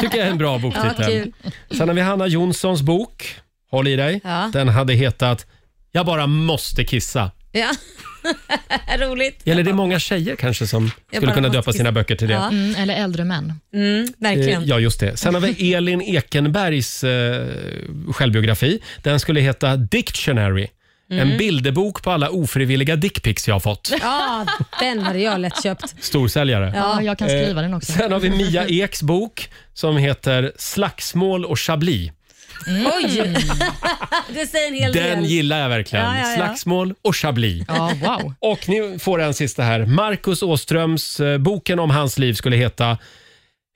[SPEAKER 1] Tycker jag är en bra
[SPEAKER 2] Ja,
[SPEAKER 1] boktitel.
[SPEAKER 2] kul.
[SPEAKER 1] Sen har vi Hanna Jonssons bok. Håll i dig.
[SPEAKER 2] Ja.
[SPEAKER 1] Den hade hetat Jag bara måste kissa.
[SPEAKER 2] Ja, *laughs* roligt.
[SPEAKER 1] Eller det är många tjejer kanske som skulle
[SPEAKER 3] bara
[SPEAKER 1] kunna
[SPEAKER 3] måste
[SPEAKER 1] döpa sina böcker till det.
[SPEAKER 3] Ja. Mm, eller äldre män.
[SPEAKER 1] Eh, Ja, just det. Sen
[SPEAKER 3] *laughs*
[SPEAKER 1] har vi Elin Ekenbergs eh, självbiografi. Den skulle heta Dictionary.
[SPEAKER 2] Mm.
[SPEAKER 1] En bilderbok på alla ofrivilliga dickpics jag
[SPEAKER 3] *laughs*
[SPEAKER 1] har fått.
[SPEAKER 2] Ja, den hade jag lätt köpt.
[SPEAKER 1] Storsäljare.
[SPEAKER 3] Ja, jag kan skriva
[SPEAKER 1] Eh,
[SPEAKER 3] den också.
[SPEAKER 1] Sen har
[SPEAKER 3] *laughs*
[SPEAKER 1] vi Mia Eks bok som heter Slagsmål och chablis.
[SPEAKER 2] Oj! det säger en hel del.
[SPEAKER 1] Den gillar jag verkligen.
[SPEAKER 2] Ja, ja, ja.
[SPEAKER 1] Slagsmål och chablis.
[SPEAKER 3] Ja, *laughs* wow.
[SPEAKER 1] Och nu får jag en sista här. Marcus Åströms eh, boken om hans liv skulle heta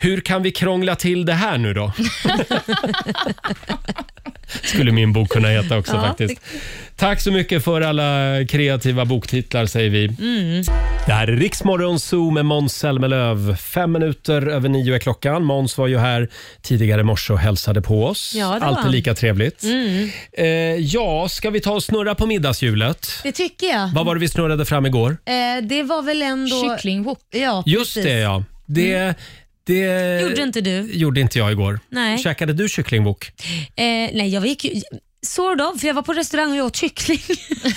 [SPEAKER 1] Hur kan vi krångla till det här nu då? *laughs* skulle min bok kunna heta också
[SPEAKER 2] Ja,
[SPEAKER 1] faktiskt. Tack så mycket för alla kreativa boktitlar säger vi.
[SPEAKER 2] Mm.
[SPEAKER 1] Det här är Riksmorgon Zoo med Måns Zelmerlöw. Fem minuter över nio är klockan. Måns var ju här tidigare i morse och hälsade på oss.
[SPEAKER 2] Ja, det var
[SPEAKER 1] Alltid
[SPEAKER 2] han.
[SPEAKER 1] lika trevligt.
[SPEAKER 2] Mm.
[SPEAKER 1] Eh, ja, ska vi ta och snurra på middagshjulet?
[SPEAKER 2] Det tycker jag.
[SPEAKER 1] Vad var det vi snurrade fram igår?
[SPEAKER 2] Eh, det var väl ändå...
[SPEAKER 3] Kycklingwok.
[SPEAKER 2] Ja,
[SPEAKER 1] Just
[SPEAKER 2] precis. Mm.
[SPEAKER 1] det ja. eh, Det, det
[SPEAKER 2] Gjorde inte du?
[SPEAKER 1] gjorde inte jag igår.
[SPEAKER 2] Nej.
[SPEAKER 1] Käkade du kycklingwok?
[SPEAKER 2] Eh, nej, jag gick ju... Sort of, för jag var på restaurang och jag
[SPEAKER 1] *laughs*
[SPEAKER 2] åt kyckling.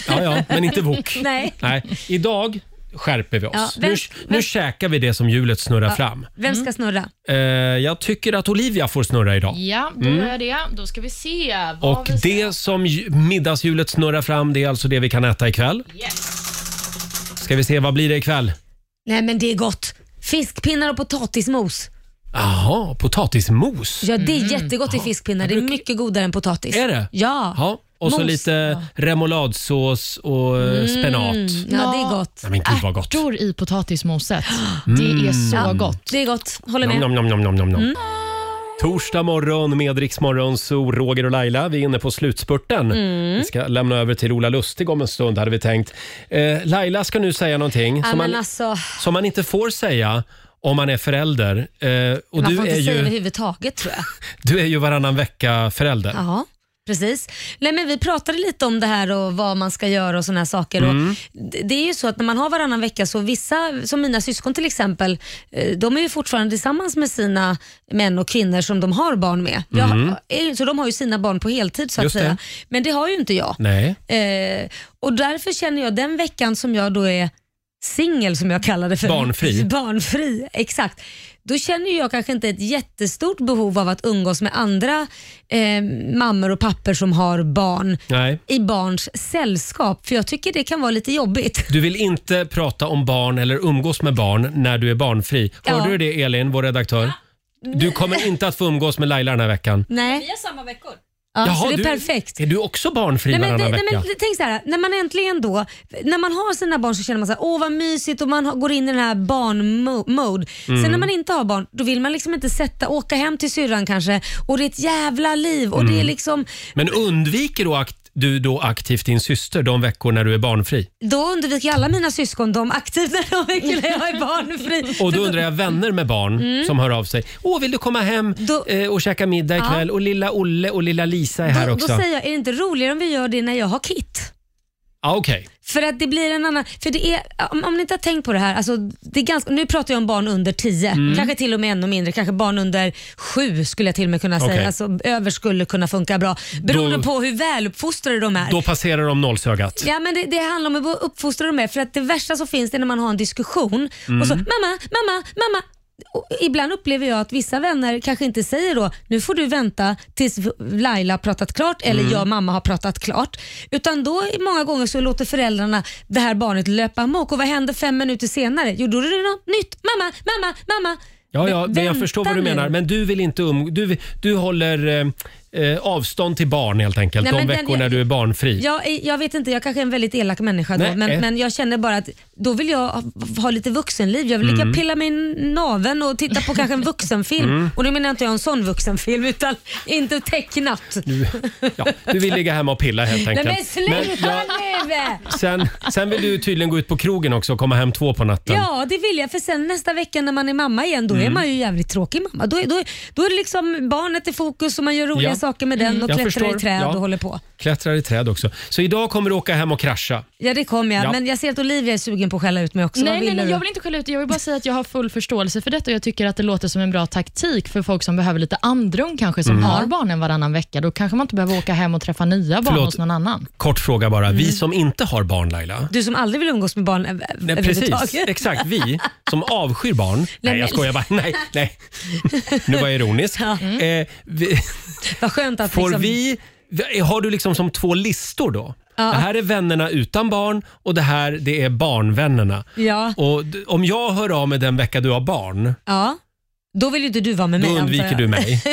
[SPEAKER 1] Ja, ja, men inte wok.
[SPEAKER 2] *laughs* Nej.
[SPEAKER 1] Nej. Idag skärper vi oss.
[SPEAKER 2] Ja, vem-
[SPEAKER 1] nu, nu
[SPEAKER 2] vem-
[SPEAKER 1] käkar vi det som hjulet snurrar
[SPEAKER 2] Ja.
[SPEAKER 1] fram.
[SPEAKER 2] Vem ska snurra?
[SPEAKER 1] Eh, jag tycker att Olivia får snurra idag.
[SPEAKER 3] Ja, då
[SPEAKER 1] Mm.
[SPEAKER 3] gör jag det. Då ska vi se. Vad
[SPEAKER 1] Och
[SPEAKER 3] vi...
[SPEAKER 1] det som ju- middagshjulet snurrar fram, det är alltså det vi kan äta ikväll. Ska vi se, vad blir det ikväll?
[SPEAKER 2] Nej, men det är gott. Fiskpinnar och potatismos.
[SPEAKER 1] Jaha, potatismos.
[SPEAKER 2] Ja, det är jättegott i fiskpinnar. Det är mycket godare än potatis.
[SPEAKER 1] Är det?
[SPEAKER 2] Ja.
[SPEAKER 1] Ja, och så
[SPEAKER 2] Mos. Mm.
[SPEAKER 1] lite remouladsås och eh, spenat.
[SPEAKER 2] Ja, det är gott.
[SPEAKER 1] Nej, men gud vad gott.
[SPEAKER 3] Ärtor i potatismoset. Det är så
[SPEAKER 1] *gasps* Mm.
[SPEAKER 3] gott.
[SPEAKER 2] Det är gott. Håller
[SPEAKER 1] Nom, nom, nom, nom, nom, nom.
[SPEAKER 3] Mm.
[SPEAKER 1] Torsdag morgon med Riksmorgon, så Roger och Laila. Vi är inne på slutspurten.
[SPEAKER 2] Mm.
[SPEAKER 1] Vi ska lämna över till Ola Lustig om en stund hade vi tänkt. Eh, Laila ska nu säga någonting
[SPEAKER 2] Ja,
[SPEAKER 1] som,
[SPEAKER 2] men
[SPEAKER 1] man,
[SPEAKER 2] alltså,
[SPEAKER 1] som man inte får säga om man är förälder. Eh, och
[SPEAKER 2] man
[SPEAKER 1] du
[SPEAKER 2] får
[SPEAKER 1] är,
[SPEAKER 2] inte säga
[SPEAKER 1] ju,
[SPEAKER 2] överhuvudtaget tror jag.
[SPEAKER 1] du är ju varannan vecka-förälder.
[SPEAKER 2] Ja, precis. Nej, men vi pratade lite om det här och vad man ska göra och såna här saker.
[SPEAKER 1] Mm.
[SPEAKER 2] Och d- det är ju så att när man har varannan vecka så vissa, som mina syskon till exempel, eh, de är ju fortfarande tillsammans med sina män och kvinnor som de har barn med. Jag,
[SPEAKER 1] Mm.
[SPEAKER 2] är ju- så de har ju sina barn på heltid så att
[SPEAKER 1] Just det.
[SPEAKER 2] säga. Men det har ju inte jag.
[SPEAKER 1] Nej.
[SPEAKER 2] Eh, och därför känner jag den veckan som jag då är singel som jag kallar det för.
[SPEAKER 1] Barnfri.
[SPEAKER 2] *laughs* Barnfri, exakt. Då känner ju jag kanske inte ett jättestort behov av att umgås med andra eh, mammor och papper som har barn
[SPEAKER 1] Nej.
[SPEAKER 2] i barns sällskap. För jag tycker det kan vara lite jobbigt. *laughs*
[SPEAKER 1] Du vill inte prata om barn eller umgås med barn när du är barnfri. Hörde
[SPEAKER 2] Ja.
[SPEAKER 1] du det Elin, vår redaktör? Du kommer inte att få umgås med Laila den här veckan.
[SPEAKER 2] Nej.
[SPEAKER 10] Vi har samma veckor.
[SPEAKER 2] Ja,
[SPEAKER 1] Jaha,
[SPEAKER 2] så Alltså, det är
[SPEAKER 1] du,
[SPEAKER 2] perfekt.
[SPEAKER 1] Är du också barnfri
[SPEAKER 2] men,
[SPEAKER 1] varannan
[SPEAKER 2] det-
[SPEAKER 1] vecka?
[SPEAKER 2] nej, men tänk så här, när man äntligen då, när man har sina barn så känner man så här, åh vad mysigt och man har, går in i den här barnmode.
[SPEAKER 11] Mm.
[SPEAKER 2] Sen när man inte har barn, då vill man liksom inte sätta, åka hem till syrran kanske och det är ett jävla liv och det är
[SPEAKER 1] Mm.
[SPEAKER 2] liksom,
[SPEAKER 1] Men undviker då akt, du då aktivt din syster de veckor när du är barnfri?
[SPEAKER 2] då undviker ju alla mina syskon de aktivt när de är när jag är barnfri.
[SPEAKER 1] *laughs* Och
[SPEAKER 2] För
[SPEAKER 1] då undrar jag vänner med barn
[SPEAKER 2] Mm.
[SPEAKER 1] som hör av sig. Åh, vill du komma hem eh, och käka middag
[SPEAKER 2] Ja.
[SPEAKER 1] ikväll? Och lilla Olle och lilla Lisa är här
[SPEAKER 2] då,
[SPEAKER 1] också.
[SPEAKER 2] då säger jag, är det inte roligare om vi gör det när jag har kit?
[SPEAKER 1] ah, Okej.
[SPEAKER 2] För att det blir en annan... För det är, om, om ni inte har tänkt på det här, alltså, det är ganska, nu pratar jag om barn under 10,
[SPEAKER 11] Mm.
[SPEAKER 2] kanske till och med ännu mindre, kanske barn under 7 skulle jag till och med kunna säga.
[SPEAKER 1] Okej.
[SPEAKER 2] Alltså, över skulle kunna funka bra, beroende
[SPEAKER 1] Då-
[SPEAKER 2] på hur väluppfostrade de är.
[SPEAKER 1] Då passerar de nålsögat.
[SPEAKER 2] Ja, men det, det handlar om hur uppfostrade de är, för att det värsta som finns det är när man har en diskussion
[SPEAKER 1] Mm.
[SPEAKER 2] och så mamma, mamma, mamma. Och ibland upplever jag att vissa vänner kanske inte säger då, nu får du vänta tills Laila har pratat klart eller
[SPEAKER 11] Mm.
[SPEAKER 2] jag och mamma har pratat klart. Utan då i- många gånger så låter föräldrarna det här barnet löpa amok och vad händer fem minuter senare? Jo, då är det något nytt. Mamma, mamma, mamma.
[SPEAKER 1] Ja, ja,
[SPEAKER 2] Vä-
[SPEAKER 1] men jag förstår vad du
[SPEAKER 2] vänta nu.
[SPEAKER 1] menar. Men du vill inte um, du, du håller eh, eh, avstånd till barn helt enkelt
[SPEAKER 2] Nej,
[SPEAKER 1] de
[SPEAKER 2] men den-
[SPEAKER 1] veckor när
[SPEAKER 2] jag-
[SPEAKER 1] du är barnfri.
[SPEAKER 2] Jag, är- jag vet inte, jag kanske är en väldigt elak människa då,
[SPEAKER 1] Nej. Eh.
[SPEAKER 2] men, men jag känner bara att då vill jag ha, ha lite vuxenliv. Jag vill ligga
[SPEAKER 1] Mm.
[SPEAKER 2] och pilla mig i naveln och titta på kanske en vuxenfilm.
[SPEAKER 1] Mm.
[SPEAKER 2] Och nu menar jag inte jag en sån vuxenfilm, utan inte tecknat.
[SPEAKER 1] Du, ja, du vill ligga hemma och pilla helt
[SPEAKER 2] Nej
[SPEAKER 1] enkelt.
[SPEAKER 2] men sluta
[SPEAKER 1] jag-
[SPEAKER 2] nu!
[SPEAKER 1] sen, sen vill du tydligen gå ut på krogen också och komma hem två på natten.
[SPEAKER 2] Ja, det vill jag. För sen nästa vecka när man är mamma igen, då är
[SPEAKER 1] Mm.
[SPEAKER 2] man ju jävligt tråkig mamma. Då är, då, är- då är det liksom barnet i fokus och man gör roliga
[SPEAKER 1] Ja.
[SPEAKER 2] saker med den och
[SPEAKER 1] Jag
[SPEAKER 2] klättrar
[SPEAKER 1] förstår.
[SPEAKER 2] i träd
[SPEAKER 1] Ja.
[SPEAKER 2] och håller på.
[SPEAKER 1] Klättrar i träd också. Så idag kommer du åka hem och krascha.
[SPEAKER 2] Ja, det kommer jag.
[SPEAKER 1] Ja.
[SPEAKER 2] Men jag ser att Olivia är sugen på att skälla ut mig också. Vad
[SPEAKER 3] Nej, nej,
[SPEAKER 2] ville
[SPEAKER 3] nej,
[SPEAKER 2] du?
[SPEAKER 3] jag vill inte skälla ut dig. Jag vill bara säga att jag har full förståelse för detta och jag tycker att det låter som en bra taktik för folk som behöver lite andrum kanske, som
[SPEAKER 1] Mm.
[SPEAKER 3] har barnen varannan vecka. Då kanske man inte behöver åka hem och träffa nya barn
[SPEAKER 1] Förlåt.
[SPEAKER 3] hos någon annan.
[SPEAKER 1] Kort fråga bara.
[SPEAKER 2] Mm.
[SPEAKER 1] Vi som inte har barn Laila.
[SPEAKER 2] Du som aldrig vill umgås med barn över-
[SPEAKER 1] Nej, precis,
[SPEAKER 2] överhuvudtaget.
[SPEAKER 1] exakt. Vi som avskyr barn. Nej,
[SPEAKER 2] men-
[SPEAKER 1] jag skojar bara. Nej, nej. Nu var jag ironisk. Eh, vi,
[SPEAKER 2] Vad skönt att
[SPEAKER 1] får
[SPEAKER 2] Mm. liksom...
[SPEAKER 1] vi, har du liksom som två listor då?
[SPEAKER 2] Ja.
[SPEAKER 1] Det här är vännerna utan barn och det här det är barnvännerna.
[SPEAKER 2] Ja,
[SPEAKER 1] Och d- om jag hör av mig den vecka du har barn,
[SPEAKER 2] ja. Då vill ju inte du vara med
[SPEAKER 1] Då
[SPEAKER 2] mig antar
[SPEAKER 1] undviker
[SPEAKER 2] jag.
[SPEAKER 1] du mig.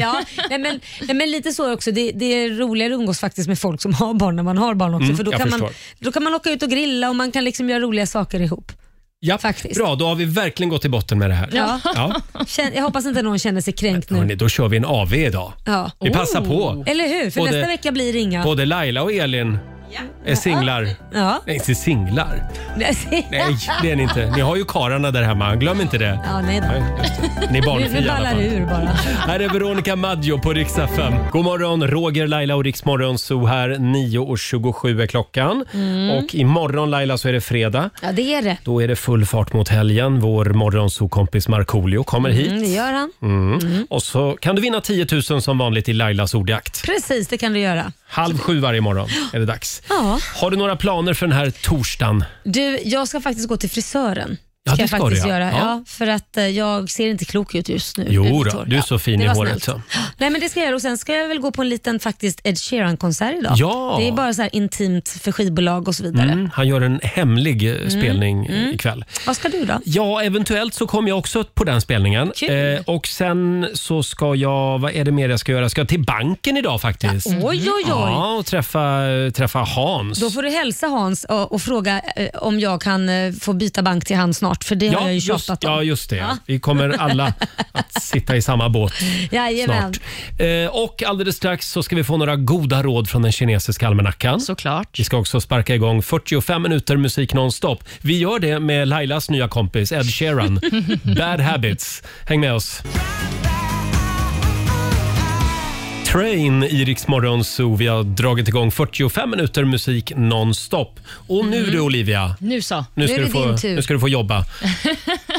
[SPEAKER 2] ja, nej men, nej men lite så också. Det, det är roligare att umgås faktiskt med folk som har barn när man har barn också.
[SPEAKER 1] Mm,
[SPEAKER 2] för då
[SPEAKER 1] jag
[SPEAKER 2] kan, man,
[SPEAKER 1] förstår.
[SPEAKER 2] då kan man åka ut och grilla och man kan liksom göra roliga saker ihop.
[SPEAKER 1] ja, bra då har vi verkligen gått till botten med det här.
[SPEAKER 2] Ja.
[SPEAKER 1] Ja.
[SPEAKER 2] Känn- Jag hoppas inte någon känner sig kränkt nu.
[SPEAKER 1] Hörrni, då kör vi en AV idag.
[SPEAKER 2] Ja.
[SPEAKER 1] Vi passar på.
[SPEAKER 2] Eller hur? För
[SPEAKER 1] Både-
[SPEAKER 2] nästa vecka blir det inga.
[SPEAKER 1] Både Laila och Elin är singlar.
[SPEAKER 2] Ja. *laughs*
[SPEAKER 1] Nej, inte singlar. Nej, det är ni inte. Ni har ju kararna där hemma. Glöm inte det.
[SPEAKER 2] Ja, nej då.
[SPEAKER 1] Ni är
[SPEAKER 2] Nu, nu
[SPEAKER 1] barnfria i alla
[SPEAKER 2] ballar
[SPEAKER 1] fall.
[SPEAKER 2] det ur bara.
[SPEAKER 1] Här är Veronica Maggio på Rix FM. God morgon, Roger, Laila och Rix Morgon Zoo här. 9.27 är klockan.
[SPEAKER 2] Mm.
[SPEAKER 1] Och imorgon Laila så är det fredag.
[SPEAKER 2] Ja, det är det.
[SPEAKER 1] Då är det full fart mot helgen. Vår morgonsokompis Markoolio kommer
[SPEAKER 2] Mm,
[SPEAKER 1] hit.
[SPEAKER 2] det gör han.
[SPEAKER 1] Mm. Och så kan du vinna 10 000 som vanligt i Lailas ordjakt.
[SPEAKER 2] Precis, det kan du göra.
[SPEAKER 1] Halv sju varje morgon är det dags.
[SPEAKER 2] Ja.
[SPEAKER 1] Har du några planer för den här torsdagen?
[SPEAKER 2] Du, jag ska faktiskt gå till frisören.
[SPEAKER 1] Ja, det
[SPEAKER 2] jag
[SPEAKER 1] ska
[SPEAKER 2] faktiskt
[SPEAKER 1] du, ja.
[SPEAKER 2] göra.
[SPEAKER 1] Ja.
[SPEAKER 2] Ja. för att eh, jag ser inte klok ut just nu. i
[SPEAKER 1] Jo
[SPEAKER 2] mitt
[SPEAKER 1] då,
[SPEAKER 2] hår.
[SPEAKER 1] du är så fin
[SPEAKER 2] det
[SPEAKER 1] i
[SPEAKER 2] var
[SPEAKER 1] håret.
[SPEAKER 2] snällt.
[SPEAKER 1] Så.
[SPEAKER 2] Nej men det ska jag göra och sen ska jag väl gå på en liten faktiskt Ed Sheeran-konsert idag.
[SPEAKER 1] Ja.
[SPEAKER 2] Det är bara så här intimt för skivbolag och så vidare.
[SPEAKER 1] Mm, han gör en hemlig eh,
[SPEAKER 2] Mm,
[SPEAKER 1] spelning eh,
[SPEAKER 2] mm.
[SPEAKER 1] ikväll.
[SPEAKER 2] Vad ska du då?
[SPEAKER 1] Ja, eventuellt så kommer jag också på den spelningen. Eh,
[SPEAKER 2] Kul.
[SPEAKER 1] och sen så ska jag, vad är det mer jag ska göra? Jag ska till banken idag faktiskt.
[SPEAKER 2] Ja, oj, oj, oj.
[SPEAKER 1] Ja, och träffa, eh, träffa Hans.
[SPEAKER 2] Då får du hälsa Hans och, och fråga eh, om jag kan eh, få byta bank till han snart. snart, för det har jag ju
[SPEAKER 1] just,
[SPEAKER 2] tjatat om.
[SPEAKER 1] Ja, just det. ja. Vi kommer alla att sitta i samma
[SPEAKER 2] *laughs*
[SPEAKER 1] båt
[SPEAKER 2] Jajamän.
[SPEAKER 1] snart. Eh, och alldeles strax så ska vi få några goda råd från den kinesiska almanackan.
[SPEAKER 3] Såklart.
[SPEAKER 1] Vi ska också sparka igång 45 minuter musik nonstop. Vi gör det med Lailas nya kompis Ed Sheeran. Bad Habits. Häng med oss. Train i Rix Morgon Zoo. Vi har dragit igång 45 minuter musik nonstop. Och nu du Olivia.
[SPEAKER 3] Nu så.
[SPEAKER 1] Nu ska, du få, nu ska du få jobba.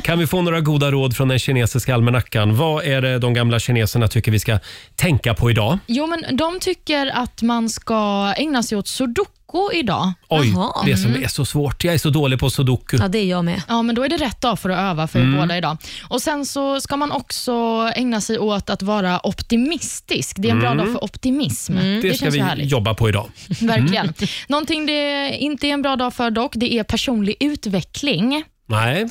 [SPEAKER 1] Kan vi få några goda råd från den kinesiska almanackan? Vad är det de gamla kineserna tycker vi ska tänka på idag?
[SPEAKER 3] Jo, men de tycker att man ska ägna sig åt sudoku idag.
[SPEAKER 1] Oj, det som är så svårt. Jag är så dålig på sudoku.
[SPEAKER 2] det är jag med.
[SPEAKER 3] Mm. Ja, men då är det rätt dag för att öva för er
[SPEAKER 1] Mm.
[SPEAKER 3] båda idag. Och Sen så ska man också ägna sig åt att vara optimistisk. Det är en bra
[SPEAKER 1] Mm.
[SPEAKER 3] dag för optimism.
[SPEAKER 1] Det
[SPEAKER 3] känns
[SPEAKER 1] ska
[SPEAKER 3] ju
[SPEAKER 1] vi
[SPEAKER 3] härligt.
[SPEAKER 1] jobba på idag.
[SPEAKER 3] Verkligen. Någonting det inte är en bra dag för dock, det är personlig utveckling.
[SPEAKER 1] Nej.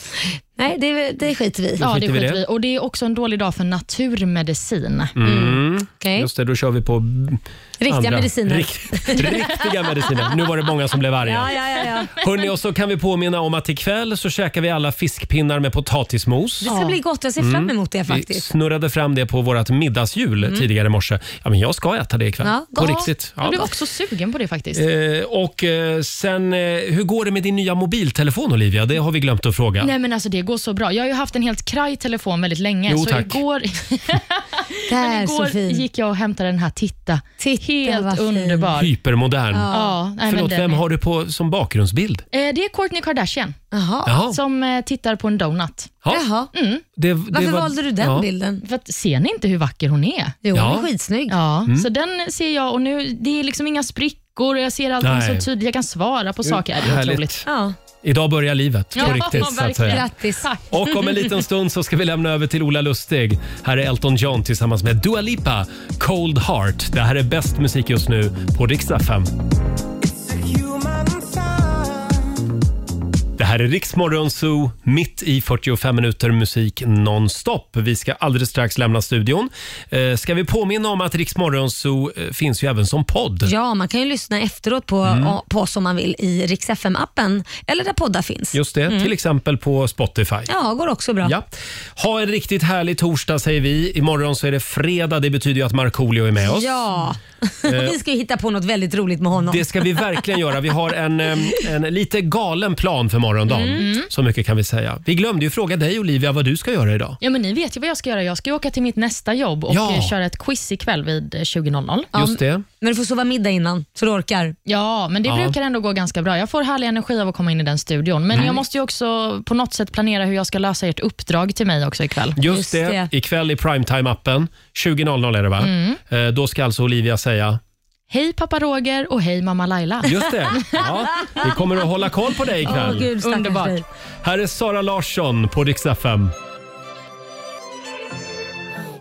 [SPEAKER 2] Nej, det, det skiter vi i.
[SPEAKER 3] Ja, det
[SPEAKER 1] skiter vi i
[SPEAKER 3] skiter
[SPEAKER 1] det.
[SPEAKER 3] vi i. Och Det är också en dålig dag för naturmedicin.
[SPEAKER 1] Mm.
[SPEAKER 2] Okej.
[SPEAKER 1] Just det, då kör vi på b-
[SPEAKER 3] Riktiga
[SPEAKER 1] andra.
[SPEAKER 3] mediciner.
[SPEAKER 1] Rikt, riktiga mediciner. Nu var det många som blev arga.
[SPEAKER 2] Ja, ja, ja, ja.
[SPEAKER 1] Hörrni, och så kan vi påminna om att ikväll så käkar vi alla fiskpinnar med potatismos.
[SPEAKER 2] Det ska bli gott. Jag ser
[SPEAKER 1] Mm.
[SPEAKER 2] fram emot det
[SPEAKER 1] Vi
[SPEAKER 2] faktiskt.
[SPEAKER 1] snurrade fram det på vårt middagshjul
[SPEAKER 3] Mm.
[SPEAKER 1] tidigare i morse. Ja, men jag ska äta det ikväll.
[SPEAKER 3] Ja,
[SPEAKER 1] på
[SPEAKER 3] gott.
[SPEAKER 1] riktigt.
[SPEAKER 3] Jag
[SPEAKER 1] Ja.
[SPEAKER 3] blev också sugen på det faktiskt.
[SPEAKER 1] Eh, och eh, sen, eh, hur går det med din nya mobiltelefon Olivia? Det har vi glömt att fråga.
[SPEAKER 3] Nej men alltså Det går så bra. Jag har ju haft en helt kraj telefon väldigt länge.
[SPEAKER 1] Jo,
[SPEAKER 3] så
[SPEAKER 1] tack.
[SPEAKER 3] igår,
[SPEAKER 2] Där,
[SPEAKER 3] *laughs* men igår
[SPEAKER 2] Sofie.
[SPEAKER 3] gick jag och hämtade den här. Titta,
[SPEAKER 2] vad
[SPEAKER 3] helt
[SPEAKER 2] fin.
[SPEAKER 3] underbar.
[SPEAKER 1] Hypermodern.
[SPEAKER 3] Ja. Ja, nej, men
[SPEAKER 1] Förlåt,
[SPEAKER 3] den
[SPEAKER 1] vem
[SPEAKER 3] är-
[SPEAKER 1] har du på som bakgrundsbild?
[SPEAKER 3] Eh, Det är Kourtney Kardashian
[SPEAKER 1] Jaha.
[SPEAKER 3] som eh, tittar på en donut.
[SPEAKER 1] Ja.
[SPEAKER 3] Mm.
[SPEAKER 1] Det- det Varför var- valde du den ja. bilden?
[SPEAKER 3] För att, ser ni inte hur vacker hon är?
[SPEAKER 1] Jo, hon är Ja.
[SPEAKER 2] skitsnygg.
[SPEAKER 3] Ja,
[SPEAKER 1] Mm.
[SPEAKER 3] så den ser jag och nu, det är liksom inga sprickor och jag ser allting
[SPEAKER 1] Nej.
[SPEAKER 3] så tydligt. Jag kan svara på
[SPEAKER 1] Jo,
[SPEAKER 3] saker. Det är
[SPEAKER 1] härligt.
[SPEAKER 3] otroligt.
[SPEAKER 2] Ja.
[SPEAKER 1] Idag börjar livet på riktigt. Så att säga.
[SPEAKER 2] Grattis.
[SPEAKER 1] Och om en liten stund så ska vi lämna över till Ola Lustig. Här är Elton John tillsammans med Dua Lipa, Cold Heart. Det här är bäst musik just nu på Riksdag 5. Det här är Riksmorgon Zoo, mitt i 45 minuter musik nonstop. Vi ska alldeles strax lämna studion. Eh, ska vi påminna om att Riksmorgon Zoo eh, finns ju även som podd?
[SPEAKER 2] Ja, man kan ju lyssna efteråt på,
[SPEAKER 1] Mm.
[SPEAKER 2] på oss om man vill i Rix FM-appen eller där poddar finns.
[SPEAKER 1] Just det,
[SPEAKER 2] Mm.
[SPEAKER 1] till exempel på Spotify.
[SPEAKER 2] Ja, går också bra.
[SPEAKER 1] Ja. Ha en riktigt härlig torsdag säger vi. Imorgon så är det fredag. Det betyder ju att Markoolio är med oss.
[SPEAKER 2] Ja. *laughs* vi ska ju hitta på något väldigt roligt med honom.
[SPEAKER 1] Eh. Det ska vi verkligen göra. Vi har en, eh, en lite galen plan för morgondagen.
[SPEAKER 3] Mm.
[SPEAKER 1] Så mycket kan vi säga. Vi glömde ju fråga dig Olivia vad du ska göra idag.
[SPEAKER 3] Ja, men ni vet ju vad jag ska göra. Jag ska ju åka till mitt nästa jobb och
[SPEAKER 1] Ja.
[SPEAKER 3] eh, köra ett quiz ikväll vid eh, 20.00.
[SPEAKER 1] Just det.
[SPEAKER 2] Men du får sova middag innan, så du orkar.
[SPEAKER 3] Ja, men det
[SPEAKER 2] Ja.
[SPEAKER 3] brukar ändå gå ganska bra. Jag får härlig energi av att komma in i den studion. Men
[SPEAKER 1] Mm.
[SPEAKER 3] jag måste ju också på något sätt planera hur jag ska lösa ert uppdrag till mig också ikväll.
[SPEAKER 1] Just, det. Ikväll i primetime-appen. 20.00 är det va?
[SPEAKER 3] Mm.
[SPEAKER 1] Eh, Då ska alltså Olivia säga
[SPEAKER 3] Hej pappa Roger och hej mamma Laila.
[SPEAKER 1] Just det. Ja, vi kommer att hålla koll på dig ikväll.
[SPEAKER 3] Underbart.
[SPEAKER 1] Här är Sara Larsson på Rix FM.